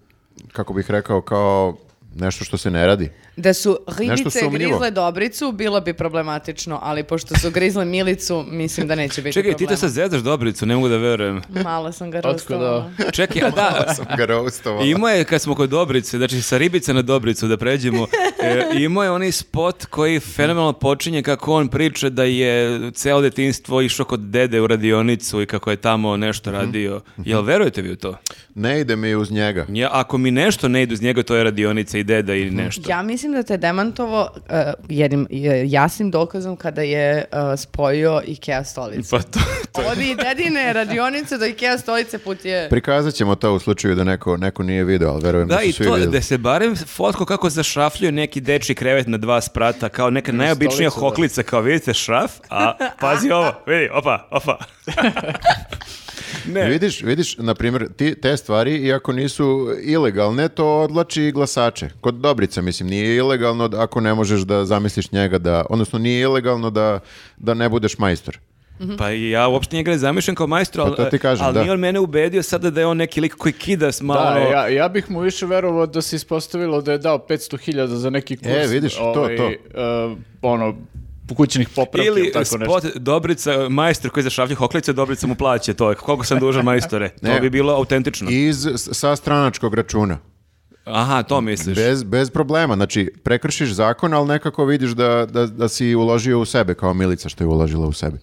Speaker 2: kako bih rekao, kao nešto što se ne radi?
Speaker 1: Da su ribice
Speaker 2: sumnjivo.
Speaker 1: grizle Dobricu, bilo bi problematično, ali pošto su grizle Milicu, mislim da neće biti
Speaker 3: Čekaj, ti
Speaker 1: problema.
Speaker 3: te sad zezaš Dobricu, ne mogu da verujem.
Speaker 1: Malo sam ga
Speaker 4: Otko da-
Speaker 1: rostovala.
Speaker 3: Čekaj, a da,
Speaker 2: Sam ga roastovala.
Speaker 3: imao je, kad smo kod Dobrice, znači sa ribice na Dobricu da pređemo, e, imao je onaj spot koji fenomenalno počinje kako on priča da je celo detinstvo išao kod dede u radionicu i kako je tamo nešto radio. Jel verujete vi u to?
Speaker 2: Ne ide mi uz njega.
Speaker 3: Ja, ako mi nešto ne ide uz njega, to je radionica i deda i nešto.
Speaker 1: Ja mislim da te demantovo eh, jednim eh, jasnim dokazom kada je eh, spojio Ikea stolicu.
Speaker 3: Pa to,
Speaker 1: Od i dedine radionice do Ikea stolice put je...
Speaker 2: Prikazat ćemo to u slučaju da neko, neko nije video, ali verujem da,
Speaker 3: Da, i
Speaker 2: su svi
Speaker 3: to,
Speaker 2: videli.
Speaker 3: da se barem fotko kako zašrafljuje neki deči krevet na dva sprata, kao neka najobičnija
Speaker 4: stolicu, da.
Speaker 3: hoklica, kao vidite šraf, a pazi ovo, vidi, opa, opa. ne,
Speaker 2: Vidiš, vidiš, na primjer, ti, te stvari, iako nisu ilegalne, to odlači i glasače. Kod Dobrica, mislim, nije ilegalno da- ako ne možeš da zamisliš njega da, odnosno nije ilegalno da, da ne budeš majstor.
Speaker 3: pa i ja uopšte njega ne zamišljam kao majstor, ali,
Speaker 2: Pa to ti kažem,
Speaker 3: ali
Speaker 2: da.
Speaker 3: nije on mene ubedio sada da je on neki lik koji kida s malo...
Speaker 4: Da, ja, ja bih mu više verovao da se ispostavilo da je dao 500.000 za neki kurs.
Speaker 2: E, vidiš, to, to.
Speaker 4: e, ono, kućnih popravki ili
Speaker 3: Ili
Speaker 4: tako
Speaker 3: spot
Speaker 4: nešto.
Speaker 3: Dobrica, majstor koji zašraflja hoklice, Dobrica mu plaće to. Koliko sam dužan majstore?
Speaker 2: Ne.
Speaker 3: To bi bilo autentično.
Speaker 2: Iz, sa stranačkog računa.
Speaker 3: Aha, to misliš.
Speaker 2: Bez, bez problema. Znači, prekršiš zakon, ali nekako vidiš da, da, da si uložio u sebe, kao Milica što je uložila u sebe.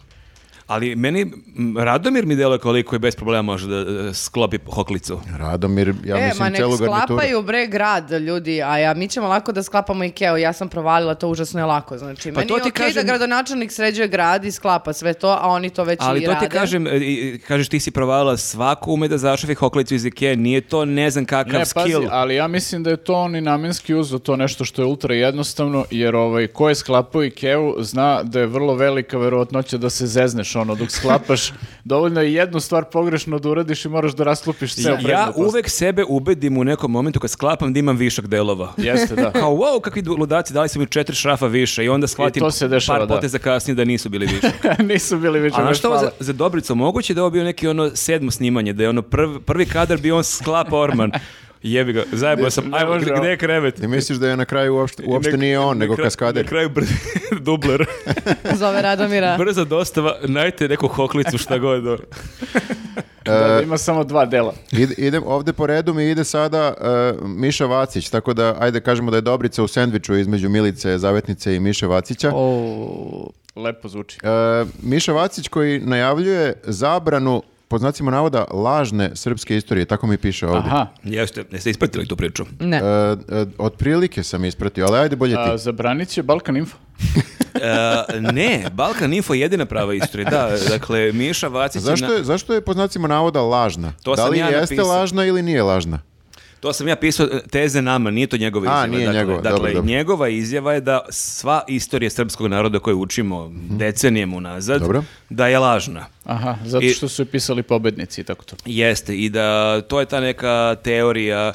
Speaker 3: Ali meni, m, Radomir mi deluje koliko je bez problema može da e, sklopi hoklicu.
Speaker 2: Radomir, ja
Speaker 1: e, ma
Speaker 2: mislim,
Speaker 1: nek
Speaker 2: celu garnituru.
Speaker 1: sklapaju bre grad ljudi, a ja, mi ćemo lako da sklapamo Ikea, ja sam provalila, to užasno je lako. Znači,
Speaker 3: Pa
Speaker 1: meni
Speaker 3: to
Speaker 1: je
Speaker 3: ti
Speaker 1: okej
Speaker 3: kažem-
Speaker 1: da gradonačelnik sređuje grad i sklapa sve to, a oni to već
Speaker 3: Ali
Speaker 1: i
Speaker 3: to
Speaker 1: Znači, rade.
Speaker 3: ti kažem, e, i- kažeš ti si provalila, svako ume da zašafi hoklicu iz Ikea, nije to ne znam kakav
Speaker 4: Ne, pazi,
Speaker 3: skill.
Speaker 4: ali ja mislim da je to on i namenski uzeo to nešto što je ultra jednostavno, jer ovaj, ko je sklapao Ikeu zna da je vrlo velika verovatnoća da se zezneš ono dok sklapaš. Dovoljno je jednu stvar pogrešno da uradiš i moraš da raslupiš ceo
Speaker 3: Ja,
Speaker 4: predmet. prosto.
Speaker 3: uvek sebe ubedim u nekom momentu kad sklapam da imam višak delova.
Speaker 4: Jeste, da.
Speaker 3: Kao, wow, kakvi du- ludaci, dali su mi četiri šrafa više i onda shvatim
Speaker 4: to se dešava,
Speaker 3: par
Speaker 4: da.
Speaker 3: poteza kasnije da nisu bili više.
Speaker 4: Nisu bili ono
Speaker 3: A
Speaker 4: više
Speaker 3: znaš
Speaker 4: baš
Speaker 3: što ovo za,
Speaker 4: male.
Speaker 3: za Dobricu moguće da je ovo bio neki ono sedmo snimanje, da je ono prv- prvi kadar bio on sklapa orman. Jebi ga, zajebao sam, ajmo,
Speaker 4: može,
Speaker 3: gde je krevet?
Speaker 2: Ti misliš da je na kraju uopšte, uopšte
Speaker 3: Nek-
Speaker 2: nije on,
Speaker 3: na
Speaker 2: nego
Speaker 3: kraju- Na
Speaker 2: kaskader.
Speaker 3: kraju brz, dubler.
Speaker 1: Zove Radomira.
Speaker 3: Brza dostava, najte neku hoklicu šta god. ono.
Speaker 4: Da, da ima samo dva dela.
Speaker 2: Ide, idem ovde po redu mi ide sada e, Miša Vacić, tako da ajde kažemo da je Dobrica u sendviču između Milice Zavetnice i Miše Vacića.
Speaker 1: O,
Speaker 4: Lepo zvuči.
Speaker 2: E, Miša Vacić koji najavljuje zabranu po znacima navoda lažne srpske istorije, tako mi piše ovdje.
Speaker 4: Aha.
Speaker 3: Jeste, jeste ispratili tu priču.
Speaker 1: ne.
Speaker 2: E, e, otprilike sam ispratio, ali ajde bolje
Speaker 4: A,
Speaker 3: znači
Speaker 2: ti.
Speaker 4: zabranit će Balkan Info.
Speaker 3: E, ne, Balkan Info je jedina prava istorija. Da, dakle, Miša Vacić... je
Speaker 2: Zašto
Speaker 3: na-
Speaker 2: je, zašto je po znacima navoda lažna?
Speaker 3: To
Speaker 2: da
Speaker 3: sam
Speaker 2: li
Speaker 3: ja
Speaker 2: jeste
Speaker 3: napisao.
Speaker 2: lažna ili nije lažna?
Speaker 3: To sam ja pisao e, teze nama, nije to njegova
Speaker 2: A,
Speaker 3: izjava.
Speaker 2: nije
Speaker 3: dakle,
Speaker 2: njegova,
Speaker 3: dakle,
Speaker 2: dobro, dobro.
Speaker 3: njegova izjava je da sva istorija srpskog naroda koju učimo decenijama unazad,
Speaker 2: Mhm. Dobro.
Speaker 3: da je lažna.
Speaker 4: Aha, zato
Speaker 3: I-
Speaker 4: što su je pisali pobednici i tako to.
Speaker 3: Jeste, i da to je ta neka teorija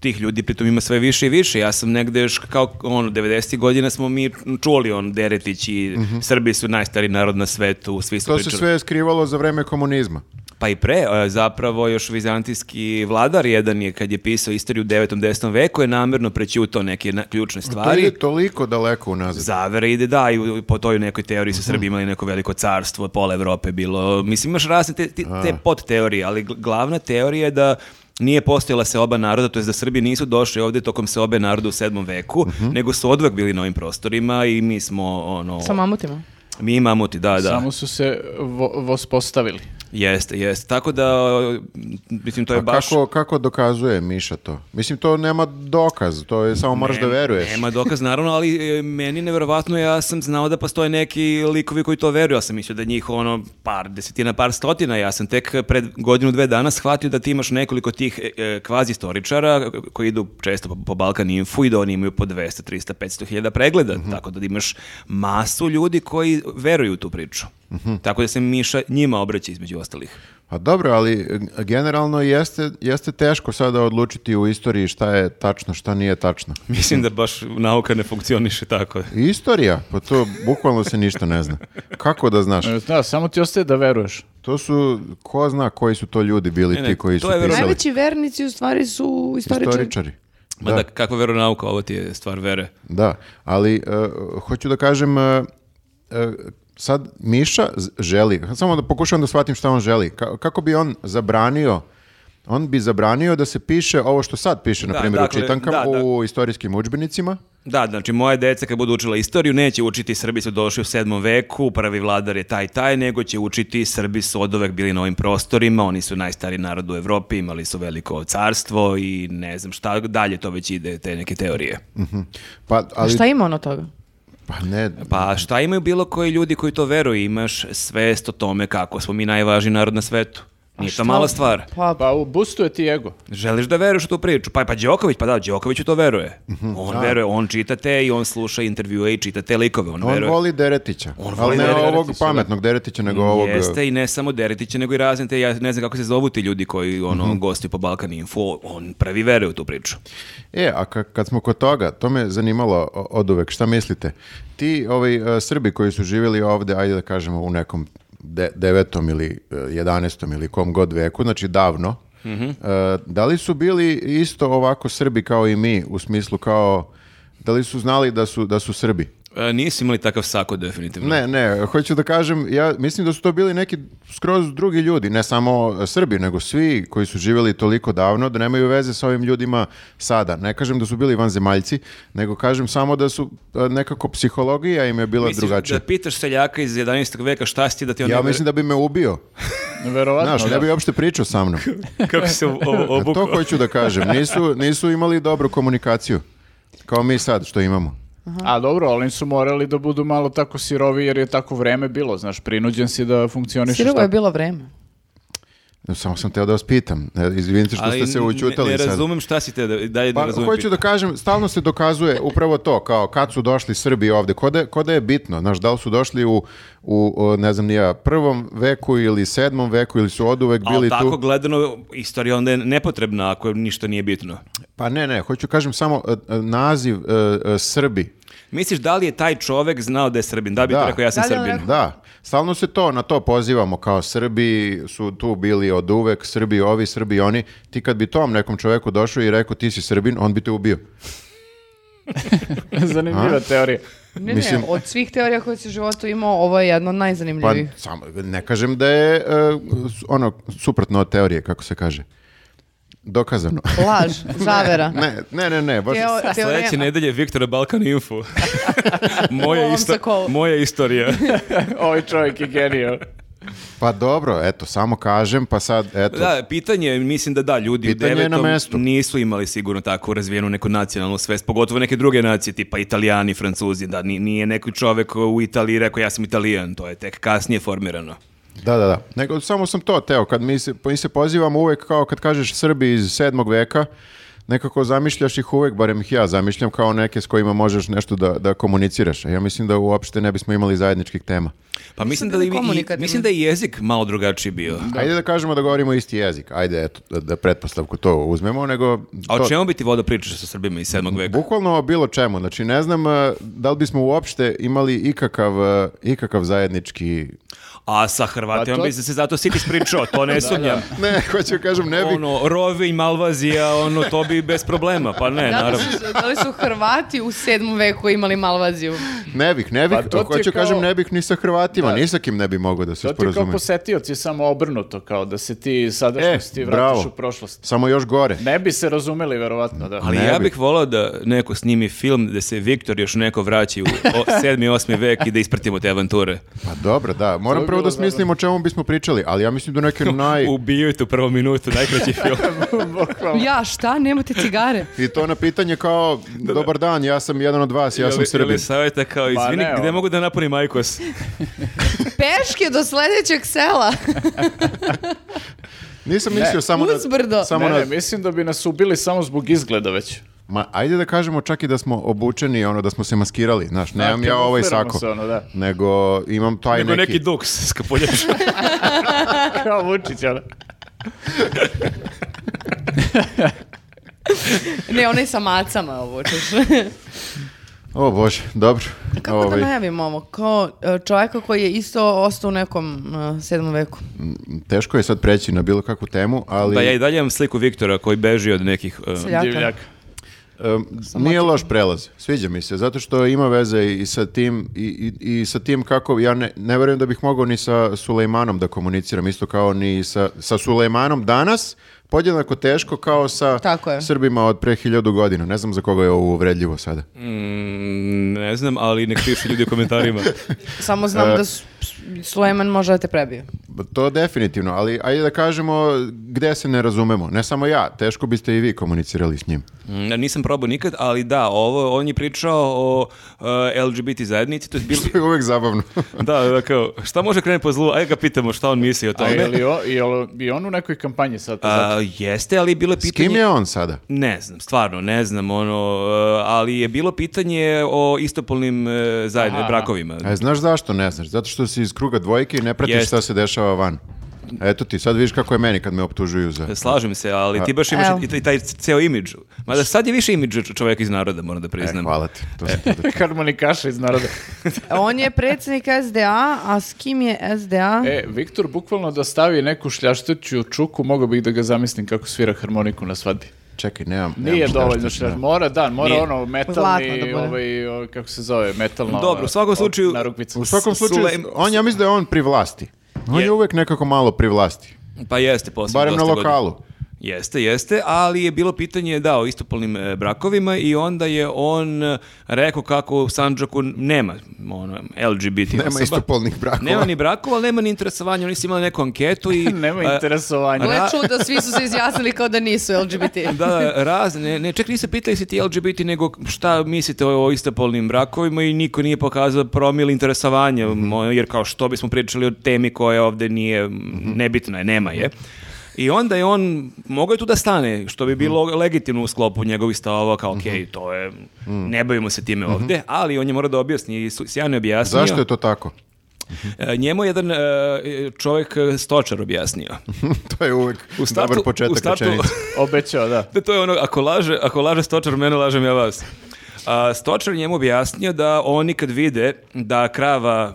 Speaker 3: tih ljudi, pritom ima sve više i više. Ja sam negde još kao ono, 90. godina smo mi čuli on Deretić i Srbi su najstari narod na svetu, svi su
Speaker 2: Mhm. To se
Speaker 3: pričali.
Speaker 2: sve skrivalo za vreme komunizma.
Speaker 3: Pa i pre, e, zapravo još vizantijski vladar jedan je kad je pisao istoriju u 9. 10. veku je namjerno prećutao neke na- ključne
Speaker 2: To
Speaker 3: stvari.
Speaker 2: je toliko daleko unazad.
Speaker 3: Zavere ide da, i u- po toj nekoj teoriji su
Speaker 2: Mhm.
Speaker 3: Srbi imali neko veliko carstvo, pola Evrope je bilo. Mislim, imaš razne te, te, te podteorije, ali gl- glavna teorija je da nije postojala se oba naroda, to je da Srbi nisu došli ovdje tokom se obe naroda u 7. veku,
Speaker 2: Mhm.
Speaker 3: nego su odvek bili na ovim prostorima i mi smo, ono,
Speaker 1: Sa mamutima.
Speaker 3: mi mamuti, da, da.
Speaker 4: Samo su se vo, vospostavili.
Speaker 3: Jeste, jeste. Tako da, mislim, to je
Speaker 2: A
Speaker 3: baš...
Speaker 2: kako, kako dokazuje Miša to? Mislim, to nema dokaz, to je samo moraš da veruješ.
Speaker 3: Nema dokaz, naravno, ali e, meni nevjerovatno, ja sam znao da postoje neki likovi koji to veruju, ja sam mislio da njih ono par desetina, par stotina, ja sam tek pred godinu, dve dana shvatio da ti imaš nekoliko tih e, e, kvazi istoričara koji idu često po, po Balkan Info i da oni imaju po 200, 300, 500 hiljada pregleda, tako da imaš masu ljudi koji veruju u tu priču. Tako da se Miša njima obraća između ostalih.
Speaker 2: Pa dobro, ali e, generalno jeste, jeste teško sada odlučiti u istoriji šta je tačno, šta nije tačno.
Speaker 3: Mislim da baš nauka ne funkcioniše tako.
Speaker 2: Istorija, pa to bukvalno se ništa ne zna. Kako da znaš?
Speaker 4: E, Da, samo ti ostaje da veruješ.
Speaker 2: To su, ko zna koji su to ljudi bili
Speaker 3: Ne, ne,
Speaker 2: ti koji
Speaker 3: to
Speaker 2: su
Speaker 3: je
Speaker 2: pisali.
Speaker 3: verovatno-
Speaker 1: Najveći vernici u stvari su istoričari.
Speaker 2: Istoričari.
Speaker 3: Ma da, kakva veronauka, ovo ti je stvar vere.
Speaker 2: Da, ali e, hoću da kažem, e, e, sad Miša z- želi, samo da pokušam da shvatim šta on želi. Ka- kako bi on zabranio, on bi zabranio da se piše ovo što sad piše, na
Speaker 3: Da,
Speaker 2: primjer,
Speaker 3: dakle,
Speaker 2: u čitankama,
Speaker 3: da, da.
Speaker 2: u istorijskim udžbenicima.
Speaker 3: Da, znači moje dece kad budu učila istoriju neće učiti Srbi su došli u 7. veku, prvi vladar je taj taj, nego će učiti Srbi su od uvek bili na ovim prostorima, oni su najstariji narod u Evropi, imali su veliko carstvo i ne znam šta dalje to već ide te neke teorije.
Speaker 2: Mhm. Pa, ali,
Speaker 1: Šta ima ono toga?
Speaker 2: Pa ne,
Speaker 3: Pa šta imaju bilo koji ljudi koji to veruju, imaš svest o tome kako smo mi najvažniji narod na svetu. Nije to mala stvar.
Speaker 1: Pa,
Speaker 4: Pa u- boostuje ti ego.
Speaker 3: Želiš da veruješ u tu priču? Pa, pa Đoković, pa da, Đoković u to veruje. On veruje, on čita te i on sluša intervjue i čita te likove, on,
Speaker 2: on
Speaker 3: veruje.
Speaker 2: voli Deretića,
Speaker 3: On
Speaker 2: ali
Speaker 3: voli
Speaker 2: ne
Speaker 3: Deretića,
Speaker 2: ovog
Speaker 4: da.
Speaker 2: pametnog Deretića, nego ovog... e,
Speaker 3: Jeste i ne samo Deretića, nego i razne te, ja ne znam kako se zovu ti ljudi koji ono,
Speaker 2: Mhm.
Speaker 3: gostuju po Balkan Info, on prvi veruje u tu priču.
Speaker 2: E, a ka- kad smo kod toga, to me zanimalo o- oduvek, šta mislite? Ti, ovaj, e, Srbi koji su živjeli ovde, ajde da kažemo u nekom de, devetom ili e, jedanestom ili kom god veku, znači davno, e, da li su bili isto ovako Srbi kao i mi, u smislu kao, da li su znali da su, da su Srbi?
Speaker 3: E, nisu imali takav sako definitivno.
Speaker 2: Ne, ne, hoću da kažem, ja mislim da su to bili neki skroz drugi ljudi, ne samo Srbi, nego svi koji su živjeli toliko davno da nemaju veze sa ovim ljudima sada. Ne kažem da su bili vanzemaljci, nego kažem samo da su e, nekako psihologija im je bila
Speaker 3: Misliš
Speaker 2: drugačija.
Speaker 3: da pitaš seljaka iz 11. veka šta si ti da ti on
Speaker 2: Ja
Speaker 3: ne
Speaker 2: mislim da bi me ubio.
Speaker 3: Pa
Speaker 4: Verovatno,
Speaker 2: Znaš, ne
Speaker 4: da.
Speaker 2: bi uopšte pričao sa mnom.
Speaker 3: veruje? kako se o- o-
Speaker 2: A
Speaker 3: obukao.
Speaker 2: To hoću da kažem. Nisu, nisu imali dobru komunikaciju. Kao mi sad što imamo.
Speaker 4: A dobro, ali oni su morali da budu malo tako sirovi jer je tako vreme bilo, znaš, prinuđen si da funkcionišeš
Speaker 1: Sirovo je
Speaker 4: tako.
Speaker 1: bilo vreme.
Speaker 2: Samo sam teo da vas pitam. E, Izvinite što
Speaker 3: Ali
Speaker 2: ste se
Speaker 3: ne-
Speaker 2: učutali
Speaker 3: ne,
Speaker 2: sad.
Speaker 3: razumem šta si te, da- dalje
Speaker 2: Pa
Speaker 3: ne razumem.
Speaker 2: hoću da
Speaker 3: pitanje.
Speaker 2: kažem, stalno se dokazuje upravo to, kao kad su došli Srbi ovde, ko da, ko da je bitno, znaš, da li su došli u, u o, ne znam ni ja, prvom veku ili sedmom veku ili su oduvek
Speaker 3: Ali
Speaker 2: bili
Speaker 3: tako
Speaker 2: tu.
Speaker 3: gledano, istorija onda je nepotrebna ako ništa nije bitno.
Speaker 2: Pa ne, ne, hoću kažem samo e, e, naziv e, e, Srbi.
Speaker 3: Misliš da li je taj čovek znao da je Srbin? Da bi
Speaker 2: Da.
Speaker 3: ti rekao ja sam
Speaker 1: Da li je on
Speaker 3: Srbin.
Speaker 1: rekao-
Speaker 2: Da, stalno se to, na to pozivamo, kao Srbi su tu bili od uvek, Srbi ovi, Srbi oni. Ti kad bi tom nekom čoveku došao i rekao ti si Srbin, on bi te ubio.
Speaker 4: Zanimljiva teorija.
Speaker 1: Ne,
Speaker 2: Mislim-
Speaker 1: ne, od svih teorija koje si u životu imao, ovo je jedno od
Speaker 2: Pa
Speaker 1: najzanimljivijih.
Speaker 2: samo, ne kažem da je e, su- ono suprotno od teorije, kako se kaže. Dokazano.
Speaker 1: Laž, zavera.
Speaker 2: Ne, ne, ne, ne, baš
Speaker 1: Teo- teorema-
Speaker 3: Sljedeće nedelje Viktora Balkan Info.
Speaker 1: U
Speaker 3: moja,
Speaker 1: ovom
Speaker 3: isto-
Speaker 1: sokolu.
Speaker 3: moja istorija.
Speaker 4: Ovaj čovjek je genijal.
Speaker 2: pa dobro, eto, samo kažem, pa sad eto.
Speaker 3: da, pitanje, je, mislim da da, ljudi
Speaker 2: Pitanje
Speaker 3: u
Speaker 2: je na
Speaker 3: devetom
Speaker 2: mestu.
Speaker 3: nisu imali sigurno tako razvijenu neku nacionalnu svest, pogotovo neke druge nacije, tipa italijani, francuzi, da ni- nije neki čovek u Italiji rekao ja sam italijan, to je tek kasnije formirano.
Speaker 2: Da, da, da. Nego samo sam to teo, kad mi se mi se pozivamo uvek kao kad kažeš Srbi iz 7. veka, nekako zamišljaš ih uvek, barem ih ja zamišljam kao neke s kojima možeš nešto da da komuniciraš. A ja mislim da uopšte ne bismo imali zajedničkih tema.
Speaker 3: Pa
Speaker 1: Mislim
Speaker 3: mislim da,
Speaker 1: da
Speaker 3: i-
Speaker 1: je
Speaker 3: i,
Speaker 1: komunikativno.
Speaker 3: mislim da je jezik malo drugačiji bio.
Speaker 2: Ajde da kažemo da govorimo isti jezik. Ajde, eto, da, da pretpostavku to uzmemo, nego
Speaker 3: A
Speaker 2: to-
Speaker 3: o čemu bi ti voda pričaš sa Srbima iz 7. veka?
Speaker 2: Bukvalno o bilo čemu. Znači, ne znam e, da li bismo uopšte imali ikakav, e, ikakav zajednički...
Speaker 3: A sa Hrvatima
Speaker 4: Pa to-
Speaker 3: bi se zato siti pričao, to ne sumnjam.
Speaker 2: Ne, hoću kažem, ne bi...
Speaker 3: Ono, rovi i malvazija, ono, to bi i bez problema, pa ne,
Speaker 1: Da li,
Speaker 3: naravno.
Speaker 1: su, da li su Hrvati u sedmom veku imali malvaziju?
Speaker 2: Ne bih, ne bih,
Speaker 4: Pa to ti je
Speaker 2: hoću
Speaker 4: kao-
Speaker 2: kažem ne bih ni sa Hrvatima,
Speaker 4: Da.
Speaker 2: ni sa kim ne bi mogao da se
Speaker 4: To ti je kao
Speaker 2: sporazumem.
Speaker 4: posetioci samo obrnuto, kao da se ti iz
Speaker 2: E,
Speaker 4: sadašnjosti vratiš
Speaker 2: bravo.
Speaker 4: u prošlost.
Speaker 2: Samo još gore.
Speaker 4: Ne bi se razumeli, verovatno, da.
Speaker 3: Ali
Speaker 2: Ne
Speaker 3: ja
Speaker 2: bi.
Speaker 3: bih volao da neko snimi film gde se Viktor još neko vraća u 7. 8. vek i da ispratimo te avanture.
Speaker 2: Pa dobro, da. Moram
Speaker 4: bi
Speaker 2: prvo da
Speaker 4: bilo
Speaker 2: smislim o čemu bismo pričali, ali ja mislim da neke naj...
Speaker 3: Ubiju tu prvu minutu, najkraći film.
Speaker 4: Bukvalno.
Speaker 1: Ja, šta? Nemate cigare?
Speaker 2: I to na pitanje kao, dobar dan, ja sam jedan od vas, ja sam Srbin.
Speaker 3: Ili savjeta kao, izvini,
Speaker 4: ne,
Speaker 3: gde
Speaker 4: ono.
Speaker 3: mogu da napunim Ajkos?
Speaker 1: Peške do sljedećeg sela.
Speaker 2: Nisam mislio samo
Speaker 1: Uzbrdo.
Speaker 2: na... Samo
Speaker 4: ne,
Speaker 2: na...
Speaker 4: ne, mislim da bi nas ubili samo zbog izgleda već.
Speaker 2: Ma, ajde da kažemo čak i da smo obučeni, ono, da smo se maskirali, znaš, nemam ja ovaj
Speaker 4: Kamufliramo
Speaker 2: sako.
Speaker 4: se, ono, da.
Speaker 2: Nego imam taj
Speaker 3: Nego neki
Speaker 2: neki...
Speaker 3: duks skapuljaš.
Speaker 4: Kao Vučić, ono.
Speaker 1: Ne, onaj sa macama ovučeš.
Speaker 2: O bože, dobro.
Speaker 1: Kako
Speaker 2: Ovaj,
Speaker 1: da najavim ovo? Kao e, čovjeka koji je isto ostao u nekom e, sedmom veku.
Speaker 2: Teško je sad preći na bilo kakvu temu, ali
Speaker 3: Da, Pa ja i dalje imam sliku Viktora koji beži od nekih... uh,
Speaker 1: Seljaka.
Speaker 4: Divljak.
Speaker 2: em, nije loš prelaz. Sviđa mi se, zato što ima veze i sa tim, i, i, i sa tim kako, ja ne, ne verujem da bih mogao ni sa Sulejmanom da komuniciram, isto kao ni sa, sa Sulejmanom danas, podjednako teško kao sa
Speaker 1: Tako je.
Speaker 2: Srbima od pre hiljadu godina. Ne znam za koga je ovo uvredljivo sada.
Speaker 3: mm, ne znam, ali nek pišu ljudi u komentarima.
Speaker 1: Samo
Speaker 2: E-
Speaker 1: znam da su, Sulejman može da te prebije.
Speaker 2: To definitivno, ali ajde da kažemo gde se ne razumemo. Ne samo ja, teško biste i vi komunicirali s njim.
Speaker 3: Mm, Nisam probao nikad, ali da, ovo, on je pričao o uh, LGBT zajednici, to je bilo...
Speaker 2: To je uvek zabavno.
Speaker 3: Da, da, kao, šta može krenuti po zlu? Ajde ga pitamo šta on misli o
Speaker 4: A je
Speaker 3: tome.
Speaker 4: li o- je li- je on u nekoj kampanji sad? zato?
Speaker 3: A, Pa jeste, ali je bilo
Speaker 2: S
Speaker 3: pitanje...
Speaker 2: kim je on sada?
Speaker 3: Ne znam, stvarno, ne znam, ono, e, ali je bilo pitanje o istopolnim e, zajedno, brakovima.
Speaker 2: A znaš zašto ne znaš? Zato što si iz kruga dvojke i ne pratiš
Speaker 3: Jeste.
Speaker 2: šta se dešava van. Eto ti, sad vidiš kako je meni kad me optužuju za...
Speaker 3: Slažem se, ali
Speaker 2: E,
Speaker 3: ti baš imaš
Speaker 1: Evo.
Speaker 3: i taj- taj ceo imidž. Mada sad je više imidž čovjek iz naroda, moram da
Speaker 2: E,
Speaker 3: priznam.
Speaker 2: hvala ti. To sam ti da-
Speaker 4: Harmonikaša iz naroda.
Speaker 1: On je predsjednik SDA, a s kim je SDA?
Speaker 4: E, Viktor, bukvalno da stavi neku šljašteću čuku, mogao bih da ga zamislim kako svira harmoniku na svadbi.
Speaker 2: Čekaj, nemam... nemam
Speaker 4: Nije
Speaker 2: šta
Speaker 4: dovoljno
Speaker 2: šta-
Speaker 4: šljaš. Mora, da, mora
Speaker 3: Nije.
Speaker 4: ono
Speaker 1: Zlatno da
Speaker 4: metalni,
Speaker 1: bude.
Speaker 4: ovaj, ovaj, kako se zove, metalno... ono,
Speaker 3: Dobro, u svakom slučaju-
Speaker 4: Na rukvicu.
Speaker 2: U svakom slučaju,
Speaker 3: Sulejm-
Speaker 2: on, ja mislim da je on pri vlasti. On
Speaker 3: Je.
Speaker 2: je uvek nekako malo pri vlasti.
Speaker 3: Pa jeste, poslije
Speaker 2: Barem na
Speaker 3: dosta godina.
Speaker 2: lokalu.
Speaker 3: Jeste, jeste, ali je bilo pitanje da o istopolnim e, brakovima i onda je on e, rekao kako u Sandžaku nema ono, LGBT
Speaker 2: Nema
Speaker 3: osoba.
Speaker 2: istopolnih brakova.
Speaker 3: Nema ni brakova, ali nema ni interesovanja, oni su imali neku anketu i...
Speaker 4: Nema
Speaker 3: e,
Speaker 4: interesovanja.
Speaker 3: ra-
Speaker 1: Gle čuda, svi su se izjasnili kao da nisu LGBT.
Speaker 3: Da, da, razne, ne, čak nisu pitali se ti LGBT, nego šta mislite o, o istopolnim brakovima i niko nije pokazao promil interesovanja, mo- jer kao što bismo pričali o temi koja ovdje nije, nebitna je, nema je. I onda je on, mogao je tu da stane, što bi bilo legitimno u sklopu njegovih stavova, kao okej, to je, ne bavimo se time ovdje, ali on je morao da objasni, i su- sjajno je objasnio.
Speaker 2: Zašto je to tako?
Speaker 3: E, Njemu je jedan e, čovjek e, stočar objasnio.
Speaker 2: to je uvek
Speaker 3: U startu,
Speaker 2: dobar
Speaker 3: u
Speaker 2: početak
Speaker 3: startu,
Speaker 2: rečenice.
Speaker 4: Obećao, da.
Speaker 3: Da, to je ono, ako laže, ako laže stočar, mene lažem ja vas. A, stočar njemu objasnio da oni kad vide da krava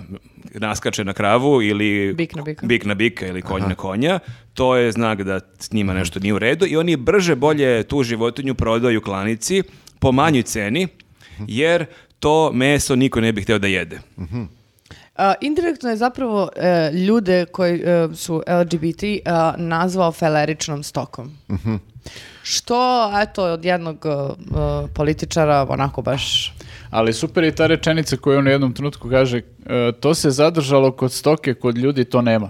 Speaker 3: naskače na kravu ili
Speaker 1: Bik na bika.
Speaker 3: bik na bika ili konj na konja, to je znak da s
Speaker 2: Mhm.
Speaker 3: njima nešto nije u redu i oni brže bolje tu životinju prodaju klanici po manjoj ceni,
Speaker 2: Mhm.
Speaker 3: jer to meso niko ne bi htio da jede.
Speaker 1: A, indirektno je zapravo e, ljude koji e, su LGBT a, e, nazvao feleričnom stokom. Što, eto, od jednog e, e, političara onako baš...
Speaker 4: Ali super je ta rečenica koju on u jednom trenutku kaže, e, to se zadržalo kod stoke, kod ljudi to nema.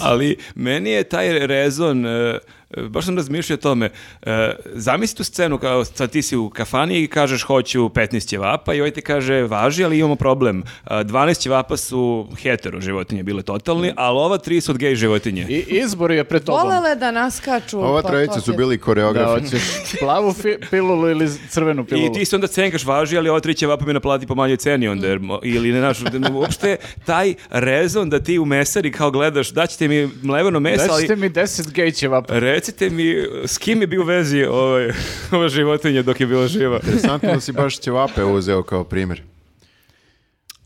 Speaker 3: Ali meni je taj rezon, e, e, baš sam razmišljao o tome, e, zamisli tu scenu kao sad ti si u kafani i kažeš hoću 15 ćevapa i ovaj ti kaže važi, ali imamo problem. E, 12 ćevapa su hetero životinje bile totalni, ali ova tri su od gej životinje.
Speaker 4: I izbor je pred tobom.
Speaker 1: Volele da naskaču...
Speaker 2: Ova
Speaker 1: pa
Speaker 2: trojica
Speaker 1: to
Speaker 2: su
Speaker 1: ti-
Speaker 2: bili
Speaker 4: Da,
Speaker 2: koreografi.
Speaker 4: hoćeš plavu fi- pilulu ili z- crvenu pilulu.
Speaker 3: I ti se onda cenkaš važi, ali ova tri ćevapa mi naplati po manjoj ceni onda, jer, mo- ili ne znaš, uopšte taj rezon da ti u mesari kao gledaš daćete mi mleveno meso,
Speaker 4: Da
Speaker 3: ali...
Speaker 4: ćete mi 10 gejćeva.
Speaker 3: Recite mi, s kim je bio u vezi ovaj, ova životinja dok je bila živa?
Speaker 2: Interesantno da si baš ćevape uzeo kao primjer.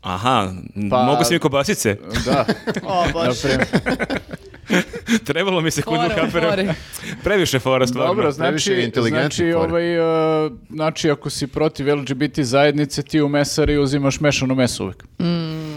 Speaker 3: Aha,
Speaker 4: Pa-
Speaker 3: mogu si mi kobasice?
Speaker 4: Da,
Speaker 1: O, Bože.
Speaker 4: na primjer.
Speaker 3: Trebalo mi se kod
Speaker 1: Fore,
Speaker 3: Vuhafera.
Speaker 1: fore.
Speaker 3: Previše fora stvarno.
Speaker 4: Dobro,
Speaker 2: Previše je
Speaker 4: znači,
Speaker 2: inteligentnih
Speaker 4: znači,
Speaker 2: fora.
Speaker 4: ovaj, e, znači ako si protiv LGBT zajednice, ti u mesari uzimaš mešano meso uvek.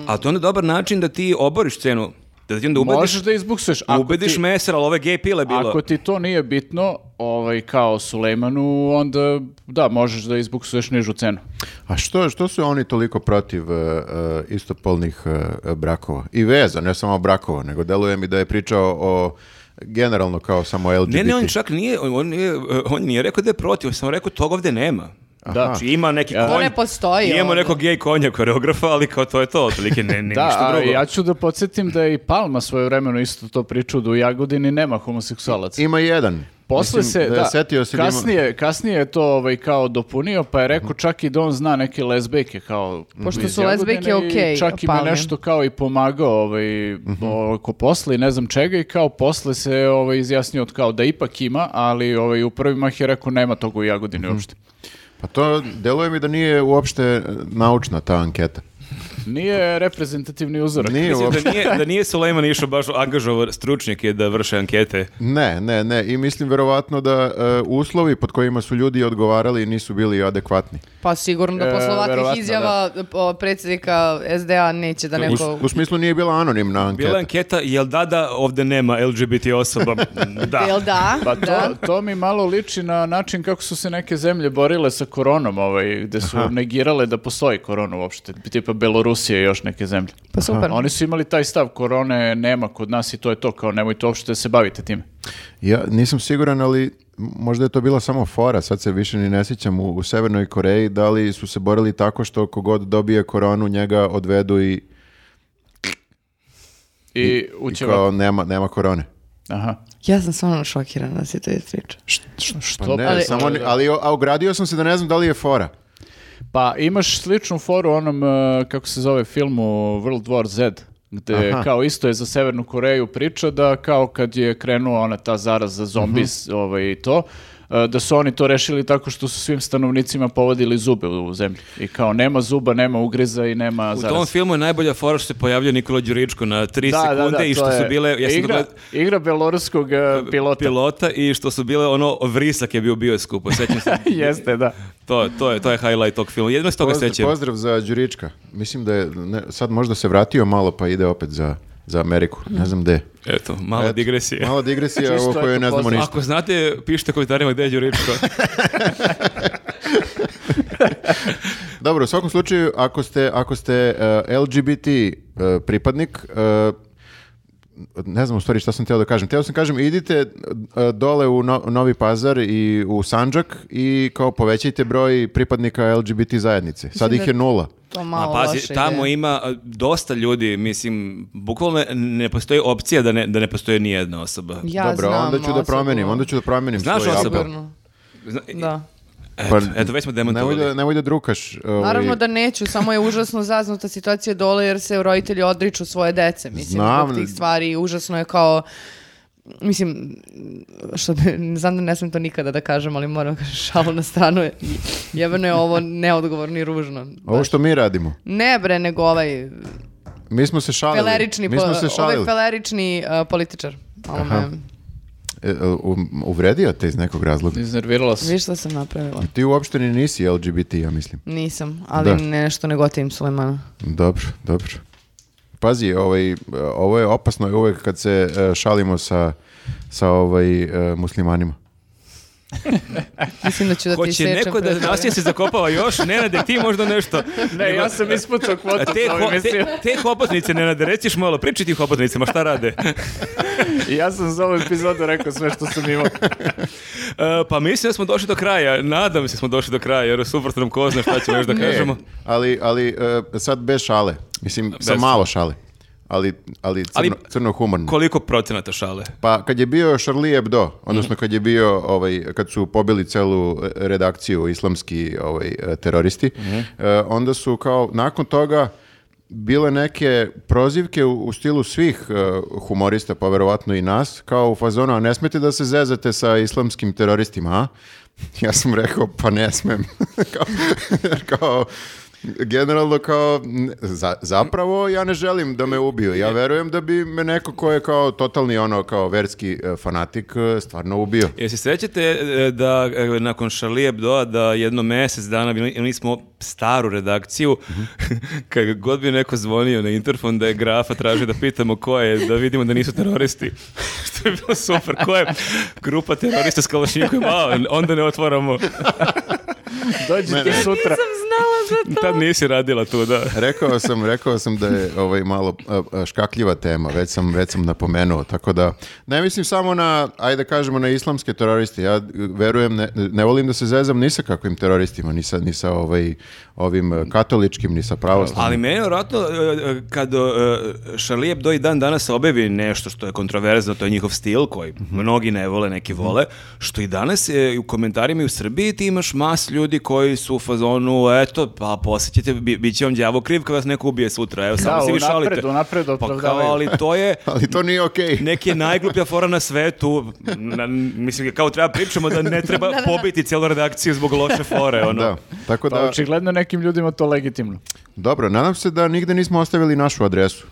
Speaker 3: A to je onda dobar način da ti oboriš cenu. Da ti onda ubediš,
Speaker 4: Možeš da izbuksuješ. Ako
Speaker 3: ubediš
Speaker 4: ti,
Speaker 3: mesar, ali ove gej pile bilo.
Speaker 4: Ako ti to nije bitno, ovaj, kao Sulejmanu, onda da, možeš da izbuksuješ nižu cenu.
Speaker 2: A što, što su oni toliko protiv e, e, istopolnih e, brakova? I veza, ne samo brakova, nego deluje mi da je pričao o generalno kao samo LGBT.
Speaker 3: Ne, ne, on čak nije, on, on nije, on nije rekao da je protiv, on je samo rekao toga ovde nema. Znači ima neki konj.
Speaker 1: ne postoji ono.
Speaker 3: Imamo
Speaker 1: ovde.
Speaker 3: nekog gej konja koreografa, ali kao to je to, otprilike ne, ne
Speaker 4: Da,
Speaker 3: ništa
Speaker 4: a
Speaker 3: drugo.
Speaker 4: ja ću da podsjetim da je i Palma svoje vremeno isto to pričao da u Jagodini nema homoseksualaca.
Speaker 2: Ima jedan.
Speaker 4: Posle
Speaker 2: Mislim
Speaker 4: se,
Speaker 2: je
Speaker 4: da,
Speaker 2: setio se da ima-
Speaker 4: kasnije, kasnije je to ovaj, kao dopunio, pa je
Speaker 2: Mhm.
Speaker 4: rekao čak i da on zna neke lesbijke kao
Speaker 1: Pošto
Speaker 4: iz
Speaker 1: su lesbijke
Speaker 4: Jagodine i
Speaker 1: okej,
Speaker 4: Čak im je
Speaker 1: Palmi.
Speaker 4: nešto kao i pomagao ovaj,
Speaker 2: Mhm.
Speaker 4: oko posla i ne znam čega i kao posle se ovaj, izjasnio od kao da ipak ima, ali ovaj, u prvi mah je rekao nema toga u Jagodini uopšte.
Speaker 2: Pa to deluje mi da nije uopšte e, naučna ta anketa.
Speaker 4: Nije reprezentativni uzorak.
Speaker 2: Nije uopšte.
Speaker 3: Mislim da nije, da nije Sulejman išao baš angažovao stručnjake da vrše ankete.
Speaker 2: Ne, ne, ne. I mislim verovatno da e, uslovi pod kojima su ljudi odgovarali nisu bili adekvatni.
Speaker 1: Pa sigurno da
Speaker 4: E,
Speaker 1: posle ovakvih
Speaker 4: verovatno,
Speaker 1: izjava o, predsjednika SDA neće da
Speaker 2: U,
Speaker 1: neko...
Speaker 2: s- u smislu nije bila anonimna anketa.
Speaker 3: Bila je anketa, jel da da ovde nema LGBT osoba? Da.
Speaker 1: Jel da?
Speaker 4: Pa
Speaker 1: Da.
Speaker 4: to, to mi malo liči na način kako su se neke zemlje borile sa koronom, ovaj, gde su negirale da postoji korona uopšte, tipa Belorusija i još neke zemlje.
Speaker 1: Pa super.
Speaker 4: Oni su imali taj stav korone nema kod nas i to je to, kao nemojte uopšte da se bavite time.
Speaker 2: Ja nisam siguran, ali možda je to bila samo fora, sad se više ni ne sjećam u, u Severnoj Koreji, da li su se borili tako što kogod dobije koronu njega odvedu i,
Speaker 4: I
Speaker 2: i
Speaker 4: uće
Speaker 2: kao nema, nema korone.
Speaker 4: Aha.
Speaker 1: Ja sam stvarno šokirana da si to ispriča.
Speaker 2: Pa ne,
Speaker 4: ali,
Speaker 2: ali, samo, ni- ali o- a ogradio sam se da ne znam da li je fora.
Speaker 4: Pa imaš sličnu foru u onom, e, kako se zove, filmu World War Z, gde
Speaker 2: Aha.
Speaker 4: kao isto je za Severnu Koreju priča da kao kad je krenula ona ta zaraza zombis ovaj, i to, e, da su oni to rešili tako što su svim stanovnicima povadili zube u zemlji. I kao nema zuba, nema ugriza i nema
Speaker 3: U
Speaker 4: zaraze.
Speaker 3: tom filmu je najbolja fora što se pojavljuje Nikola Đuričko na 3
Speaker 4: Da, da,
Speaker 3: sekunde
Speaker 4: da,
Speaker 3: i
Speaker 4: to
Speaker 3: što su
Speaker 4: je
Speaker 3: bile... Ja sam
Speaker 4: igra,
Speaker 3: dogledao-
Speaker 4: igra beloruskog e, pilota.
Speaker 3: pilota i što su bile ono vrisak je bio bio skupo, sećam se.
Speaker 4: Jeste, da.
Speaker 3: to, to je to je highlight tog filma. Jedno se toga
Speaker 2: Pozdrav,
Speaker 3: sećam.
Speaker 2: pozdrav za Đurička. Mislim da je, ne, sad možda se vratio malo pa ide opet za, za Ameriku. Ne znam gde.
Speaker 3: Eto, malo
Speaker 2: Eto,
Speaker 3: digresije.
Speaker 2: Malo digresija
Speaker 4: Čisto
Speaker 2: o kojoj
Speaker 4: eto,
Speaker 2: ne znamo
Speaker 4: pozdrav.
Speaker 2: ništa.
Speaker 3: Ako znate, pišite u komentarima gde je Đuričko.
Speaker 2: Dobro, u svakom slučaju, ako ste, ako ste e, LGBT e, pripadnik, e, ne znam u stvari šta sam teo da kažem. Teo sam kažem, idite e, dole u No- Novi Pazar i u Sanđak i kao povećajte broj pripadnika LGBT zajednice. Sad ih je nula.
Speaker 1: To
Speaker 3: A
Speaker 1: malo
Speaker 3: pazi,
Speaker 1: loše
Speaker 3: tamo
Speaker 1: ide.
Speaker 3: ima a, dosta ljudi, mislim, bukvalno ne postoji opcija da ne, da ne postoji ni jedna osoba.
Speaker 1: Ja
Speaker 2: Dobro,
Speaker 1: znam
Speaker 2: onda ću da
Speaker 1: osobu.
Speaker 2: promenim, onda ću da promenim
Speaker 3: Znaš
Speaker 2: svoj
Speaker 3: osobu?
Speaker 2: apel.
Speaker 1: Sigurno,
Speaker 3: Zna-
Speaker 1: Da.
Speaker 2: Pa,
Speaker 3: eto, već smo
Speaker 2: Nemoj
Speaker 3: demontovali.
Speaker 2: da, nemoj da drukaš. ovaj,
Speaker 1: Naravno da neću, samo je užasno zaznuta situacija dole jer se roditelji odriču svoje dece, mislim,
Speaker 2: Znam.
Speaker 1: zbog tih stvari. Užasno je kao, mislim, što bi- znam da ne smem to nikada da kažem, ali moram kažem šalu na stranu. je- Jebeno je ovo neodgovorno i ružno.
Speaker 2: Ovo što mi radimo.
Speaker 1: Ne bre, nego ovaj
Speaker 2: Mi smo se šalili.
Speaker 1: pelerični,
Speaker 2: Mi smo
Speaker 1: po-
Speaker 2: se
Speaker 1: ovaj
Speaker 2: šalili.
Speaker 1: pelerični uh, političar. Malo me,
Speaker 2: E, e, u- Uvredio te iz nekog razloga.
Speaker 4: Iznervirala se.
Speaker 1: viš šta sam napravila?
Speaker 2: Ti uopšte ni nisi LGBT, ja mislim.
Speaker 1: Nisam, ali
Speaker 2: Da.
Speaker 1: nešto ne gotivim Sulejmana.
Speaker 2: Dobro, dobro. Pazi, ovaj, e, ovo je opasno je uvek kad se e, šalimo sa, sa ovaj, e, muslimanima.
Speaker 1: Mislim da ću da ti
Speaker 3: Hoće
Speaker 1: sečem.
Speaker 3: neko da
Speaker 1: pre toga.
Speaker 3: nasilje se zakopava još? Nenade, ti možda nešto.
Speaker 4: Ne, ja sam ispucao
Speaker 3: A
Speaker 4: kvotu
Speaker 3: te,
Speaker 4: za ovaj
Speaker 3: ho,
Speaker 4: mesir.
Speaker 3: te, te hobotnice, Nenade, reciš malo, priči ti hobotnicama, šta rade?
Speaker 4: I Ja sam za ovu epizodu rekao sve što sam imao.
Speaker 3: E, pa mislim da smo došli do kraja. Nadam se da smo došli do kraja, jer suprotno nam ko zna šta ćemo još da kažemo.
Speaker 2: E, ali ali e, sad bez šale. Mislim, sa
Speaker 3: Bez.
Speaker 2: malo šale. Ali, ali, crno,
Speaker 3: Ali-
Speaker 2: crno humorno.
Speaker 3: Koliko procenata šale?
Speaker 2: Pa kad je bio Charlie Hebdo, odnosno kad je bio ovaj kad su pobili celu e, redakciju islamski ovaj e, teroristi, e, onda su kao nakon toga bile neke prozivke u, u stilu svih e, humorista, pa verovatno i nas, kao u fazonu, a ne smete da se zezate sa islamskim teroristima, a? Ja sam rekao, pa ne smem. kao, kao, generalno kao, n- za- zapravo ja ne želim da me ubiju. Ja verujem da bi me neko ko je kao totalni ono kao verski e, fanatik e, stvarno ubio.
Speaker 3: Jel se sećate e, da e, nakon Charlie Hebdoa da jedno mjesec dana bili- imali smo staru redakciju kad god bi neko zvonio na interfon da je grafa tražio da pitamo ko je da vidimo da nisu teroristi što je bilo super ko je grupa terorista s kalašnikom a onda ne otvaramo
Speaker 4: Dođite
Speaker 2: ne.
Speaker 4: sutra.
Speaker 1: Nisam znala za to.
Speaker 3: tad nisi radila tu da
Speaker 2: Rekao sam, rekao sam da je ovaj malo a, a, škakljiva tema, već sam, već sam napomenuo, tako da ne mislim samo na, ajde da kažemo, na islamske teroriste, ja e, verujem, ne, ne volim da se zezam ni sa kakvim teroristima, ni sa, ni sa ovaj, ovim e, katoličkim, ni sa pravoslavnim.
Speaker 3: Ali meni je vjerojatno e, e, kad e, Charlie Hebdo i dan danas objavi nešto što je kontroverzno, to je njihov stil koji
Speaker 4: Mhm.
Speaker 3: mnogi ne vole, neki vole, što i danas je u komentarima i u Srbiji ti imaš mas ljudi koji su u fazonu, eto, pa posjećate, bi, bit će vam đavo kriv kad vas neko ubije sutra, evo, samo
Speaker 4: Da,
Speaker 3: se vi
Speaker 4: unapred,
Speaker 3: šalite.
Speaker 4: unapred
Speaker 3: Pa kao,
Speaker 4: opravdavaju.
Speaker 3: ali to je
Speaker 2: Ali to nije okej.
Speaker 3: neki najgluplja fora na svetu. Na- mislim, kao treba pričamo da ne treba pobiti cijelu redakciju zbog loše fore, ono.
Speaker 2: Da, tako
Speaker 4: Pa
Speaker 2: da,
Speaker 4: očigledno nekim ljudima to legitimno.
Speaker 2: dobro, nadam se da nigde nismo ostavili našu adresu.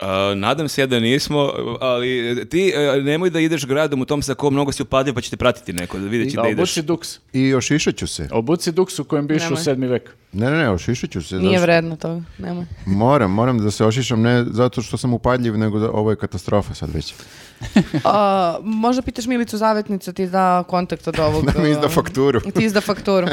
Speaker 3: A, nadam se ja da nismo, ali e, ti e, nemoj da ideš gradom u tom sa kom mnogo si upadljiv pa će te pratiti neko, da vidjet će
Speaker 4: Da,
Speaker 3: da ideš.
Speaker 4: obuci duks.
Speaker 2: I ošišat ću se.
Speaker 4: Obuci duks u kojem bi išao u
Speaker 1: Nemoj.
Speaker 4: sedmi vek.
Speaker 2: Ne, ne, ne, ošišat ću se.
Speaker 1: Nije
Speaker 2: zato-
Speaker 1: vredno toga, nemoj.
Speaker 2: Moram, moram da se ošišam, ne zato što sam upadljiv, nego da, ovo je katastrofa sad već.
Speaker 1: A, možda pitaš Milicu Zavetnicu, ti da kontakt od ovog...
Speaker 2: Da mi izda
Speaker 1: um,
Speaker 2: fakturu.
Speaker 1: Ti izda fakturu.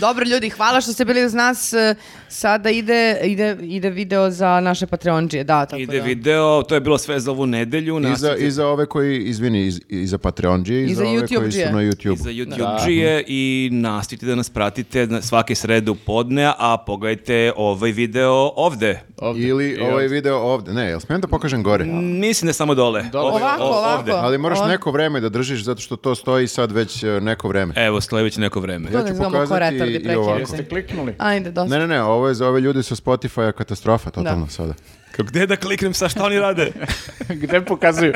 Speaker 1: Dobro. ljudi, hvala što ste bili uz nas. E, Sada ide, ide, ide video za naše Patreonđije, da, tako
Speaker 3: Ide
Speaker 1: da.
Speaker 3: video, to je bilo sve za ovu nedelju.
Speaker 2: I za,
Speaker 3: nastavite-
Speaker 2: I za ove koji, izvini, iz- i za Patreonđije, i
Speaker 1: I
Speaker 2: za
Speaker 1: za
Speaker 2: ove koji
Speaker 1: YouTubeđije.
Speaker 2: su na
Speaker 3: i
Speaker 2: YouTube.
Speaker 3: za YouTube-džije i nastavite da nas pratite na- svake srede u podne, a pogledajte ovaj video ovde.
Speaker 4: Ovde.
Speaker 2: Ili
Speaker 4: I
Speaker 2: ovaj
Speaker 4: ovde.
Speaker 2: video ovde. Ne, jel smijem da pokažem gore?
Speaker 1: Mm,
Speaker 3: Mislim da samo dole.
Speaker 4: Dole.
Speaker 3: Ovde,
Speaker 1: Ovako,
Speaker 3: o-
Speaker 1: ovako.
Speaker 3: ovde.
Speaker 2: Ali moraš
Speaker 1: Ovo-
Speaker 2: neko vreme da držiš, zato što to stoji sad već e, neko vreme.
Speaker 3: Evo, stoji već neko vreme.
Speaker 1: Bilo
Speaker 2: ću
Speaker 1: da izgledamo ko
Speaker 2: pokazati
Speaker 1: retardi,
Speaker 2: i
Speaker 1: prekinuli
Speaker 2: ovako.
Speaker 1: smo.
Speaker 4: Jeste kliknuli?
Speaker 1: Ajde, dosta.
Speaker 2: Ne, ne, ne, ovo je za ove ljude sa Spotify-a katastrofa totalno sada.
Speaker 3: Kako, gde da kliknem, sa šta oni rade?
Speaker 4: Gde pokazuju?